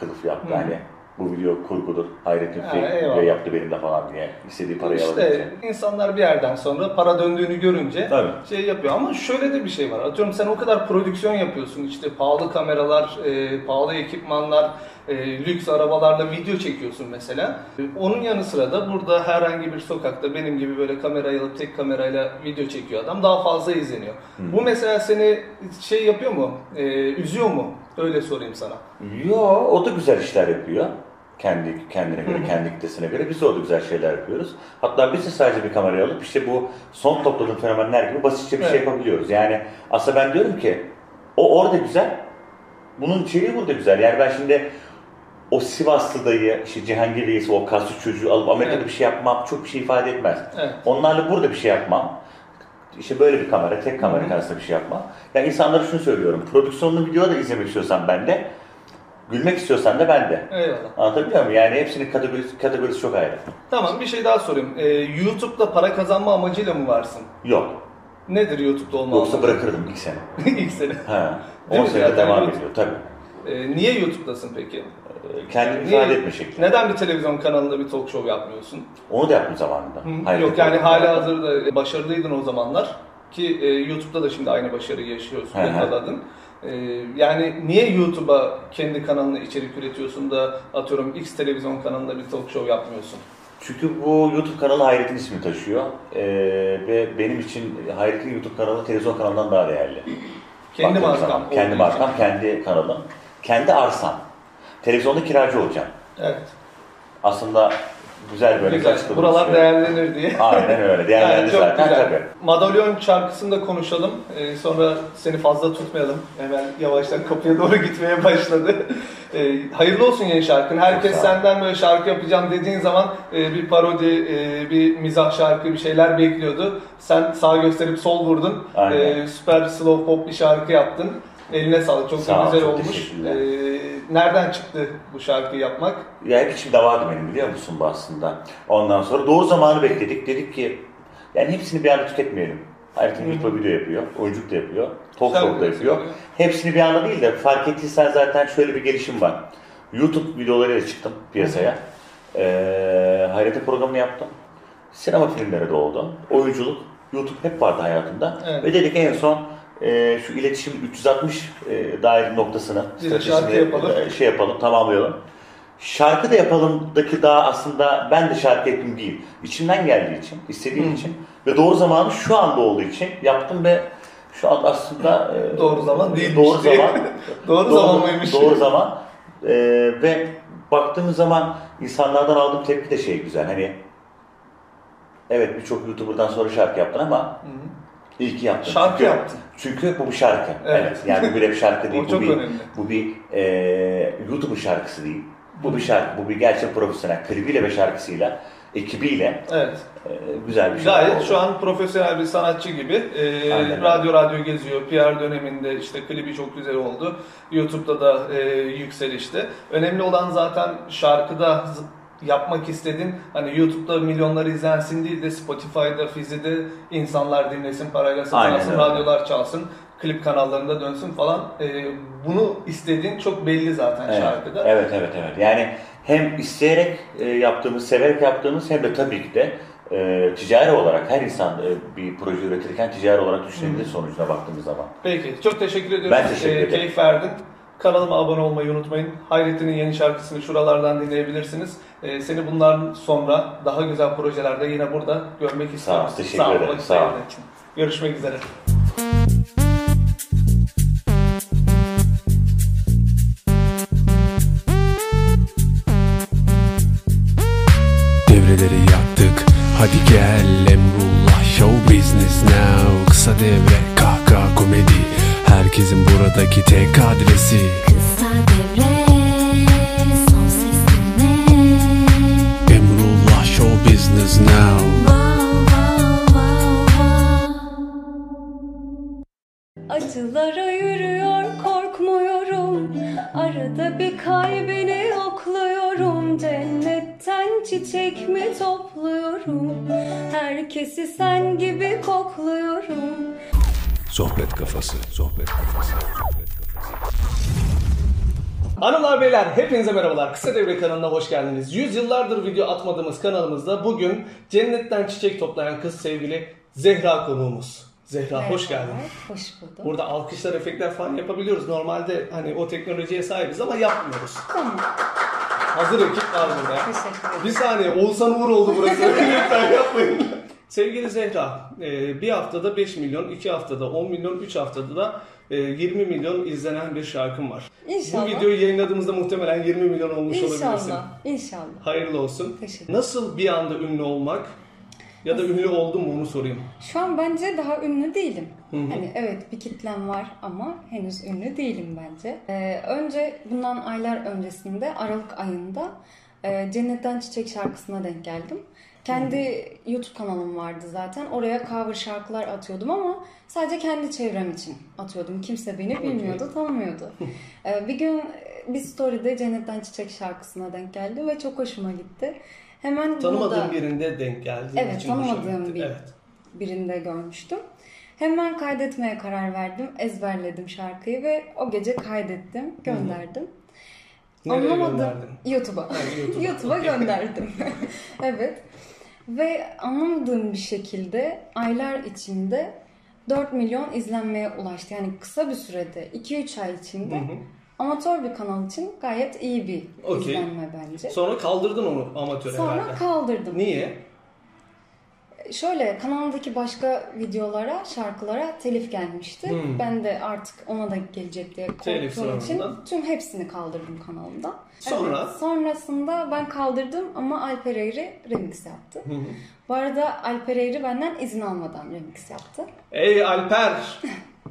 kılıf yaptı.
Hı.
Hani bu video kurgudur, hayretin
Ha,
fake
eyvallah.
video yaptı benimle falan diye istediği parayı alabilecek.
İşte insanlar bir yerden sonra para döndüğünü görünce
Tabii.
şey yapıyor. Ama şöyle de bir şey var. Atıyorum sen o kadar prodüksiyon yapıyorsun. İşte pahalı kameralar, e, pahalı ekipmanlar, e, lüks arabalarla video çekiyorsun mesela. E, Onun yanı sıra da burada herhangi bir sokakta benim gibi böyle kamerayla, tek kamerayla video çekiyor adam. Daha fazla izleniyor.
Hı.
Bu mesela seni şey yapıyor mu? E, üzüyor mu? Öyle sorayım sana.
Yo, o da güzel işler yapıyor. Kendi kendine
Hı
göre,
hı.
kendi kitlesine göre biz de orada güzel şeyler yapıyoruz. Hatta biz de sadece bir kamerayı alıp işte bu son topladığım fenomenler gibi basitçe bir şey
Evet.
yapabiliyoruz. Yani aslında ben diyorum ki o orada güzel, bunun içeriği burada güzel. Yani ben şimdi o Sivaslı dayı, işte Cihangir reisi, o kaslı çocuğu alıp Amerika'da
Evet.
bir şey yapmam çok bir şey ifade etmez.
Evet.
Onlarla burada bir şey yapmam. İşte böyle bir kamera, tek kamera
Hı.
karşısında bir şey yapmam. Yani insanlara şunu söylüyorum. Prodüksiyonlu video da izlemek istiyorsan bende, gülmek istiyorsan da bende.
Eyvallah.
Anlatabiliyor muyum? Yani hepsinin kategorisi, kategorisi çok ayrı.
Tamam bir şey daha sorayım. Ee, YouTube'da para kazanma amacıyla mı varsın?
Yok.
Nedir YouTube'da olma
Yoksa
amacı?
bırakırdım ilk sene.
İlk sene.
Ha.
Değil
10
mi? hani
sene
Zaten
devam
YouTube-
ediyor tabii.
Ee, niye YouTube'dasın peki?
kendini
e, Niye-
ifade etme şekli.
Neden bir televizyon kanalında bir talk show yapmıyorsun?
Onu da yaptım zamanında.
Hı,
Hayır,
Yok yani hala hazırda e, başarılıydın o zamanlar ki e, YouTube'da da şimdi aynı başarıyı yaşıyorsun,
Hı hı.
yakaladın. E, yani niye YouTube'a kendi kanalına içerik üretiyorsun da atıyorum X televizyon kanalında bir talk show yapmıyorsun?
Çünkü bu YouTube kanalı Hayret'in ismini taşıyor. Ee, ve benim için Hayret'in YouTube kanalı televizyon kanalından daha değerli.
Kendi
Baktığım
markam
zaman,
olduğu
Kendi
için.
markam, kendi kanalım. Kendi arsam. Televizyonda kiracı olacağım.
Evet.
Aslında güzel böyle şey.
Güzel.
açıkladım.
Buralar değerlenir diye.
Aynen öyle. Değerlendi
çok
zaten
güzel.
tabii.
Madalyon şarkısını da konuşalım. Ee, sonra seni fazla tutmayalım. Hemen yavaştan kapıya doğru gitmeye başladı. Ee, hayırlı olsun yeni şarkın. Herkes
Çok sağ ol.
senden böyle şarkı yapacağım dediğin zaman e, bir parodi, e, bir mizah şarkı bir şeyler bekliyordu. Sen sağ gösterip sol vurdun.
Aynen.
Ee, süper slow pop bir şarkı yaptın. Eline sağlık. Çok
Sağ ol,
güzel
çok
olmuş.
teşekkürler.
Ee, nereden çıktı bu şarkıyı yapmak?
Ya hep içimde vardı benim biliyor musun bu aslında. Ondan sonra doğru zamanı bekledik. Dedik ki yani hepsini bir anda tüketmeyelim. Ayrıca
Hı hı.
YouTube video yapıyor, oyunculuk da yapıyor, talk
Sen
show da
de
yapıyor.
yapıyor.
Hepsini bir anda değil de fark ettiysen zaten şöyle bir gelişim var. YouTube videolarıyla çıktım
Hı
piyasaya. Ee, Hayrete programını yaptım. Sinema filmleri de oldu. Oyunculuk, YouTube hep vardı hayatımda.
Evet.
Ve dedik en son e, şu iletişim 360 e, dair noktasını
Bir de şarkı
stratejisini,
yapalım.
e, şey yapalım, tamamlayalım. Şarkı da yapalımdaki daha aslında ben de şarkı ettim değil. İçimden geldiği için, istediğim için ve doğru zamanı şu anda olduğu için yaptım ve şu an aslında e,
Doğru zaman değilmiş
Doğru
diye.
zaman.
Doğru zaman mıymış?
Doğru zaman. E, ve baktığımız zaman insanlardan aldığım tepki de şey güzel. Hani evet birçok YouTuber'dan sonra şarkı yaptın ama
Hı.
iyi ki yaptın.
Şarkı
Çünkü-
yaptın.
Çünkü bu bir şarkı.
Evet.
Evet. Yani bu bir rap şarkı
O
değil.
çok
bu bir,
önemli.
bu bir e, YouTube şarkısı değil. Bu bir şarkı. Bu bir gerçek profesyonel. Klibiyle ve şarkısıyla, ekibiyle
Evet.
e, güzel bir şarkı
Gayet
oldu.
şu an profesyonel bir sanatçı gibi. Ee,
Aynen öyle.
radyo radyo geziyor. PR döneminde işte klibi çok güzel oldu. YouTube'da da e, yükselişte. Önemli olan zaten şarkıda z- yapmak istediğin hani YouTube'da milyonları izlensin değil de Spotify'da, Fizi'de insanlar dinlesin, parayla satın
Aynen
alsın,
öyle.
radyolar çalsın, klip kanallarında dönsün falan. Ee, bunu istediğin çok belli zaten
Evet.
şarkıda.
Evet, evet, evet. Yani hem isteyerek e, yaptığımız, severek yaptığımız hem de tabii ki de e, ticari olarak her insan e, bir proje üretirken ticari olarak düşünebilir
Hı.
sonucuna baktığımız zaman.
Peki. Çok teşekkür ediyorum.
Ben teşekkür
Ee,
ederim.
keyif verdin. Kanalıma abone olmayı unutmayın. Hayrettin'in yeni şarkısını şuralardan dinleyebilirsiniz. Ee, seni bundan sonra daha güzel projelerde yine burada görmek istiyorum.
ol, teşekkür
ol,
ederim,
vakit
sağ ol.
ayırdığın için. Görüşmek üzere.
Devreleri yaktık Hadi gel Emrullah Show Business Now Kısa devre kahkaha komedi Herkesin buradaki tek adresi
Kısa devre son ses dinle
Emrullah Show Business Now
Acılara yürüyor korkmuyorum Arada bir kalbini okluyorum Cennetten çiçek mi topluyorum Herkesi sen gibi kokluyorum
Sohbet kafası. Sohbet kafası. Sohbet kafası.
Hanımlar beyler hepinize merhabalar. Kısa Devre kanalına hoş geldiniz. Yüzyıllardır video atmadığımız kanalımızda bugün cennetten çiçek toplayan kız sevgili Zehra konuğumuz. Zehra hoş
Merhabalar,
geldin.
Hoş bulduk.
Burada alkışlar, efektler falan yapabiliyoruz. Normalde hani o teknolojiye sahibiz ama yapmıyoruz.
Tamam.
Hazır ekip var burada.
Teşekkür ederim.
Bir saniye Oğuzhan Uğur oldu burası. Lütfen yapmayın. Sevgili Zehra, e, bir haftada 5 milyon, 2 haftada 10 milyon, 3 haftada da e, 20 milyon izlenen bir şarkım var.
İnşallah.
Bu videoyu yayınladığımızda muhtemelen 20 milyon olmuş olabilirsin.
İnşallah. İnşallah.
Hayırlı olsun.
Teşekkür
Nasıl bir anda ünlü olmak ya da ünlü oldun mu onu sorayım.
Şu an bence daha ünlü değilim.
Hı hı.
Hani evet bir kitlem var ama henüz ünlü değilim bence. Ee, önce bundan aylar öncesinde Aralık ayında e, Cennetten Çiçek şarkısına denk geldim. Kendi YouTube kanalım vardı zaten. Oraya cover şarkılar atıyordum ama sadece kendi çevrem için atıyordum. Kimse beni bilmiyordu, tanımıyordu. Ee, bir gün e, bir story'de Cennetten Çiçek şarkısına denk geldi ve çok hoşuma gitti. Hemen bunu
Tanımadığım
da-
birinde denk geldi.
Evet,
için hoşuma
tanımadığım
gitti.
bir-
Evet.
birinde görmüştüm. Hemen kaydetmeye karar verdim. Ezberledim şarkıyı ve o gece kaydettim, gönderdim.
Nereye
Anlamadım.
gönderdin?
YouTube'a.
YouTube'a.
YouTube'a gönderdim. evet. Ve anlamadığım bir şekilde aylar içinde 4 milyon izlenmeye ulaştı. Yani kısa bir sürede, 2-3 ay içinde.
Hı hı.
Amatör bir kanal için gayet iyi bir
Okey.
izlenme bence.
Sonra kaldırdın onu amatöre
Sonra
herhalde.
kaldırdım.
Niye?
Şöyle kanalımdaki başka videolara, şarkılara telif gelmişti.
Hmm.
Ben de artık ona da gelecek diye
Telif
korktuğum için
sorunundan.
tüm hepsini kaldırdım kanalımda.
Sonra?
Evet, sonrasında ben kaldırdım ama Alper Eğri remix yaptı.
Hı hı.
Bu arada Alper Eğri benden izin almadan remix yaptı.
Ey Alper!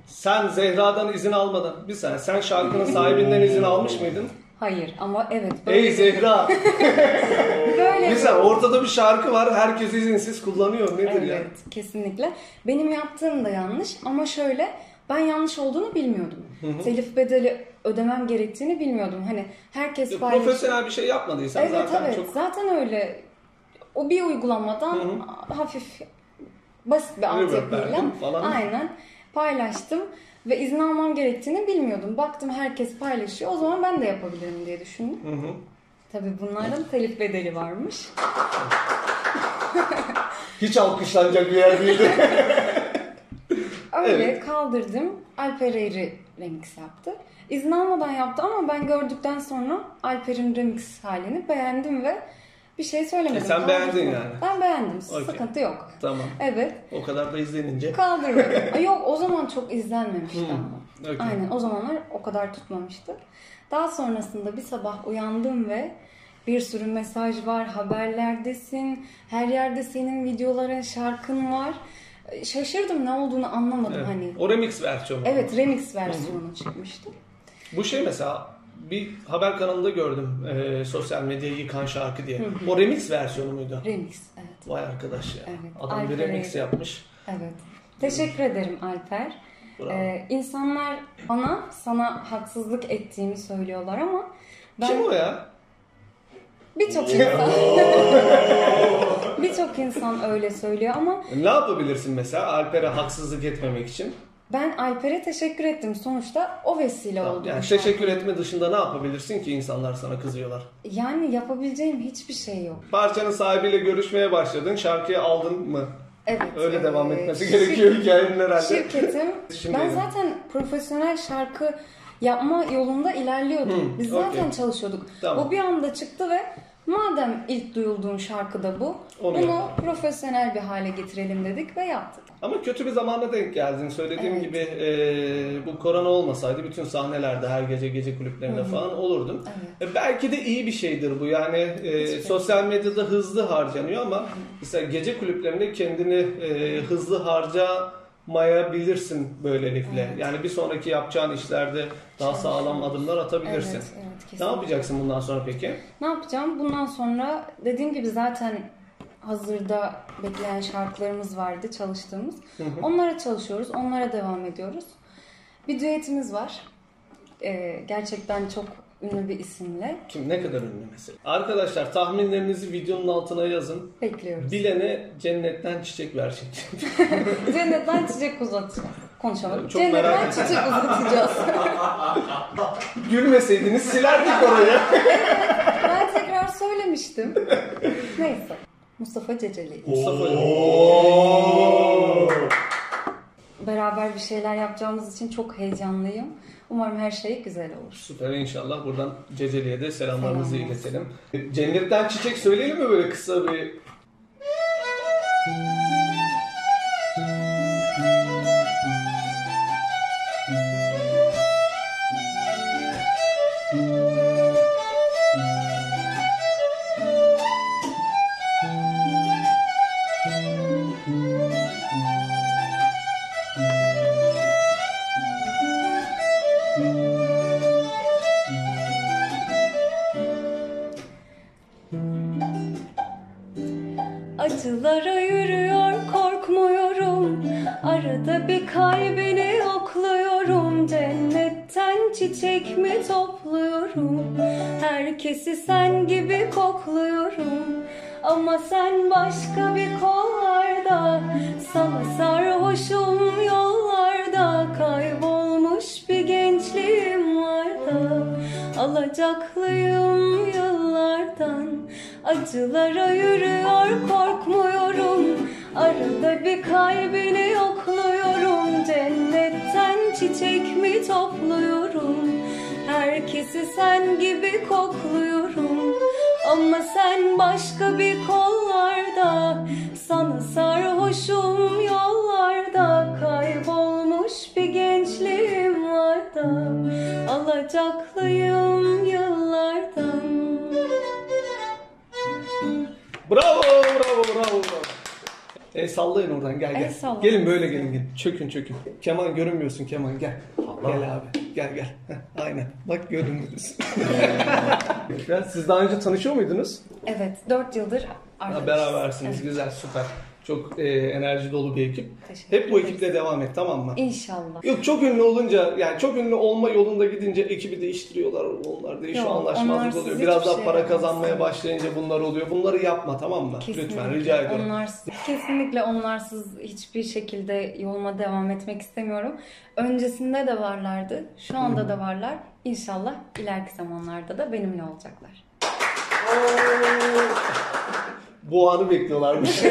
Sen Zehra'dan izin almadan. Bir saniye sen şarkının sahibinden izin almış mıydın?
Hayır ama evet böyle
Ey Zehra!
Böyle
bir
bir-
saniye ortada bir şarkı var herkes izinsiz kullanıyor. Nedir ya?
Evet, kesinlikle. Benim yaptığım da yanlış ama şöyle ben yanlış olduğunu bilmiyordum.
Hı hı.
Telif bedeli ödemem gerektiğini bilmiyordum. Hani herkes
Ya,
paylaş-
Profesyonel bir şey yapmadıysan
evet,
zaten
evet.
çok...
Zaten öyle. O bir uygulamadan
Hı
hafif basit bir
Reverb
altyapıyla
verdim falan.
aynen paylaştım ve izin almam gerektiğini bilmiyordum. Baktım herkes paylaşıyor. O zaman ben de yapabilirim diye düşündüm.
Hı hı.
Tabii bunlardan telif bedeli varmış.
Hiç alkışlanacak bir yer değildi.
Öyle
Evet.
kaldırdım. Alper Eğri remix yaptı. İzin almadan yaptı ama ben gördükten sonra Alper'in remix halini beğendim ve bir şey söylemedim.
E, sen beğendin
Kaldırdım.
yani.
Ben beğendim.
Okey.
Sıkıntı yok.
tamam.
Evet.
O kadar da izlenince.
Kaldırmadım. Ay, yok o zaman çok izlenmemişti
Hmm,
ama.
okey.
Aynen o zamanlar o kadar tutmamıştı. Daha sonrasında bir sabah uyandım ve bir sürü mesaj var, haberlerdesin, her yerde senin videoların, şarkın var. E, Şaşırdım ne olduğunu anlamadım
Evet.
hani.
O remix versiyonu.
Evet remix versiyonu çıkmıştı.
Bu şey mesela bir haber kanalında gördüm e, sosyal medyayı yıkan şarkı diye.
Hı hı.
O remix versiyonu muydu?
Remix evet.
Vay arkadaş ya.
Evet,
Adam bir
Alper
remix
Eğri.
yapmış.
Evet. Teşekkür ederim Alper.
Bravo.
Ee, insanlar bana sana haksızlık ettiğimi söylüyorlar ama ben
Kim o ya?
birçok insan birçok insan öyle söylüyor ama
Ne yapabilirsin mesela Alper'e haksızlık etmemek için?
ben Alper'e teşekkür ettim. Sonuçta o vesile oldu.
Yani
bu
teşekkür etme dışında ne yapabilirsin ki insanlar sana kızıyorlar?
Yani yapabileceğim hiçbir şey yok.
Parçanın sahibiyle görüşmeye başladın, şarkıyı aldın mı?
Evet. e,
Öyle devam etmesi
şir-
gerekiyor hikayenin herhalde.
Şirketim,
Şimdi
ben
elim.
zaten profesyonel şarkı yapma yolunda ilerliyordum.
Hı,
Biz zaten
okey.
çalışıyorduk.
Tamam.
O bir anda çıktı ve madem ilk duyulduğum şarkı da bu,
Onu
bunu
yapalım.
profesyonel bir hale getirelim dedik ve yaptık.
Ama kötü bir zamana denk geldin. Söylediğim
Evet.
gibi e, bu korona olmasaydı bütün sahnelerde her gece gece kulüplerinde
Hı hı.
falan olurdum. E, belki de iyi bir şeydir bu. Yani e,
Hiçbir-
sosyal medyada hızlı harcanıyor ama mesela gece kulüplerinde kendini e, hızlı harcamayabilirsin böylelikle.
Evet.
Yani bir sonraki yapacağın işlerde daha sağlam adımlar atabilirsin.
Evet, evet, kesinlikle.
ne yapacaksın bundan sonra peki?
Ne yapacağım? Bundan sonra dediğim gibi zaten hazırda bekleyen şarkılarımız vardı çalıştığımız.
Hı hı.
Onlara çalışıyoruz, onlara devam ediyoruz. Bir düetimiz var. Ee, gerçekten çok ünlü bir isimle.
Kim ne kadar ünlü mesela? Arkadaşlar tahminlerinizi videonun altına yazın.
Bekliyoruz.
Bilene cennetten çiçek verecek.
Cennetten çiçek uzatacağız. Konuşalım.
Çok
Cennetten
merak ettim.
çiçek uzatacağız.
Gülmeseydiniz silerdik orayı.
ben tekrar söylemiştim. Neyse. Mustafa Ceceli.
Mustafa.
Beraber bir şeyler yapacağımız için çok heyecanlıyım. Umarım her şey güzel olur.
Süper inşallah buradan Ceceli'ye de selamlarımızı
Selam
iletelim. Cennetten çiçek söyleyelim mi böyle kısa bir...
Acılara yürüyor korkmuyorum Arada bir kalbini okluyorum Cennetten çiçek mi topluyorum Herkesi sen gibi kokluyorum Ama sen başka bir kollarda Sana sarhoşum yollarda Kaybolmuş bir gençliğim var da Alacaklıyım yıllardan Acılara yürüyor korkmuyorum Arada bir kalbini yokluyorum Cennetten çiçek mi topluyorum Herkesi sen gibi kokluyorum Ama sen başka bir kollarda Sana sarhoşum yollarda Kaybolmuş bir gençliğim var da Alacaklıyım yıllardan
Bravo, bravo, bravo, bravo. El sallayın oradan gel gel.
El sallayın.
gelin böyle gelin gelin. Çökün çökün. Kemal görünmüyorsun Kemal gel. Gel abi gel gel. Heh, aynen bak görünmüyorsun. ya, siz daha önce tanışıyor muydunuz?
Evet, 4 yıldır
Ha,
arkadaşız.
berabersiniz
Evet.
güzel süper. Çok e, enerji dolu bir ekip. Hep bu ekiple devam et tamam mı?
İnşallah.
Yok çok ünlü olunca yani çok ünlü olma yolunda gidince ekibi değiştiriyorlar onlar değişiyor
Yok, onlar
anlaşmazlık
siz
oluyor. Biraz
hiçbir
daha
şey
para
yapamazsınız.
kazanmaya başlayınca bunlar oluyor. Bunları yapma tamam mı? Lütfen rica ediyorum.
Onlarsız, kesinlikle onlarsız hiçbir şekilde yoluma devam etmek istemiyorum. Öncesinde de varlardı, şu anda da varlar. İnşallah ileriki zamanlarda da benimle olacaklar.
Bu anı bekliyorlarmış.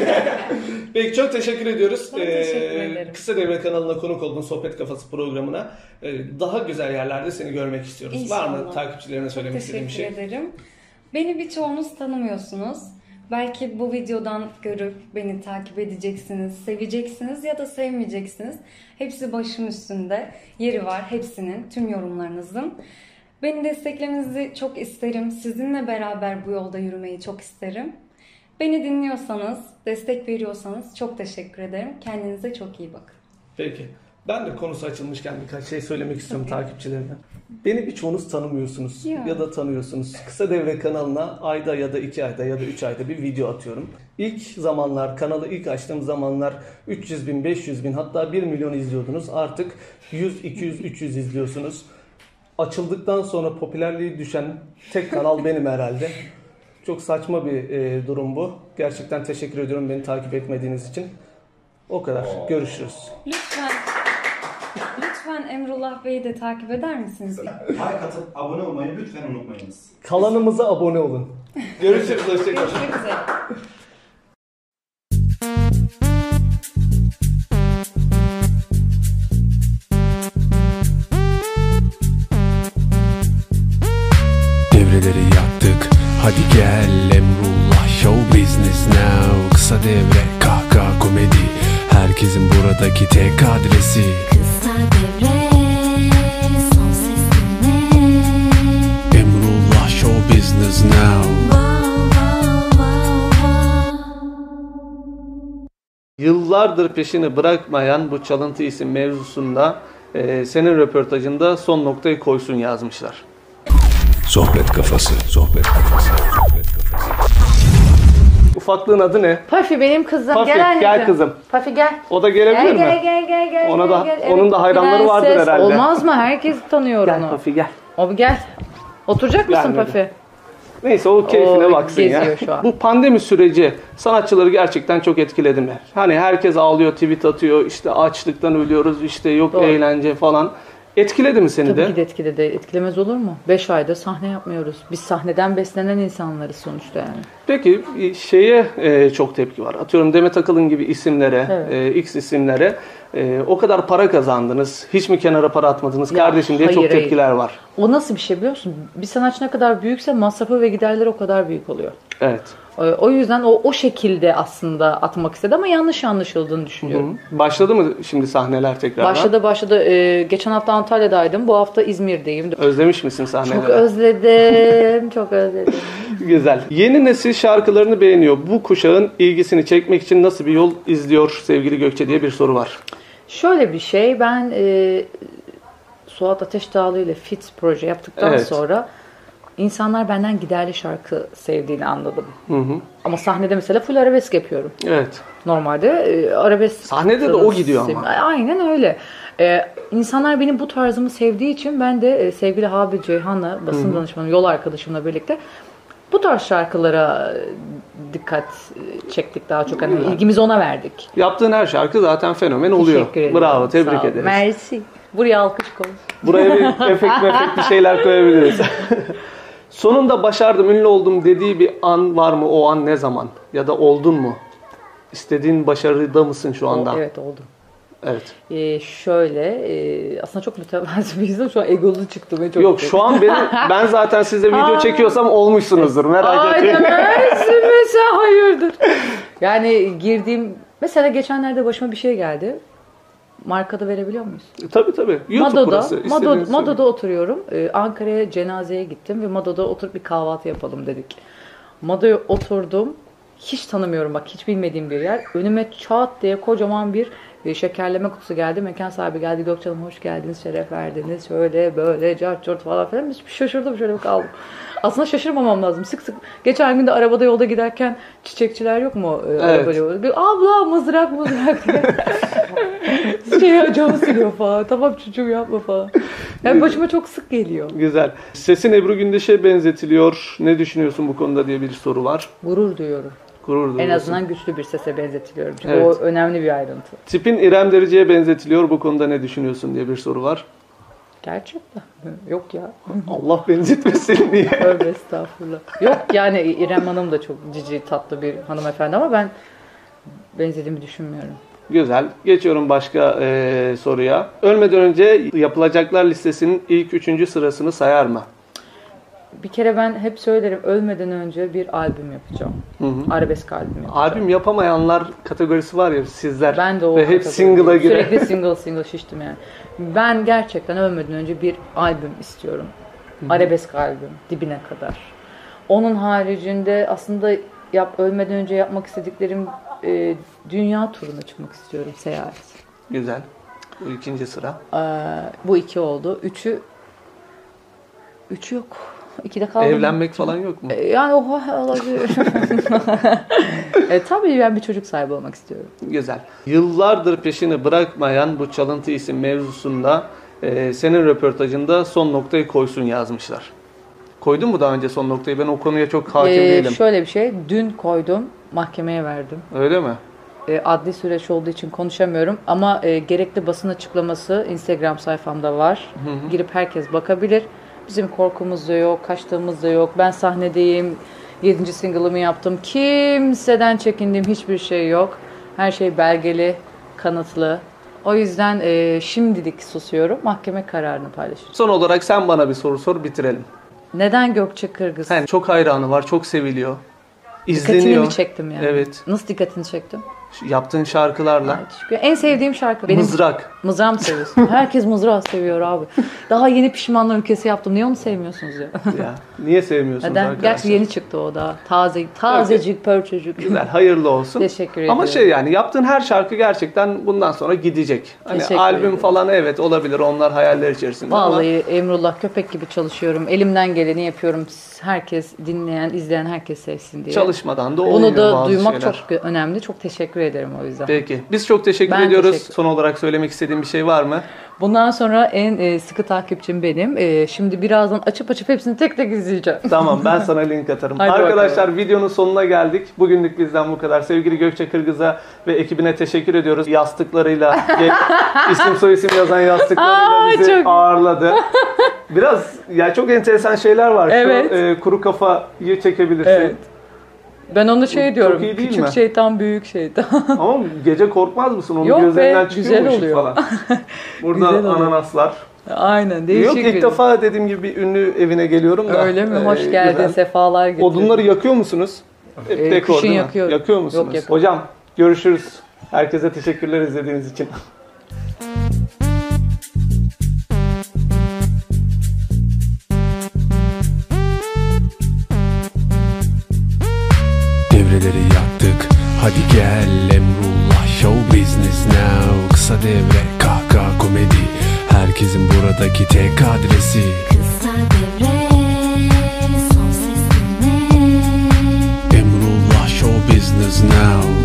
Peki çok teşekkür ediyoruz.
Ben teşekkür
Ee,
ederim.
Kısa Devre kanalına konuk oldun Sohbet Kafası programına. Ee, daha güzel yerlerde seni görmek istiyoruz. Var mı
İnşallah.
takipçilerine söylemek istediğin
Teşekkür
bir şey?
ederim. Beni birçoğunuz tanımıyorsunuz. Belki bu videodan görüp beni takip edeceksiniz, seveceksiniz ya da sevmeyeceksiniz. Hepsi başım üstünde. Yeri var hepsinin, tüm yorumlarınızın. Beni desteklemenizi çok isterim. Sizinle beraber bu yolda yürümeyi çok isterim. Beni dinliyorsanız, destek veriyorsanız çok teşekkür ederim. Kendinize çok iyi bakın.
Peki. Ben de konusu açılmışken birkaç şey söylemek istiyorum takipçilerime. Beni birçoğunuz tanımıyorsunuz
Ya.
ya. da tanıyorsunuz. Kısa Devre kanalına ayda ya da iki ayda ya da üç ayda bir video atıyorum. İlk zamanlar, kanalı ilk açtığım zamanlar 300 bin, 500 bin hatta 1 milyon izliyordunuz. Artık 100, 200, 300 izliyorsunuz. Açıldıktan sonra popülerliği düşen tek kanal benim herhalde. Çok saçma bir e, durum bu. Gerçekten teşekkür ediyorum beni takip etmediğiniz için. O kadar. Görüşürüz.
Lütfen, lütfen Emrullah Bey'i de takip eder misiniz?
Like atıp abone olmayı lütfen unutmayınız.
Kalanımıza abone olun. Görüşürüz. Hoşçakalın.
Görüşmek üzere.
Devreleri yaktık Hadi gel Emrullah Show Business Now Kısa devre kahkaha komedi Herkesin buradaki tek adresi
Kısa devre son ses dinle
Emrullah Show Business Now
Wow wow wow wow
Yıllardır peşini bırakmayan bu çalıntı isim mevzusunda e, senin röportajında son noktayı koysun yazmışlar.
Sohbet kafası. Sohbet kafası. Sohbet kafası.
Ufaklığın adı ne?
Pafi benim kızım.
Pafi,
gel anneciğim.
gel kızım.
Pafi gel.
O da gelebilir
gel,
mi?
Gel gel gel gel.
Ona
gel,
da-
gel.
onun da hayranları
Prenses.
vardır herhalde.
Olmaz mı? Herkes tanıyor onu.
Gel Pafi gel.
Abi gel. Oturacak
Gel
mısın
böyle.
Pafi?
Neyse o keyfine
Oo,
baksın ya.
geziyor şu an.
Bu pandemi süreci sanatçıları gerçekten çok etkiledi mi? Hani herkes ağlıyor, tweet atıyor, işte açlıktan ölüyoruz, işte yok
Doğru.
eğlence falan. Etkiledi mi seni
Tabii
de?
ki de etkiledi. Etkilemez olur mu? 5 ayda sahne yapmıyoruz. Biz sahneden beslenen insanlarız sonuçta yani.
Peki e, şeye e, çok tepki var. Atıyorum Demet Akalın gibi isimlere,
Evet.
e, X isimlere e, o kadar para kazandınız, hiç mi kenara para atmadınız kardeşim diye
hayır,
çok
hayır.
tepkiler var.
O nasıl bir şey biliyor musun? Bir sanatçı ne kadar büyükse masrafı ve giderleri o kadar büyük oluyor.
Evet.
Ee, O yüzden o o şekilde aslında atmak istedi ama yanlış anlaşıldığını düşünüyorum.
Hı. Başladı mı şimdi sahneler tekrardan?
Başladı başladı. Ee, geçen hafta Antalya'daydım. Bu hafta İzmir'deyim.
Özlemiş misin sahneleri?
Çok özledim. Çok özledim.
Güzel. Yeni nesil şarkılarını beğeniyor. Bu kuşağın ilgisini çekmek için nasıl bir yol izliyor sevgili Gökçe diye bir soru var.
Şöyle bir şey ben e, Suat Ateş Dağlı ile Fits proje yaptıktan
Evet.
sonra insanlar benden giderli şarkı sevdiğini anladım.
Hı hı.
Ama sahnede mesela full arabesk yapıyorum.
Evet.
Normalde e, arabesk...
Sahnede de o gidiyor ama.
Sev- Aynen öyle. E, insanlar benim bu tarzımı sevdiği için ben de e, sevgili Habil Ceyhan'la basın
Hı hı.
danışmanım, yol arkadaşımla birlikte bu tarz şarkılara e, dikkat e, çektik daha çok. Hani
Güzel.
ilgimizi ona verdik.
Yaptığın her şarkı zaten fenomen oluyor.
Teşekkür ederim.
Bravo, tebrik
Sağ ol.
ederiz.
Merci. Buraya alkış koy.
Buraya bir efekt mefekt bir şey şeyler koyabiliriz. Sonunda başardım, ünlü oldum dediği bir an var mı? O an ne zaman? Ya da oldun mu? İstediğin başarıda mısın şu anda?
Evet oldu.
Evet.
Ee, şöyle, e, aslında çok mütevazı bir izim. Şu an egolu çıktı. Ve çok
Yok şu an benim, ben zaten size video
Aa.
çekiyorsam olmuşsunuzdur. Merak
Ay
etmeyin.
demezsin mesela hayırdır. Yani girdiğim, mesela geçenlerde başıma bir şey geldi. Markada verebiliyor muyuz?
Tabii tabii. YouTube
Mado'da,
burası.
Mado-
İstediğiniz-
Mado'da oturuyorum. Ee, Ankara'ya cenazeye gittim ve Mado'da oturup bir kahvaltı yapalım dedik. Mado'ya oturdum. Hiç tanımıyorum bak hiç bilmediğim bir yer. Önüme çat diye kocaman bir e, şekerleme kutusu geldi. Mekan sahibi geldi. Gökçen'im hoş geldiniz, şeref verdiniz. Şöyle böyle cart cart falan filan. Biz şaşırdım şöyle bir kaldım. Aslında şaşırmamam lazım. Sık sık. Geçen gün de arabada yolda giderken çiçekçiler yok mu? Ee,
Evet.
arabayla yolda- Bir, Abla mızrak mızrak şey camı siliyor falan. Tamam çocuğum yapma falan. Yani başıma çok sık geliyor.
şey. Güzel. Sesin Ebru Gündeş'e benzetiliyor. Ne düşünüyorsun bu konuda diye bir soru var.
Gurur duyuyorum.
Gurur duyuyorsun.
En azından güçlü bir sese benzetiliyorum. Çünkü
Evet.
o önemli bir ayrıntı.
Tipin İrem Derici'ye benzetiliyor. Bu konuda ne düşünüyorsun diye bir soru var.
Gerçekten. Yok ya.
Allah benzetmesin diye.
Tövbe estağfurullah. Yok yani İrem Hanım da çok cici tatlı bir hanımefendi ama ben benzediğimi düşünmüyorum.
Güzel. Geçiyorum başka eee, soruya. Ölmeden önce yapılacaklar listesinin ilk üçüncü sırasını sayar mı?
Bir kere ben hep söylerim ölmeden önce bir albüm yapacağım.
Hı hı.
Arabesk albüm yapacağım.
Albüm yapamayanlar kategorisi var ya sizler.
Ben de o
Ve hep
kategori-
single'a girer.
Sürekli single single şiştim yani. Ben gerçekten ölmeden önce bir albüm istiyorum.
Hı hı.
Arabesk albüm dibine kadar. Onun haricinde aslında yap ölmeden önce yapmak istediklerim e, dünya turuna çıkmak istiyorum seyahat.
Güzel. Bu ikinci sıra.
Ee, bu iki oldu. Üçü üçü yok. İkide kaldım.
Evlenmek falan yok mu?
E, Yani oha olabilir. e, tabii ben bir çocuk sahibi olmak istiyorum.
Güzel. Yıllardır peşini bırakmayan bu çalıntı isim mevzusunda e, senin röportajında son noktayı koysun yazmışlar. Koydun mu daha önce son noktayı? Ben o konuya çok hakim
Ee,
değilim.
Şöyle bir şey. Dün koydum. Mahkemeye verdim.
Öyle mi?
E, adli süreç olduğu için konuşamıyorum ama e, gerekli basın açıklaması Instagram sayfamda var.
Hı hı.
Girip herkes bakabilir. Bizim korkumuz da yok, kaçtığımız da yok. Ben sahnedeyim, 7. single'ımı yaptım. Kimseden çekindiğim hiçbir şey yok. Her şey belgeli, kanıtlı. O yüzden e, şimdilik susuyorum. Mahkeme kararını paylaşacağım.
Son olarak sen bana bir soru sor bitirelim.
Neden Gökçe Kırgız?
Yani çok hayranı var, çok seviliyor. İzleniyor.
Dikkatini mi çektim yani?
Evet.
Nasıl dikkatini çektim?
Yaptığın şarkılarla.
En sevdiğim şarkı benim.
Mızrak.
Mızrağı mı seviyorsun? Herkes mızrağı seviyor abi. Daha yeni pişmanlar ülkesi yaptım. Niye onu sevmiyorsunuz ya?
ya. Niye sevmiyorsunuz
Neden?
arkadaşlar?
Gerçi yeni çıktı o da. Taze, tazecik, pörçecik.
Güzel, hayırlı olsun.
Teşekkür ederim.
Ama şey yani yaptığın her şarkı gerçekten bundan sonra gidecek. Hani
Teşekkür
albüm
ederim.
falan evet olabilir onlar hayaller içerisinde
Vallahi Emrullah köpek gibi çalışıyorum. Elimden geleni yapıyorum. Herkes dinleyen, izleyen herkes sevsin diye.
Çalışmadan da
Bunu
olmuyor
da
bazı
duymak
şeyler.
çok önemli. Çok teşekkür ederim o yüzden.
ama peki. Biz çok teşekkür
Ben
ediyoruz.
teşekkür-
Son olarak söylemek istediğin bir şey var mı?
Bundan sonra en e, sıkı takipçim benim. E, şimdi birazdan açıp açıp hepsini tek tek izleyeceğim.
Tamam ben sana link atarım.
Hadi
Arkadaşlar videonun sonuna geldik. Bugünlük bizden bu kadar. Sevgili Gökçe Kırgız'a ve ekibine teşekkür ediyoruz. Yastıklarıyla, gel- isim soy isim yazan yastıklarıyla
Aa,
bizi
çok-
ağırladı. Biraz ya çok enteresan şeyler var.
Evet.
Şu e, kuru kafayı çekebilirsin.
Evet. Ben onu şey diyorum.
iyi değil
küçük
mi?
şeytan büyük şeytan.
Ama gece korkmaz mısın? Onun
Yok be,
gözlerinden çıkıyor
güzel
mu ışık
oluyor.
falan. Burada
Güzel oluyor.
ananaslar.
Aynen değişik
Yok ilk
bir-
defa dediğim gibi bir ünlü evine geliyorum da.
Öyle mi?
Ee,
Hoş geldin.
güzel.
Sefalar getirdin.
Odunları yakıyor musunuz? Hep
Ee,
dekor
kışın
değil mi?
yakıyorum.
Yakıyor musunuz?
Yok, yakıyorum.
Hocam görüşürüz. Herkese teşekkürler izlediğiniz için.
Devreleri yaktık Hadi gel Emrullah Show Business Now Kısa devre kahkaha komedi Herkesin burada buradaki tek adresi
Kısa devre son ses dinle
Emrullah Show Business Now